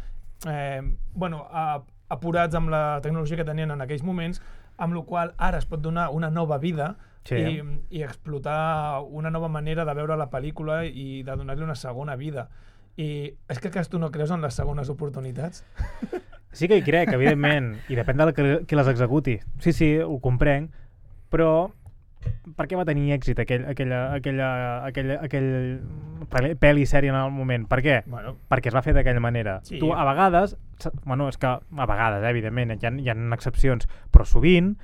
[SPEAKER 4] eh, bueno, a, apurats amb la tecnologia que tenien en aquells moments, amb la qual cosa ara es pot donar una nova vida
[SPEAKER 2] Sí.
[SPEAKER 4] i, i explotar una nova manera de veure la pel·lícula i de donar-li una segona vida. I és que cas tu no creus en les segones oportunitats?
[SPEAKER 2] Sí que hi crec, evidentment, i depèn de la que- qui les executi. Sí, sí, ho comprenc, però per què va tenir èxit aquell, aquella, aquella, aquella, aquell pel- pel·li sèrie en el moment? Per què?
[SPEAKER 4] Bueno,
[SPEAKER 2] perquè es va fer d'aquella manera.
[SPEAKER 4] Sí.
[SPEAKER 2] Sí. Tu a vegades, sa- bueno, és que a vegades, eh, evidentment, hi ha, hi ha excepcions, però sovint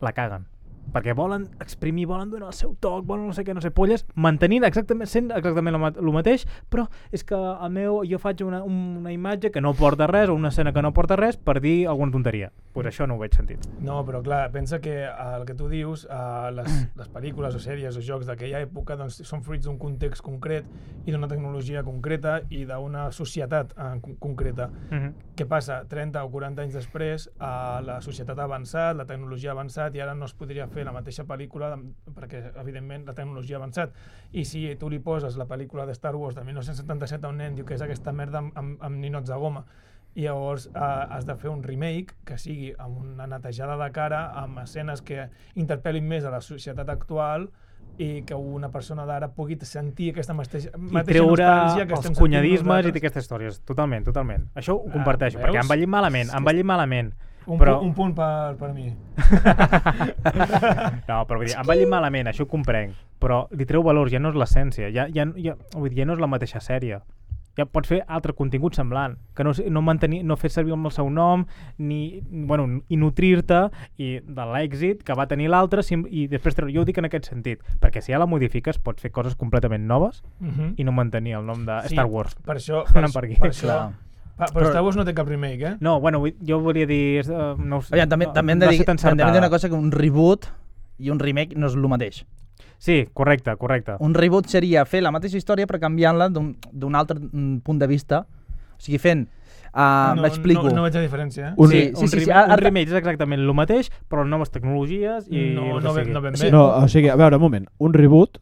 [SPEAKER 2] la caguen. Perquè volen exprimir, volen donar el seu toc, volen no sé què, no sé, polles, mantenint exactament, sent exactament el, el mateix, però és que el meu, jo faig una, un, una imatge que no porta res o una escena que no porta res per dir alguna tonteria. Doncs pues això no ho veig sentit.
[SPEAKER 4] No, però clar, pensa que eh, el que tu dius, eh, les, les pel·lícules o sèries o jocs d'aquella època doncs, són fruits d'un context concret i d'una tecnologia concreta i d'una societat eh, con- concreta.
[SPEAKER 2] Mm -hmm.
[SPEAKER 4] Què passa? 30 o 40 anys després eh, la societat ha avançat, la tecnologia ha avançat i ara no es podria fer la mateixa pel·lícula amb- perquè, evidentment, la tecnologia ha avançat. I si tu li poses la pel·lícula de Star Wars de 1977 a un nen, diu que és aquesta merda amb, amb, amb ninots de goma. I llavors eh, has de fer un remake que sigui amb una netejada de cara, amb escenes que interpel·lin més a la societat actual i que una persona d'ara pugui sentir aquesta mateixa,
[SPEAKER 2] I
[SPEAKER 4] mateixa
[SPEAKER 2] treure
[SPEAKER 4] nostàlgia que
[SPEAKER 2] els
[SPEAKER 4] estem sentint
[SPEAKER 2] cunyadismes i
[SPEAKER 4] nosaltres.
[SPEAKER 2] aquestes històries. Totalment, totalment. Això ho
[SPEAKER 4] Ah,
[SPEAKER 2] comparteixo, perquè
[SPEAKER 4] veus?
[SPEAKER 2] han ballit malament,
[SPEAKER 4] És
[SPEAKER 2] han
[SPEAKER 4] que-
[SPEAKER 2] ballit malament.
[SPEAKER 4] Un,
[SPEAKER 2] però...
[SPEAKER 4] però... un punt per, per mi.
[SPEAKER 2] no, però vull dir, em va dir malament, això ho comprenc, però li treu valor, ja no és l'essència, ja, ja, ja, vull dir, ja no és la mateixa sèrie. Ja pots fer altre contingut semblant, que no, no, mantenir, no fer servir amb el seu nom, ni, bueno, i nutrir-te i de l'èxit que va tenir l'altre sim- i després treure. Jo ho dic en aquest sentit, perquè si ja la modifiques pots fer coses completament noves
[SPEAKER 4] Mm -hmm.
[SPEAKER 2] i no mantenir el nom de
[SPEAKER 4] Sí,
[SPEAKER 2] Star Wars.
[SPEAKER 4] Per això... Per,
[SPEAKER 2] Anem per aquí.
[SPEAKER 4] per això
[SPEAKER 3] Clar.
[SPEAKER 4] pa, però, Star Wars no té cap remake, eh?
[SPEAKER 2] No, bueno, vull- jo volia dir... és, eh, No, us-
[SPEAKER 3] Aviam, també,
[SPEAKER 2] no,
[SPEAKER 3] també hem de
[SPEAKER 2] no ha
[SPEAKER 3] dir,
[SPEAKER 2] estat
[SPEAKER 3] també hem de dir
[SPEAKER 2] encertada.
[SPEAKER 3] una cosa que un reboot i un remake no és el mateix.
[SPEAKER 2] Sí, correcte, correcte.
[SPEAKER 3] Un reboot seria fer la mateixa història però canviant-la d'un d'un altre mm, punt de vista. O sigui, fent... Uh,
[SPEAKER 4] no,
[SPEAKER 3] M'explico.
[SPEAKER 4] No, no veig la diferència, eh?
[SPEAKER 5] Un-
[SPEAKER 3] sí,
[SPEAKER 2] un,
[SPEAKER 3] sí, sí, sí,
[SPEAKER 2] remake-
[SPEAKER 3] ara-
[SPEAKER 2] un
[SPEAKER 3] ara-
[SPEAKER 2] remake és exactament el mateix, però amb noves tecnologies i...
[SPEAKER 4] no,
[SPEAKER 2] el que
[SPEAKER 4] no, ben,
[SPEAKER 2] sigui.
[SPEAKER 4] no ben
[SPEAKER 5] Sí.
[SPEAKER 4] bé.
[SPEAKER 5] No, o sigui, a veure, un moment. Un reboot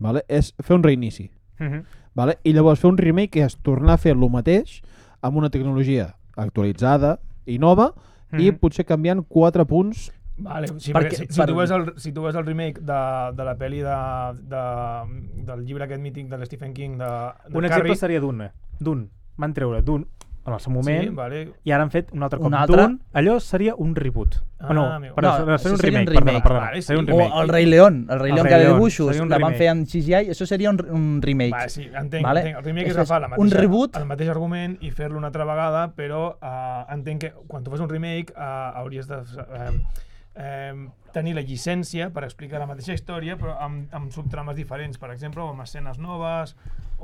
[SPEAKER 5] vale, és fer un reinici.
[SPEAKER 2] Mhm.
[SPEAKER 5] Vale? I llavors fer un remake és tornar a fer el mateix amb una tecnologia actualitzada i nova mm -hmm. i
[SPEAKER 2] Mhm.
[SPEAKER 5] potser canviant quatre punts.
[SPEAKER 4] Vale, sí,
[SPEAKER 3] Per
[SPEAKER 4] perquè,
[SPEAKER 3] què-
[SPEAKER 4] si, si,
[SPEAKER 3] per-
[SPEAKER 4] tu veus el, si tu veus el remake de, de la pel·li de, de, del llibre aquest mític de l'Stephen King de, de
[SPEAKER 2] Un exemple
[SPEAKER 4] Carrie,
[SPEAKER 2] seria d'un, eh? d'un. Van treure d'un en el seu moment
[SPEAKER 4] Sí, vale.
[SPEAKER 2] i ara han fet un altre
[SPEAKER 3] Un
[SPEAKER 2] cop
[SPEAKER 3] altre?
[SPEAKER 2] d'un. Allò seria un reboot.
[SPEAKER 4] Ah,
[SPEAKER 2] o no,
[SPEAKER 4] amigo.
[SPEAKER 2] perdó,
[SPEAKER 3] No,
[SPEAKER 2] no,
[SPEAKER 3] això
[SPEAKER 2] seria un
[SPEAKER 3] seria un
[SPEAKER 2] remake. Perdona,
[SPEAKER 3] remake.
[SPEAKER 2] perdona,
[SPEAKER 4] Vale, sí.
[SPEAKER 2] seria un
[SPEAKER 3] O
[SPEAKER 2] remake.
[SPEAKER 3] el Rei León, el Rei
[SPEAKER 2] El
[SPEAKER 3] León
[SPEAKER 2] Rei
[SPEAKER 3] que era de
[SPEAKER 2] León,
[SPEAKER 3] dibuixos,
[SPEAKER 2] seria un
[SPEAKER 3] la van
[SPEAKER 2] remake.
[SPEAKER 3] fer en CGI, això seria un, un remake.
[SPEAKER 4] Vale, sí, entenc,
[SPEAKER 3] Vale.
[SPEAKER 4] vale. entenc. El remake és
[SPEAKER 3] Això és
[SPEAKER 4] agafar la
[SPEAKER 3] un
[SPEAKER 4] mateixa,
[SPEAKER 3] reboot.
[SPEAKER 4] el mateix argument i fer-lo una altra vegada, però eh, entenc que quan tu fas un remake eh, hauries de eh, eh, tenir la llicència per explicar la mateixa història, però amb, amb subtrames diferents, per exemple, o amb escenes noves,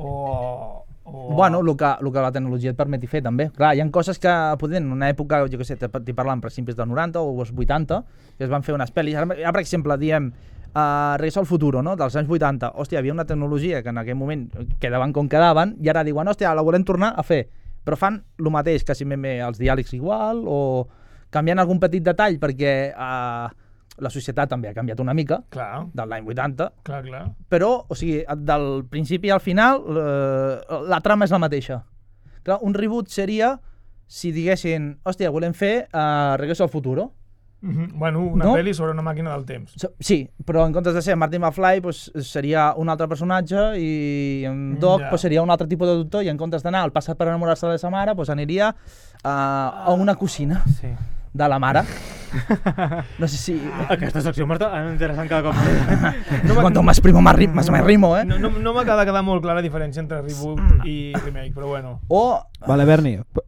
[SPEAKER 4] o... o
[SPEAKER 3] Bueno, el que, el que la tecnologia et permeti fer, també. Clar, hi ha coses que, potser, en una època, jo què sé, t'hi parlant per principis dels 90 o els 80, que es van fer unes pel·lis. Ara, ara per exemple, diem uh, Regreso al futuro, no?, dels anys 80. Hòstia, hi havia una tecnologia que en aquell moment quedaven com quedaven, i ara diuen, hòstia, la volem tornar a fer. Però fan el mateix, quasi ben bé els diàlegs igual, o canviant algun petit detall, perquè... Uh, la societat també ha canviat una mica,
[SPEAKER 4] Clar,
[SPEAKER 3] de l'any 80,
[SPEAKER 4] clar, clar.
[SPEAKER 3] però, o sigui, del principi al final, eh, la trama és la mateixa. Clar, un reboot seria si diguessin, hòstia, volem fer eh, Regreso al futuro.
[SPEAKER 4] Mhm. Bueno, una
[SPEAKER 3] No?
[SPEAKER 4] pel·li sobre una màquina del temps.
[SPEAKER 3] So- Sí, però en comptes de ser Martin McFly pues, seria un altre personatge i en Doc
[SPEAKER 4] Ja.
[SPEAKER 3] pues, seria un altre tipus de doctor i en comptes d'anar al passat per enamorar-se de sa mare pues, aniria eh, a una cosina
[SPEAKER 2] Sí.
[SPEAKER 3] de la mare. No sé si...
[SPEAKER 2] Aquesta secció m'està interessant cada cop més.
[SPEAKER 3] No Cuanto más primo, más, ri más, más rimo, eh?
[SPEAKER 4] No, no, no m'acaba de quedar molt clara la diferència entre reboot i remake, però bueno,
[SPEAKER 3] O...
[SPEAKER 4] Ah.
[SPEAKER 5] Vale, Berni, p-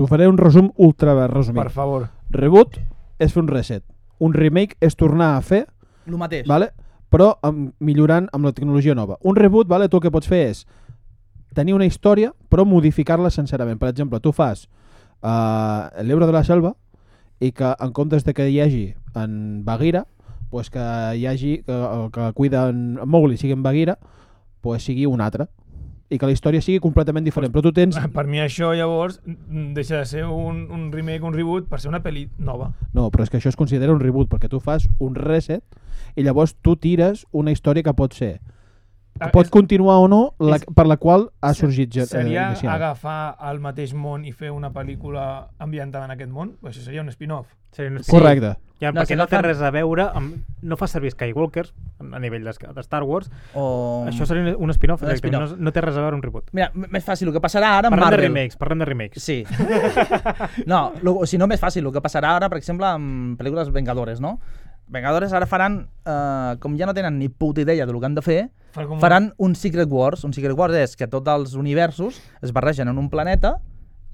[SPEAKER 5] t'ho faré un resum ultra
[SPEAKER 4] per
[SPEAKER 5] resumit.
[SPEAKER 4] favor.
[SPEAKER 5] Reboot és fer un reset. Un remake és tornar a fer,
[SPEAKER 3] El mateix.
[SPEAKER 5] vale? però amb, millorant amb la tecnologia nova. Un reboot, vale, tu el que pots fer és tenir una història, però modificar-la sincerament. Per exemple, tu fas uh, l'Euro de la Selva i que en comptes de que hi hagi en Bagheera, pues que hi hagi que el que cuida en Mowgli sigui en Bagheera, pues sigui un altre i que la història sigui completament diferent. Però tu tens...
[SPEAKER 4] Per mi això, llavors, mm, deixa de ser un, un remake, un reboot, per ser una pel·li nova.
[SPEAKER 5] No, però és que això es considera un reboot, perquè tu fas un reset i llavors tu tires una història que pot ser
[SPEAKER 4] Ah,
[SPEAKER 5] pot
[SPEAKER 4] és-
[SPEAKER 5] continuar o no la,
[SPEAKER 4] és-
[SPEAKER 5] per la qual ha sorgit ja- eh,
[SPEAKER 4] Seria
[SPEAKER 5] inicial.
[SPEAKER 4] agafar el mateix món i fer una pel·lícula ambientada en aquest món? Això seria un spin-off.
[SPEAKER 2] Sí, no és-
[SPEAKER 5] Correcte.
[SPEAKER 2] Ja, no,
[SPEAKER 3] No,
[SPEAKER 2] perquè
[SPEAKER 3] si
[SPEAKER 2] no té
[SPEAKER 3] agafen-
[SPEAKER 2] res a veure amb... No fa servir Skywalkers a nivell de, de Star Wars.
[SPEAKER 3] O...
[SPEAKER 2] Això seria un spin-off,
[SPEAKER 3] Un
[SPEAKER 2] exactament.
[SPEAKER 3] spin-off.
[SPEAKER 2] No, no té res a veure un reboot.
[SPEAKER 3] Mira, m- més fàcil, el que passarà ara amb
[SPEAKER 2] Parlem de
[SPEAKER 3] Marvel.
[SPEAKER 2] remakes, parlem de remakes.
[SPEAKER 3] Sí. No, lo, o si no, més fàcil, el que passarà ara, per exemple, amb pel·lícules Vengadores, no? Vengadores ara faran, eh, com ja no tenen ni puta idea del que han de fer,
[SPEAKER 4] Fan com un-
[SPEAKER 3] faran un Secret Wars. Un Secret Wars és que tots els universos es barregen en un planeta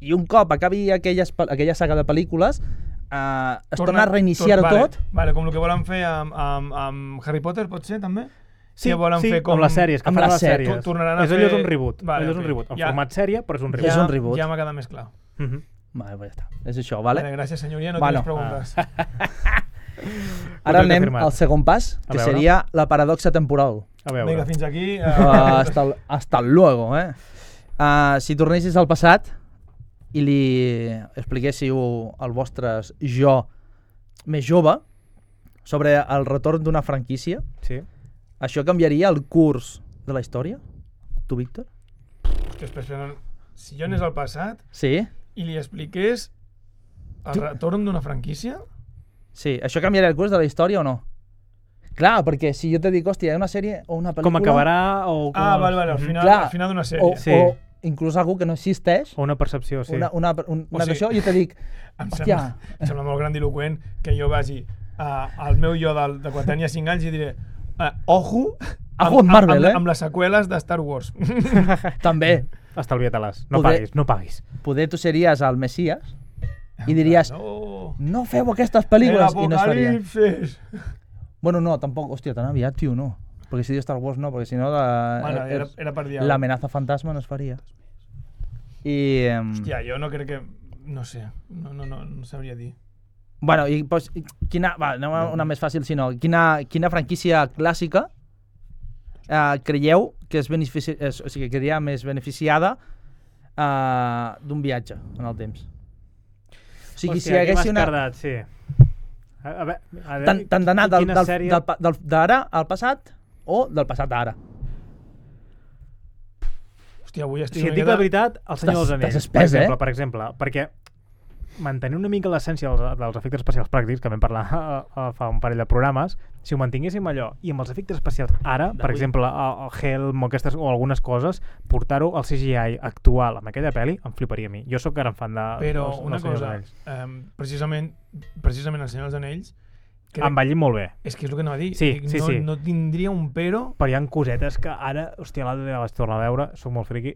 [SPEAKER 3] i un cop acabi aquelles, pe- aquella saga de pel·lícules eh, es torna a reiniciar-ho
[SPEAKER 4] vale,
[SPEAKER 3] tot,
[SPEAKER 4] Vale, com el que volen fer amb, amb, amb Harry Potter, pot ser, també? que volen
[SPEAKER 2] sí,
[SPEAKER 4] fer com...
[SPEAKER 2] les sèries, que
[SPEAKER 3] amb
[SPEAKER 2] fan
[SPEAKER 3] les
[SPEAKER 2] les
[SPEAKER 3] sèries.
[SPEAKER 2] sèries.
[SPEAKER 4] Tornaran a
[SPEAKER 2] és allò
[SPEAKER 4] fer-
[SPEAKER 2] d'un reboot.
[SPEAKER 4] Vale,
[SPEAKER 2] Vale, allò és un
[SPEAKER 4] ok.
[SPEAKER 2] reboot. En
[SPEAKER 4] Ja.
[SPEAKER 2] format sèrie, però és un
[SPEAKER 3] és
[SPEAKER 2] reboot.
[SPEAKER 3] un reboot.
[SPEAKER 4] Ja m'ha quedat més clar.
[SPEAKER 2] Mhm.
[SPEAKER 3] Vale, pues ja està. És això, vale?
[SPEAKER 4] Vale, gràcies, senyoria, no
[SPEAKER 3] Bueno.
[SPEAKER 4] tens preguntes.
[SPEAKER 2] Ah,
[SPEAKER 3] Ara
[SPEAKER 2] Contracte
[SPEAKER 3] anem
[SPEAKER 2] firmat.
[SPEAKER 3] al segon pas,
[SPEAKER 2] A
[SPEAKER 3] que
[SPEAKER 2] veure.
[SPEAKER 3] seria la paradoxa temporal.
[SPEAKER 2] A veure.
[SPEAKER 4] Vinga, fins aquí. eh,
[SPEAKER 3] Uh, hasta, hasta luego, eh? Uh, si tornessis al passat i li expliquéssiu al vostre jo més jove sobre el retorn d'una franquícia,
[SPEAKER 2] Sí.
[SPEAKER 3] això canviaria el curs de la història? Tu, Víctor?
[SPEAKER 4] Hòstia, espera, espera, no. si jo anés al passat
[SPEAKER 3] Sí?
[SPEAKER 4] i li expliqués el retorn d'una franquícia,
[SPEAKER 3] Sí, això canviaria el curs de la història o no? Clar, perquè si jo te dic, hòstia, hi ha una sèrie o una pel·lícula...
[SPEAKER 2] Com acabarà o... Com
[SPEAKER 4] Ah, vale, vale, al
[SPEAKER 2] Mhm.
[SPEAKER 4] final,
[SPEAKER 3] Clar,
[SPEAKER 4] al final d'una sèrie.
[SPEAKER 3] O,
[SPEAKER 4] Oh,
[SPEAKER 2] Sí.
[SPEAKER 3] sí. o inclús algú que no existeix,
[SPEAKER 2] O una percepció, sí.
[SPEAKER 3] una, una, un- una,
[SPEAKER 4] O
[SPEAKER 3] una
[SPEAKER 4] sigui-
[SPEAKER 3] d'això, jo te dic,
[SPEAKER 4] em,
[SPEAKER 3] hòstia,
[SPEAKER 4] sembla, em sembla molt grandiloquent que jo vagi a, al meu jo del, de quan tenia 5 anys i diré eh, ojo
[SPEAKER 3] Ojo amb Marvel,
[SPEAKER 4] amb,
[SPEAKER 3] eh?"
[SPEAKER 4] amb les seqüeles de Star Wars.
[SPEAKER 3] també,
[SPEAKER 2] Estalvia-te-les. No
[SPEAKER 3] Poder-
[SPEAKER 2] paguis, no paguis.
[SPEAKER 3] poder tu series el Messias i diries, no,
[SPEAKER 4] Ah, no.
[SPEAKER 3] no feu aquestes pel·lícules i no es faria.
[SPEAKER 4] L'apocalipsis.
[SPEAKER 3] Bueno, no, tampoc, hòstia, tan aviat, tio, no. Perquè si diu Star Wars no, perquè si no la-
[SPEAKER 4] Bueno, era,
[SPEAKER 3] és-
[SPEAKER 4] era per dir... La
[SPEAKER 3] l'amenaça fantasma no es faria. I, em,
[SPEAKER 4] Hòstia, jo no crec que... No sé, no, no, no, no sabria dir.
[SPEAKER 3] bueno, i, pues, i quina, va, anem a una més fàcil, sinó, quina, quina franquícia clàssica eh, creieu que es, benefici, es o sigui, que quedaria més beneficiada eh, d'un viatge en el temps? O sigui, si hi
[SPEAKER 2] aquí
[SPEAKER 3] hagués
[SPEAKER 2] m'has
[SPEAKER 3] una...
[SPEAKER 2] Tardat, sí. A, a veure, a veure,
[SPEAKER 3] Tant, tant d'anar del-
[SPEAKER 2] quina
[SPEAKER 3] del-
[SPEAKER 2] sèrie-
[SPEAKER 3] del pa- del- d'ara al passat o del passat a ara.
[SPEAKER 4] Hòstia, avui estic
[SPEAKER 2] Si et dic la veritat, el senyor dels
[SPEAKER 3] Estàs-
[SPEAKER 2] anells,
[SPEAKER 3] estàs
[SPEAKER 2] per,
[SPEAKER 3] espès, eh?
[SPEAKER 2] exemple, per exemple, perquè mantenir una mica l'essència dels, dels efectes especials pràctics, que vam parlar eh, fa un parell de programes, si ho mantinguéssim allò, i amb els efectes especials ara, per exemple, el, el Helm o, aquestes, o algunes coses, portar-ho al CGI actual amb aquella pel·li, em fliparia a mi. Jo sóc gran fan de...
[SPEAKER 4] Però
[SPEAKER 2] dels-
[SPEAKER 4] una
[SPEAKER 2] dels Senyor dels
[SPEAKER 4] cosa,
[SPEAKER 2] Anells.
[SPEAKER 4] um, precisament, precisament el Senyor dels Anells, crec,
[SPEAKER 2] Em va llir molt bé.
[SPEAKER 4] és que és el que anava a dir,
[SPEAKER 2] Sí,
[SPEAKER 4] dic,
[SPEAKER 2] sí,
[SPEAKER 4] no,
[SPEAKER 2] sí.
[SPEAKER 4] no tindria un però
[SPEAKER 2] però hi ha cosetes que ara, hòstia, l'altre dia vaig tornar a veure, sóc molt friqui,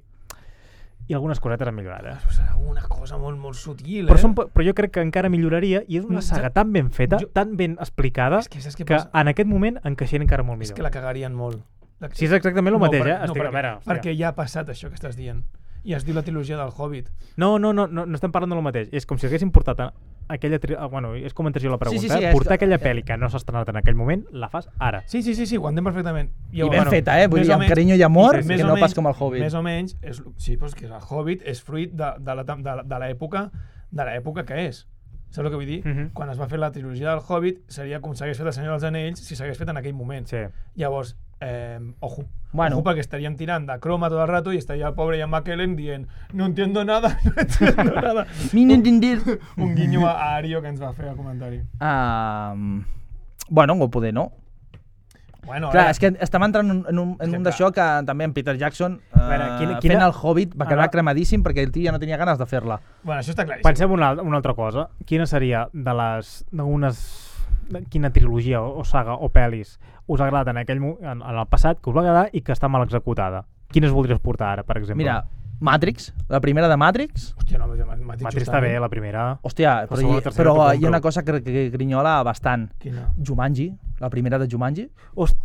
[SPEAKER 2] i algunes cosetes han millorat, eh?
[SPEAKER 4] Però serà una cosa molt, molt sutil,
[SPEAKER 2] Però,
[SPEAKER 4] eh?
[SPEAKER 2] són, po- però jo crec que encara milloraria i és una
[SPEAKER 4] Mm,
[SPEAKER 2] saga
[SPEAKER 4] saps?
[SPEAKER 2] tan ben feta,
[SPEAKER 4] Jo-
[SPEAKER 2] tan ben explicada,
[SPEAKER 4] És que saps què
[SPEAKER 2] que Ah,
[SPEAKER 4] passa?
[SPEAKER 2] en aquest moment encaixen encara molt
[SPEAKER 4] És
[SPEAKER 2] millor.
[SPEAKER 4] que la cagarien molt. La...
[SPEAKER 2] Si és exactament el mateix,
[SPEAKER 4] per-
[SPEAKER 2] eh? Estic,
[SPEAKER 4] perquè,
[SPEAKER 2] a veure, hòstia.
[SPEAKER 4] perquè ja ha passat això que estàs dient. I es diu la trilogia del Hobbit.
[SPEAKER 2] No, no, no, no, no estem parlant del mateix. És com si haguéssim portat a- aquella... Tri... ah, Bueno, és com anterior la
[SPEAKER 3] Sí,
[SPEAKER 2] pregunta.
[SPEAKER 3] sí,
[SPEAKER 2] Sí,
[SPEAKER 3] sí,
[SPEAKER 2] sí,
[SPEAKER 3] és-
[SPEAKER 2] Portar
[SPEAKER 4] eh.
[SPEAKER 2] aquella pel·li que no s'ha estrenat en aquell moment, la fas ara.
[SPEAKER 4] Sí, sí, sí, sí, ho entenc perfectament. I,
[SPEAKER 3] I ben feta, eh? Vull dir, amb carinyo i amor, que no pas com el Hobbit.
[SPEAKER 4] Més o menys, és, sí, però és que el Hobbit és fruit de, de la- de la- de l'època de l'època que és. Saps el que vull dir?
[SPEAKER 2] Mhm.
[SPEAKER 4] Quan es va fer la trilogia del Hobbit, seria com s'hagués fet el Senyor dels Anells si s'hagués fet en aquell moment.
[SPEAKER 2] Sí.
[SPEAKER 4] Llavors, eh, ojo.
[SPEAKER 3] Bueno.
[SPEAKER 4] Bueno. Ojo perquè estaríem tirant de croma tot el rato i estaria el pobre Ian McKellen dient no entiendo nada, no entiendo nada.
[SPEAKER 3] Min entender.
[SPEAKER 4] Un guinyo a Ario que ens va fer el comentari.
[SPEAKER 3] Um, bueno, o poder no.
[SPEAKER 4] Bueno,
[SPEAKER 3] Clar,
[SPEAKER 4] ara-
[SPEAKER 3] és que estem entrant en un, en un, en
[SPEAKER 4] que
[SPEAKER 3] un
[SPEAKER 4] clar.
[SPEAKER 3] d'això que també en Peter Jackson uh, veure,
[SPEAKER 2] veure,
[SPEAKER 3] quina,
[SPEAKER 2] quina-
[SPEAKER 3] quina...
[SPEAKER 2] quina-
[SPEAKER 3] fent el Hobbit va
[SPEAKER 4] Ah,
[SPEAKER 3] quedar
[SPEAKER 2] Ara-
[SPEAKER 3] cremadíssim perquè el tio ja no tenia ganes de fer-la.
[SPEAKER 4] bueno, això està claríssim.
[SPEAKER 2] Pensem una, al- una altra cosa. Quina seria de les... d'unes... de quina trilogia o, o saga o pel·lis us ha agradat en, aquell, mo- en, en el passat, que us va agradar i que està mal executada? Quines voldries portar ara, per exemple?
[SPEAKER 3] Mira, Matrix, la primera de Matrix,
[SPEAKER 4] Hòstia, no, Matrix,
[SPEAKER 2] Matrix està bé, la primera.
[SPEAKER 3] hòstia, però,
[SPEAKER 2] segona,
[SPEAKER 3] hi,
[SPEAKER 2] tercera
[SPEAKER 3] però
[SPEAKER 2] t'ho
[SPEAKER 3] hi ha una
[SPEAKER 2] compro.
[SPEAKER 3] cosa que, que grinyola bastant.
[SPEAKER 4] Quina?
[SPEAKER 3] Jumanji, la primera de Jumanji.
[SPEAKER 2] Host...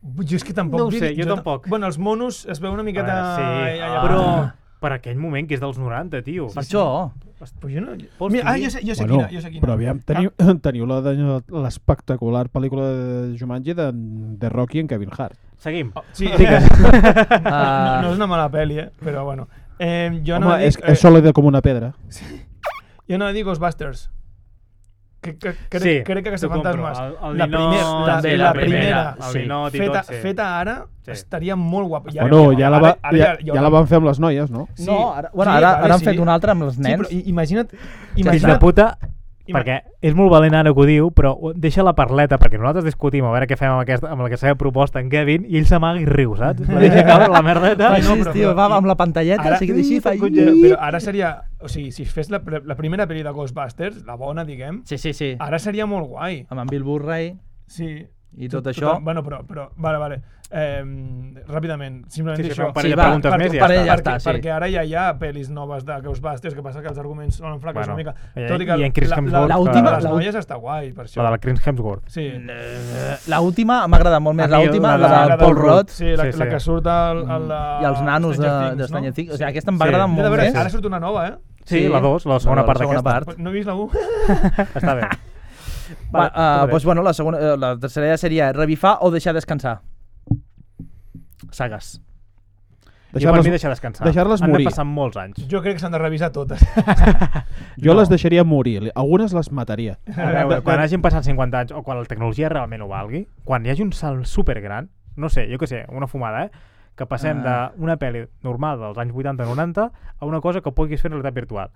[SPEAKER 4] Jo és que tampoc...
[SPEAKER 2] No ho
[SPEAKER 4] vull
[SPEAKER 2] sé,
[SPEAKER 4] dir-
[SPEAKER 2] jo tampoc.
[SPEAKER 4] Bueno, els monos es veu una
[SPEAKER 2] A
[SPEAKER 4] miqueta...
[SPEAKER 2] veure, sí, ah.
[SPEAKER 4] allà-
[SPEAKER 2] però per aquell moment que és dels 90, tio.
[SPEAKER 3] Per això,
[SPEAKER 4] Però jo no...
[SPEAKER 2] Vols
[SPEAKER 4] Mira, ah,
[SPEAKER 2] dir?
[SPEAKER 4] jo sé, jo sé
[SPEAKER 5] Bueno,
[SPEAKER 4] quina, jo sé quina. Ah.
[SPEAKER 5] però aviam, teniu, teniu la de l'espectacular pel·lícula de Jumanji de, de Rocky en Kevin Hart.
[SPEAKER 2] Seguim.
[SPEAKER 4] Oh, sí,
[SPEAKER 2] Digues.
[SPEAKER 4] no,
[SPEAKER 3] Ah,
[SPEAKER 4] no, no és una mala pel·li, eh? però bueno. Eh, jo
[SPEAKER 5] Home,
[SPEAKER 4] no
[SPEAKER 5] és, és sòlida com una pedra.
[SPEAKER 4] Jo no dic Ghostbusters. Que, que, crec,
[SPEAKER 2] Sí,
[SPEAKER 4] crec que
[SPEAKER 2] t'ho
[SPEAKER 4] Cazafantasmes,
[SPEAKER 2] compro. El- el
[SPEAKER 4] la
[SPEAKER 2] Ninot,
[SPEAKER 4] primera, la,
[SPEAKER 2] també,
[SPEAKER 4] la,
[SPEAKER 2] la
[SPEAKER 4] primera,
[SPEAKER 2] primera, el Ninot i
[SPEAKER 4] feta,
[SPEAKER 2] tot, sí.
[SPEAKER 4] feta ara,
[SPEAKER 2] Sí.
[SPEAKER 4] estaria molt guapa.
[SPEAKER 5] Ja, bueno, ja, la va, ja, ja, la van fer amb les noies, no?
[SPEAKER 4] Sí.
[SPEAKER 3] No, ara, bueno,
[SPEAKER 4] Sí,
[SPEAKER 3] ara,
[SPEAKER 4] vale,
[SPEAKER 3] ara han
[SPEAKER 4] sí.
[SPEAKER 3] fet una altra amb els
[SPEAKER 4] Sí,
[SPEAKER 3] nens.
[SPEAKER 4] però i- imagina't...
[SPEAKER 2] Fills de
[SPEAKER 4] imagina't
[SPEAKER 2] puta,
[SPEAKER 4] Ima-
[SPEAKER 2] perquè és molt valent ara que ho diu, però ho- deixa la parleta, perquè nosaltres discutim a veure què fem amb, aquesta, amb la seva proposta en Kevin, i ell s'amaga i riu, saps? La deixa caure la merdeta.
[SPEAKER 4] Ai,
[SPEAKER 3] Sí,
[SPEAKER 4] Ah, no, però-
[SPEAKER 3] tio,
[SPEAKER 4] però-
[SPEAKER 3] va, va amb la pantalleta,
[SPEAKER 4] Ara-
[SPEAKER 3] ara... sigui així, fa...
[SPEAKER 2] Ui,
[SPEAKER 4] Però,
[SPEAKER 2] Ui.
[SPEAKER 4] però ara seria... O sigui, si fes la, pre- la primera pel·li de Ghostbusters, la bona, diguem,
[SPEAKER 3] Sí, sí, sí.
[SPEAKER 4] ara seria molt guai.
[SPEAKER 3] Ah, Amb en Bill Murray
[SPEAKER 4] Sí.
[SPEAKER 3] i tot,
[SPEAKER 4] Tot-
[SPEAKER 3] això.
[SPEAKER 4] tot- bueno, però, però, vale, vale. Eh, ràpidament, simplement
[SPEAKER 2] Sí, sí,
[SPEAKER 4] dir
[SPEAKER 2] fa
[SPEAKER 4] això.
[SPEAKER 2] un parell
[SPEAKER 3] Sí,
[SPEAKER 2] de
[SPEAKER 3] va,
[SPEAKER 2] preguntes
[SPEAKER 3] per-
[SPEAKER 2] més i
[SPEAKER 3] per
[SPEAKER 2] ja està.
[SPEAKER 3] ella.
[SPEAKER 4] perquè,
[SPEAKER 3] està, sí.
[SPEAKER 4] perquè ara ja hi ha pel·lis noves de Ghostbusters, que passa que els arguments solen flaques
[SPEAKER 2] Bueno,
[SPEAKER 4] una mica.
[SPEAKER 2] eh,
[SPEAKER 4] Tot i que
[SPEAKER 2] i en Chris
[SPEAKER 4] la- la-
[SPEAKER 2] Hemsworth, eh,
[SPEAKER 4] l'última
[SPEAKER 3] que-
[SPEAKER 4] de les noies està guai, per això.
[SPEAKER 2] La de la Chris Hemsworth.
[SPEAKER 4] Sí.
[SPEAKER 3] L'última Eh, m'ha agradat molt més,
[SPEAKER 2] A mi
[SPEAKER 3] l'última,
[SPEAKER 2] la
[SPEAKER 3] la,
[SPEAKER 2] de-
[SPEAKER 3] de Paul Rudd
[SPEAKER 4] Sí, la,
[SPEAKER 2] Sí, sí.
[SPEAKER 4] la que surt al, al,
[SPEAKER 3] Mm. i els nanos de,
[SPEAKER 4] Stranger Things,
[SPEAKER 3] de Stranger
[SPEAKER 4] no?
[SPEAKER 3] Things. O
[SPEAKER 4] Sí.
[SPEAKER 3] sigui, aquesta em va
[SPEAKER 2] Sí. Ja
[SPEAKER 3] agradar
[SPEAKER 4] He de
[SPEAKER 3] molt
[SPEAKER 4] veure,
[SPEAKER 3] més.
[SPEAKER 4] ara surt una nova, eh?
[SPEAKER 2] Sí, la dos, la segona part
[SPEAKER 3] segona
[SPEAKER 2] d'aquesta.
[SPEAKER 3] part.
[SPEAKER 4] No he vist la 1?
[SPEAKER 2] Està bé.
[SPEAKER 3] Va, uh,
[SPEAKER 2] tu
[SPEAKER 3] doncs, bueno, la, segona, eh, la tercera ja seria revifar o deixar descansar. Sagues.
[SPEAKER 2] jo per mi
[SPEAKER 5] Deixar-les-
[SPEAKER 2] deixar descansar.
[SPEAKER 5] deixar-les
[SPEAKER 2] Han
[SPEAKER 5] morir.
[SPEAKER 2] de passar molts anys.
[SPEAKER 4] Jo crec que s'han de revisar totes.
[SPEAKER 5] Jo les deixaria morir, li- algunes les mataria.
[SPEAKER 2] A veure, quan hagin passat 50 anys o quan la tecnologia realment ho valgui, quan hi hagi un salt supergran, no sé, jo que sé, una fumada, eh? que passem
[SPEAKER 3] Ah.
[SPEAKER 2] d'una pel·li normal dels anys 80-90 a una cosa que puguis fer en realitat virtual.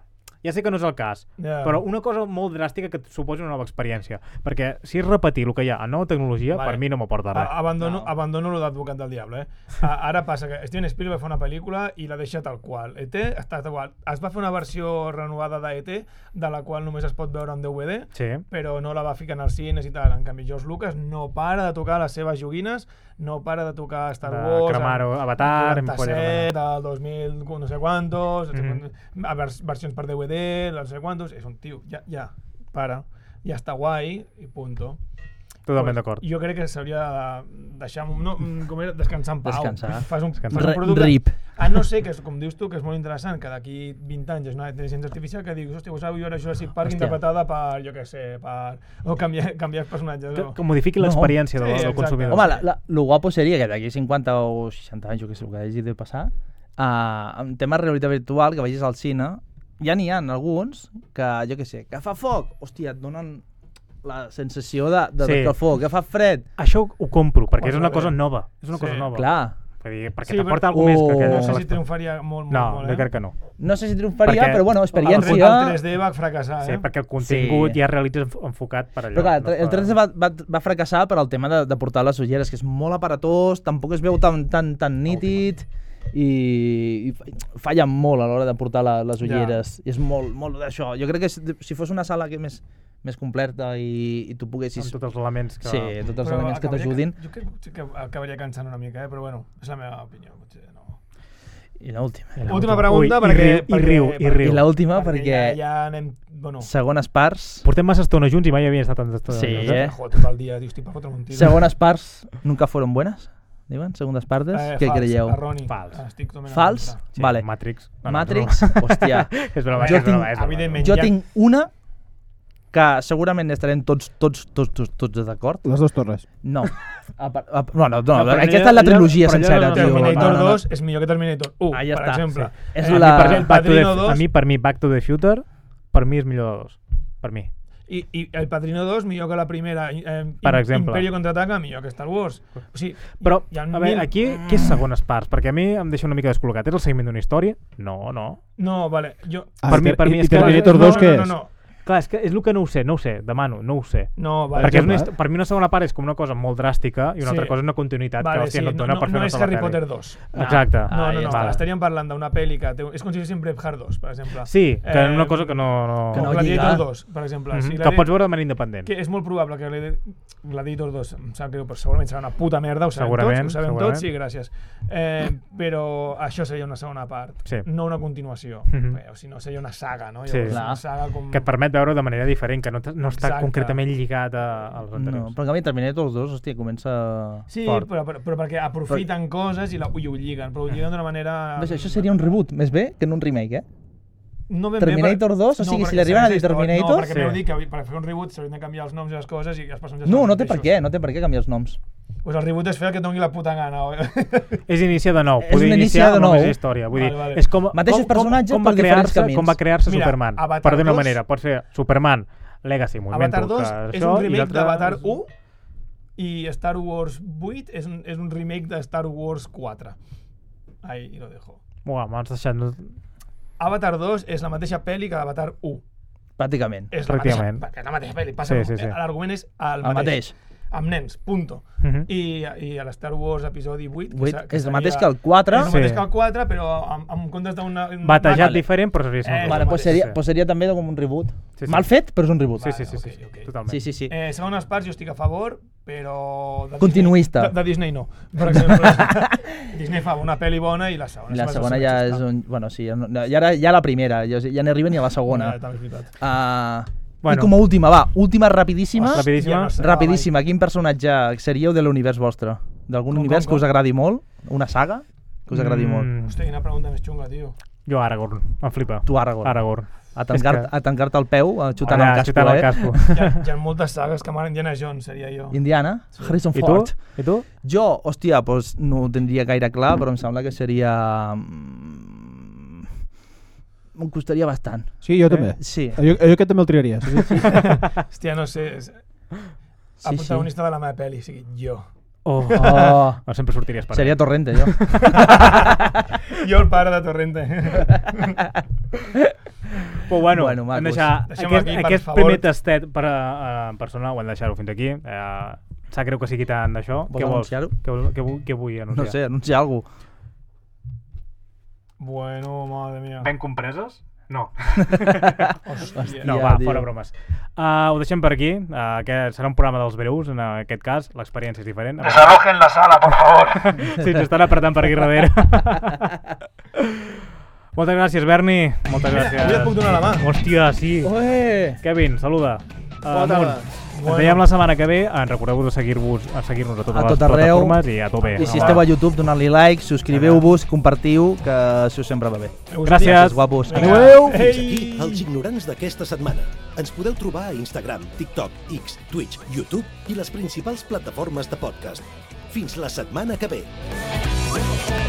[SPEAKER 2] Ja sé que no és el cas,
[SPEAKER 4] Ja.
[SPEAKER 2] però una cosa molt dràstica que et suposi una nova experiència. Perquè si és repetir el que hi ha en nova tecnologia,
[SPEAKER 4] Vale. Ah,
[SPEAKER 2] per mi no m'aporta res.
[SPEAKER 4] A- Abandono, no. abandono lo d'advocat del diable, eh? A, ara passa que Steven Spielberg fa una pel·lícula i la deixa tal qual. ET està tal qual. Es va fer una versió renovada d'ET, de la qual només es pot veure en DVD,
[SPEAKER 2] Sí.
[SPEAKER 4] però no la va ficar en els cines i tal. En canvi, George Lucas no para de tocar les seves joguines, no para de tocar Star
[SPEAKER 2] De
[SPEAKER 4] Wars...
[SPEAKER 2] cremar-ho,
[SPEAKER 4] en
[SPEAKER 2] Avatar,
[SPEAKER 4] 47, el 2000, no sé quantos,
[SPEAKER 2] Mhm.
[SPEAKER 4] a vers versions per DVD, no sé quantos... És un tio, ja, ja, para. Ja està guai i punto.
[SPEAKER 2] Totalment
[SPEAKER 4] Pues,
[SPEAKER 2] d'acord.
[SPEAKER 4] Jo crec que s'hauria de deixar... No, mm, com era? Descansar en pau.
[SPEAKER 3] Descansar.
[SPEAKER 4] Fas un, fas
[SPEAKER 3] Re-
[SPEAKER 4] un producte...
[SPEAKER 3] rip.
[SPEAKER 4] A no ser que, és- com dius tu, que és molt interessant, que d'aquí 20 anys és una intel·ligència artificial que dius, hòstia, vos sabeu, jo era Jurassic Park
[SPEAKER 3] Ah, Hòstia.
[SPEAKER 4] interpretada per, jo què sé, per... o canviar, canviar els personatges.
[SPEAKER 2] Que,
[SPEAKER 4] o...
[SPEAKER 2] que modifiqui
[SPEAKER 3] No.
[SPEAKER 2] l'experiència
[SPEAKER 4] Sí,
[SPEAKER 2] del, del
[SPEAKER 4] exacte.
[SPEAKER 2] consumidor.
[SPEAKER 3] Home, la, la, lo guapo seria que d'aquí 50 o 60 anys, jo què sé, el que hagi de passar, uh, en tema de realitat virtual, que vagis al cine, ja n'hi ha alguns que, jo què sé, que fa foc, hòstia, et donen la sensació de, de,
[SPEAKER 2] Sí.
[SPEAKER 3] sí. que foc, que fa fred,
[SPEAKER 2] Això ho ho compro, perquè
[SPEAKER 4] Bueno,
[SPEAKER 2] és una
[SPEAKER 4] a
[SPEAKER 2] cosa
[SPEAKER 4] veure.
[SPEAKER 2] nova. És una
[SPEAKER 4] Sí.
[SPEAKER 2] cosa nova.
[SPEAKER 3] clar.
[SPEAKER 2] Vull dir, perquè
[SPEAKER 4] Sí, però-
[SPEAKER 2] t'aporta alguna més que
[SPEAKER 3] Oh.
[SPEAKER 2] aquella...
[SPEAKER 4] No
[SPEAKER 2] que
[SPEAKER 4] sé si
[SPEAKER 2] l'experiència-
[SPEAKER 4] triomfaria molt, molt,
[SPEAKER 2] No,
[SPEAKER 4] molt, eh?
[SPEAKER 2] jo crec que no.
[SPEAKER 3] No sé si triomfaria,
[SPEAKER 2] Perquè
[SPEAKER 3] perquè, però bueno,
[SPEAKER 4] El,
[SPEAKER 3] experiència...
[SPEAKER 4] el 3D va fracassar,
[SPEAKER 2] Sí,
[SPEAKER 4] eh?
[SPEAKER 2] perquè el contingut
[SPEAKER 3] Sí.
[SPEAKER 2] ja realitza enf- enfocat per allò.
[SPEAKER 3] Però clar,
[SPEAKER 2] no
[SPEAKER 3] el 3D va, va, va fracassar per al tema de, de portar les ulleres, que és molt aparatós, tampoc es veu tan, tan, tan nítid i, i fa- falla molt a l'hora de portar la, les
[SPEAKER 4] Ja.
[SPEAKER 3] ulleres. I és molt, molt d'això. Jo crec que si, si fos una sala que més, més completa i, i tu
[SPEAKER 2] Amb
[SPEAKER 3] poguessis...
[SPEAKER 2] tots els elements que...
[SPEAKER 3] Sí, tots els
[SPEAKER 4] Però
[SPEAKER 3] elements Doncs que
[SPEAKER 4] acabaria
[SPEAKER 3] t'ajudin.
[SPEAKER 4] Jo crec potser que acabaria cansant una mica, eh? però bueno, és la meva opinió. Potser no.
[SPEAKER 3] I l'última.
[SPEAKER 2] Era
[SPEAKER 4] Última
[SPEAKER 2] molt-
[SPEAKER 4] pregunta,
[SPEAKER 2] Ui,
[SPEAKER 4] perquè...
[SPEAKER 2] I riu, i riu, i riu.
[SPEAKER 3] I l'última,
[SPEAKER 4] Ja,
[SPEAKER 3] perquè,
[SPEAKER 4] ja anem... Bueno,
[SPEAKER 3] segones parts...
[SPEAKER 2] Portem massa estona junts i mai havien estat tanta estona
[SPEAKER 3] Sí,
[SPEAKER 2] junts.
[SPEAKER 3] eh?
[SPEAKER 4] joder, tot el dia, dius, estic per fotre un tiro.
[SPEAKER 3] Segones parts nunca fueron buenas? Diuen, segundes partes? Què
[SPEAKER 4] Eh, fals,
[SPEAKER 3] creieu?
[SPEAKER 4] erroni.
[SPEAKER 2] Fals.
[SPEAKER 4] Estic totalment
[SPEAKER 3] Fals?
[SPEAKER 4] en contra.
[SPEAKER 2] Sí,
[SPEAKER 3] vale.
[SPEAKER 2] Matrix.
[SPEAKER 3] Matrix, hòstia.
[SPEAKER 2] és broma,
[SPEAKER 3] Jo
[SPEAKER 2] és broma,
[SPEAKER 3] tinc-
[SPEAKER 2] és broma.
[SPEAKER 4] evidentment.
[SPEAKER 3] Jo
[SPEAKER 4] Ja-
[SPEAKER 3] tinc una que segurament estarem tots, tots, tots, tots, tots d'acord.
[SPEAKER 5] Les dues torres.
[SPEAKER 3] No. A, par- a, no, no, no,
[SPEAKER 2] No, però allò-
[SPEAKER 3] aquesta és la
[SPEAKER 2] allò-
[SPEAKER 3] trilogia
[SPEAKER 2] però allò
[SPEAKER 3] sencera,
[SPEAKER 2] no-
[SPEAKER 3] tio.
[SPEAKER 4] Terminator
[SPEAKER 3] No, no, no.
[SPEAKER 4] 2 és millor que Terminator 1,
[SPEAKER 3] Ah, ja
[SPEAKER 4] per
[SPEAKER 3] està,
[SPEAKER 4] exemple.
[SPEAKER 3] sí. És
[SPEAKER 4] Eh,
[SPEAKER 2] A mi,
[SPEAKER 3] la-
[SPEAKER 2] per exemple, Back to the-
[SPEAKER 4] Padrino 2.
[SPEAKER 2] A mi, per mi, Back to the Future, per mi és millor de dos. per mi.
[SPEAKER 4] I, I el Padrino 2 millor que la primera. i- Eh,
[SPEAKER 2] Per
[SPEAKER 4] Im-
[SPEAKER 2] exemple. Pues,
[SPEAKER 4] Imperio contraataca millor que Star Wars. O sigui,
[SPEAKER 2] Però,
[SPEAKER 4] hi ha
[SPEAKER 2] a veure,
[SPEAKER 4] mil- Mm.
[SPEAKER 2] aquí, què és segones parts? Perquè a mi em deixa una mica descol·locat. És el seguiment d'una història? No, no.
[SPEAKER 4] No, vale. Jo...
[SPEAKER 5] Ah,
[SPEAKER 2] per
[SPEAKER 5] i
[SPEAKER 2] mi-
[SPEAKER 5] Ter-
[SPEAKER 2] per mi
[SPEAKER 5] i-
[SPEAKER 2] és
[SPEAKER 5] I
[SPEAKER 2] que-
[SPEAKER 5] Terminator
[SPEAKER 4] no,
[SPEAKER 5] 2 què
[SPEAKER 4] no,
[SPEAKER 5] és?
[SPEAKER 4] No, no,
[SPEAKER 2] Clar, és que és el que no ho sé, no ho sé, demano, no ho sé.
[SPEAKER 4] no, no vale.
[SPEAKER 2] Perquè és una,
[SPEAKER 5] exemple,
[SPEAKER 2] histo- per mi una segona part és com una cosa molt dràstica i una
[SPEAKER 4] Sí.
[SPEAKER 2] altra cosa és una continuïtat
[SPEAKER 4] vale,
[SPEAKER 2] que, hòstia,
[SPEAKER 4] sí,
[SPEAKER 2] no et dona
[SPEAKER 4] no,
[SPEAKER 2] per fer
[SPEAKER 4] no,
[SPEAKER 2] una
[SPEAKER 4] és
[SPEAKER 2] sola
[SPEAKER 4] Harry
[SPEAKER 2] pel·li.
[SPEAKER 4] Potter 2.
[SPEAKER 2] Exacte.
[SPEAKER 4] No,
[SPEAKER 3] Ah,
[SPEAKER 4] no,
[SPEAKER 3] ja
[SPEAKER 4] no,
[SPEAKER 2] està.
[SPEAKER 4] estaríem parlant d'una pel·li que té... És com si féssim Brave Hard 2, per exemple.
[SPEAKER 2] Sí, que eh, una cosa que no... no...
[SPEAKER 3] que
[SPEAKER 4] Que
[SPEAKER 3] no
[SPEAKER 4] no
[SPEAKER 3] lliga.
[SPEAKER 4] Gladiator 2, per exemple.
[SPEAKER 2] Mhm,
[SPEAKER 4] Si
[SPEAKER 2] que
[SPEAKER 4] Gladi-
[SPEAKER 2] pots veure de manera independent.
[SPEAKER 4] que és molt probable que Gladi- Gladiator 2, em sap greu, però segurament serà una puta merda, ho sabem
[SPEAKER 2] Segurament,
[SPEAKER 4] tots, ho sabem
[SPEAKER 2] segurament.
[SPEAKER 4] tots, sí, gràcies. Eh, però això seria una segona part,
[SPEAKER 2] Sí.
[SPEAKER 4] no una continuació.
[SPEAKER 2] Mhm.
[SPEAKER 4] Bé, o si no, seria una saga, no?
[SPEAKER 2] Sí.
[SPEAKER 4] Llavors,
[SPEAKER 3] Clar.
[SPEAKER 4] una saga com...
[SPEAKER 2] que et permet veure de manera diferent, que no, t- no està
[SPEAKER 4] Exacte.
[SPEAKER 2] concretament lligat a, als
[SPEAKER 3] No,
[SPEAKER 2] anteriors.
[SPEAKER 3] però en canvi Terminator 2, hòstia, comença...
[SPEAKER 4] Sí,
[SPEAKER 2] fort.
[SPEAKER 4] però, però, però, perquè aprofiten coses i, la, i ho lliguen, però ho lliguen d'una manera...
[SPEAKER 3] Vaja, Doncs això seria un reboot, més bé que no un remake, eh?
[SPEAKER 4] No ben
[SPEAKER 3] Terminator 2, o sigui, si li arriben a dir
[SPEAKER 4] No,
[SPEAKER 3] Terminator-
[SPEAKER 4] perquè
[SPEAKER 2] Sí.
[SPEAKER 4] m'heu dit que avui- per fer un reboot s'haurien de canviar els noms i les coses i els personatges...
[SPEAKER 3] No,
[SPEAKER 4] són els
[SPEAKER 3] no té per
[SPEAKER 4] mateixos.
[SPEAKER 3] què, no té per què canviar els noms.
[SPEAKER 4] Pues el reboot és fer el que et doni la puta gana. oi?
[SPEAKER 2] És iniciar de nou,
[SPEAKER 3] És
[SPEAKER 2] poder
[SPEAKER 3] un
[SPEAKER 2] iniciar
[SPEAKER 3] iniciar de
[SPEAKER 2] de nou.
[SPEAKER 3] nou.
[SPEAKER 2] Només història. Vull
[SPEAKER 4] Vale,
[SPEAKER 2] dir,
[SPEAKER 4] vale.
[SPEAKER 2] és com,
[SPEAKER 3] Mateixos
[SPEAKER 2] com, com,
[SPEAKER 3] personatges
[SPEAKER 2] com va
[SPEAKER 3] perquè diferents
[SPEAKER 2] crear-se
[SPEAKER 3] camins.
[SPEAKER 2] com va crear-se
[SPEAKER 4] Mira,
[SPEAKER 2] Superman.
[SPEAKER 4] Avatar
[SPEAKER 2] Però d'una
[SPEAKER 4] 2.
[SPEAKER 2] manera, pots fer Superman Legacy, m'ho invento.
[SPEAKER 4] Avatar 2
[SPEAKER 2] que
[SPEAKER 4] és
[SPEAKER 2] això,
[SPEAKER 4] un
[SPEAKER 2] i
[SPEAKER 4] remake
[SPEAKER 2] l'altre
[SPEAKER 4] d'Avatar
[SPEAKER 2] és-
[SPEAKER 4] 1 i Star Wars 8 és un, és un remake de Star Wars 4. Ahí lo dejo.
[SPEAKER 2] Buah, m'has deixat...
[SPEAKER 4] Avatar 2 és la mateixa pel·li que Avatar 1.
[SPEAKER 3] Pràcticament.
[SPEAKER 4] És la mateixa,
[SPEAKER 2] Pràcticament.
[SPEAKER 4] perquè és la mateixa pel·li. Passa, eh,
[SPEAKER 2] Sí, sí, sí.
[SPEAKER 4] L'argument és el
[SPEAKER 3] El
[SPEAKER 4] mateix.
[SPEAKER 3] mateix.
[SPEAKER 4] Amb nens, punto.
[SPEAKER 2] Mhm.
[SPEAKER 4] I, I a l'Star Wars episodi 8...
[SPEAKER 3] Vuit,
[SPEAKER 4] sa-
[SPEAKER 3] és el
[SPEAKER 4] seria-
[SPEAKER 3] mateix que el 4.
[SPEAKER 4] És el
[SPEAKER 2] Sí.
[SPEAKER 4] mateix que el 4, però amb, amb comptes d'una... un-
[SPEAKER 2] Batejat
[SPEAKER 4] Vale.
[SPEAKER 2] diferent, però seria
[SPEAKER 4] Eh,
[SPEAKER 2] similar.
[SPEAKER 3] Vale,
[SPEAKER 4] el
[SPEAKER 3] doncs
[SPEAKER 4] mateix,
[SPEAKER 3] seria,
[SPEAKER 2] sí.
[SPEAKER 3] doncs seria també com un reboot.
[SPEAKER 2] Sí, sí.
[SPEAKER 3] Mal fet, però és un reboot.
[SPEAKER 2] Sí, sí, sí,
[SPEAKER 4] Vale,
[SPEAKER 2] sí, sí,
[SPEAKER 4] ok, ok.
[SPEAKER 2] totalment.
[SPEAKER 3] sí, sí, sí.
[SPEAKER 4] Eh, segones parts jo estic a favor, però... De
[SPEAKER 3] Continuista.
[SPEAKER 4] Disney, de, de Disney no, per exemple. Disney fa una pel·li bona i la segona...
[SPEAKER 3] I la
[SPEAKER 4] se va
[SPEAKER 3] segona
[SPEAKER 4] ser-
[SPEAKER 3] ja
[SPEAKER 4] està.
[SPEAKER 3] és un... Bueno, sí, ja, no, ja, ara, ja la primera, ja, ja no arriba ni a la segona.
[SPEAKER 4] Ja, també és veritat.
[SPEAKER 3] Uh, bueno.
[SPEAKER 2] Bueno.
[SPEAKER 3] I com a última, va, última rapidíssima.
[SPEAKER 2] Hòstia, Rapidíssima.
[SPEAKER 4] Ja no sé. Ah,
[SPEAKER 3] Rapidíssima, quin personatge seríeu de l'univers vostre? D'algun
[SPEAKER 4] Com,
[SPEAKER 3] univers
[SPEAKER 4] com,
[SPEAKER 3] que us
[SPEAKER 4] com?
[SPEAKER 3] agradi molt? Una saga que us
[SPEAKER 2] Mm,
[SPEAKER 3] agradi molt?
[SPEAKER 4] Hòstia, quina pregunta més xunga, tio.
[SPEAKER 2] Jo Aragorn, em flipa.
[SPEAKER 3] Tu, Aragorn.
[SPEAKER 2] Aragorn.
[SPEAKER 3] A tancar-te
[SPEAKER 2] És que-
[SPEAKER 3] a tancar el peu, a xutant
[SPEAKER 2] Allà,
[SPEAKER 3] el casco,
[SPEAKER 2] xutant
[SPEAKER 3] eh?
[SPEAKER 2] el casco.
[SPEAKER 4] Hi ha, hi ha moltes sagues que m'agraden Indiana Jones, seria jo.
[SPEAKER 3] Indiana, Harrison
[SPEAKER 2] I tu?
[SPEAKER 3] Ford.
[SPEAKER 2] I tu?
[SPEAKER 3] Jo, hòstia, doncs no ho tindria gaire clar, però em sembla que seria... mm, Em costaria bastant.
[SPEAKER 5] Sí,
[SPEAKER 4] Eh?
[SPEAKER 5] jo també.
[SPEAKER 3] Sí.
[SPEAKER 5] Jo, jo aquest també el triaria. Sí, sí.
[SPEAKER 4] Hòstia, no sé, és
[SPEAKER 3] sí,
[SPEAKER 4] el
[SPEAKER 3] sí.
[SPEAKER 4] protagonista de la meva pel·li, o sigui, jo.
[SPEAKER 2] Oh.
[SPEAKER 3] Oh,
[SPEAKER 2] No, sempre sortiries per
[SPEAKER 3] seria
[SPEAKER 2] tot.
[SPEAKER 3] Torrente, jo.
[SPEAKER 4] Jo el pare de Torrente.
[SPEAKER 2] Però bueno, bueno
[SPEAKER 3] Bueno, macos.
[SPEAKER 2] hem de deixar
[SPEAKER 4] Deixem-ho
[SPEAKER 2] aquest,
[SPEAKER 4] aquí, per
[SPEAKER 2] aquest
[SPEAKER 4] favor.
[SPEAKER 2] primer tastet per, uh, en persona, ho hem de deixar-ho fins aquí. Uh, sap greu que sigui tant d'això.
[SPEAKER 3] Vols
[SPEAKER 2] Què vols?
[SPEAKER 3] anunciar-ho?
[SPEAKER 2] Què, vol, què, vull, què vull
[SPEAKER 3] No
[SPEAKER 2] anunciar?
[SPEAKER 3] sé, anuncia alguna cosa.
[SPEAKER 4] bueno, madre mía.
[SPEAKER 2] Ben compreses? No.
[SPEAKER 4] Hòstia.
[SPEAKER 2] No,
[SPEAKER 3] Ja,
[SPEAKER 2] va,
[SPEAKER 3] tio.
[SPEAKER 2] fora bromes. Uh, ho deixem per aquí. Uh, que serà un programa dels breus, en aquest cas. L'experiència és diferent. A veure-
[SPEAKER 9] Desalojen la sala, por favor.
[SPEAKER 2] Sí, ens estan apretant per aquí darrere. Moltes gràcies, Berni. Moltes gràcies.
[SPEAKER 4] Jo et puc donar la mà.
[SPEAKER 2] Hòstia, sí.
[SPEAKER 3] Ué!
[SPEAKER 2] Kevin, saluda. Eh,
[SPEAKER 5] Bona
[SPEAKER 2] Amunt.
[SPEAKER 5] tarda.
[SPEAKER 2] Ens veiem la setmana que ve. En recordeu de seguir-vos a seguir-nos a totes
[SPEAKER 3] A
[SPEAKER 2] les
[SPEAKER 3] tot arreu.
[SPEAKER 2] plataformes i a tope.
[SPEAKER 3] I si esteu a YouTube, donant-li like, subscriveu-vos, compartiu, que això sempre va bé.
[SPEAKER 2] Gràcies.
[SPEAKER 3] Guapos.
[SPEAKER 4] Vinga.
[SPEAKER 3] Adéu!
[SPEAKER 1] Fins
[SPEAKER 4] Ei!
[SPEAKER 1] aquí els ignorants d'aquesta setmana. Ens podeu trobar a Instagram, TikTok, X, Twitch, YouTube i les principals plataformes de podcast. Fins la setmana que ve.